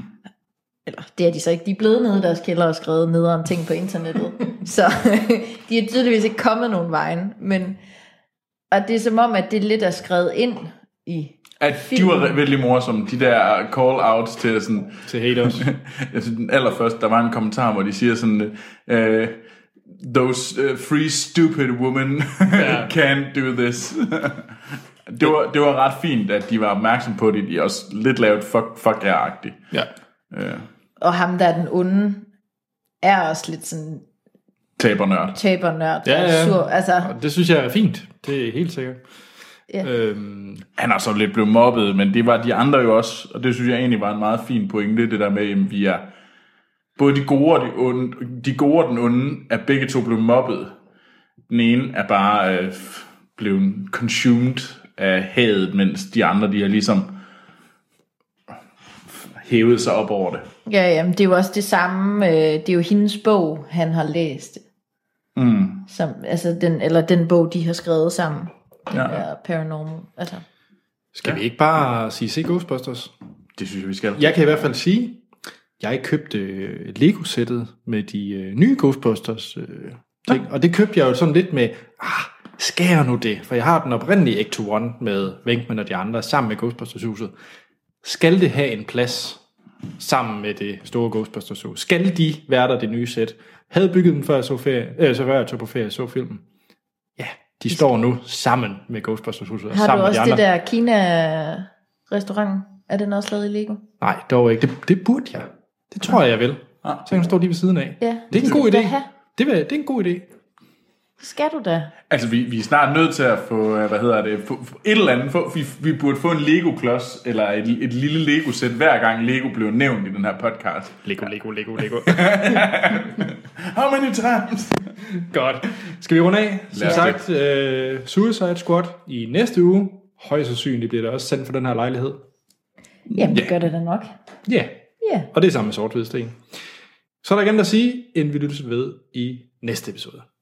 C: Eller det er de så ikke. De er blevet nede i deres kælder og skrevet nederen ting på internettet. så de er tydeligvis ikke kommet nogen vejen. Men, og det er som om, at det lidt er skrevet ind i
B: At de var virkelig morsomme, de der call-outs til sådan...
A: Til haters.
B: Jeg synes, den allerførste, der var en kommentar, hvor de siger sådan... Øh, Those uh, free stupid women
A: Ja.
B: can't do this. det, var, det var ret fint, at de var opmærksom på det. De også lidt lavt fuck, fuck jer-agtigt.
A: ja.
C: Og ham, der er den onde, er også lidt sådan
B: Tabernørd.
C: tabernørd. der
A: Ja,
C: er
A: ja.
C: Sur. Altså,
A: Og det synes jeg er fint. Det er helt sikkert.
C: Ja.
A: Øhm,
B: Han er så lidt blevet mobbet, men det var de andre jo også, og det synes jeg egentlig var en meget fin pointe, det der med, at vi er både de gode og de onde, de gode og den onde er begge to blevet mobbet. Den ene er bare øh, blevet consumed af hadet, mens de andre, de har ligesom hævet sig op over det.
C: ja, ja, men det er jo også det samme. Øh, det er jo hendes bog, han har læst. Mm. Som, altså den, eller den bog, de har skrevet sammen. Den
B: Ja.
C: ja. der paranormal. Altså,
A: skal ja. vi ikke bare sige se Ghostbusters?
B: Det synes jeg, vi skal.
A: Jeg kan i hvert fald sige, jeg købte øh, Lego-sættet med de øh, nye Ghostbusters øh, ting, og det købte jeg jo sådan lidt med, ah, skal jeg nu det? For jeg har den oprindelige Act to One med Venkman og de andre sammen med Ghostbusters-huset. Skal det have en plads sammen med det store Ghostbusters hus? Skal de være der det nye sæt? Havde bygget dem, før jeg, så ferie, øh, så før jeg tog på ferie og så filmen. Ja, de står nu sammen med Ghostbusters huset og
C: har du
A: sammen med de
C: også
A: andre.
C: det der Kina-restaurant? Er den også lavet i Lego?
A: Nej, dog ikke. Ah. Det, det burde jeg. Det tror jeg, jeg vil. Så kan jeg stå lige ved siden af.
C: Ja.
A: Det er en god
C: Skal
A: idé.
C: du have?
A: Det, vil, det er en god idé.
C: Skal du da?
B: Altså, vi, vi er snart nødt til at få, øh, hvad hedder det, få, få et eller andet, få, vi, vi burde få en Lego-klods, eller et, et lille Lego-sæt, hver gang Lego blev nævnt i den her podcast.
A: Lego, Lego, Lego, Lego.
B: How many times?
A: Godt. Skal vi runde af? Som
B: os
A: sagt, uh, Suicide Squad i næste uge. Højst sandsynligt bliver det også sendt for den her lejlighed.
C: Jamen, det gør det da nok.
A: Ja. Yeah.
C: Ja.
A: Og det er sammen med sort Så er der igen at sige, end vi lyttes ved i næste episode.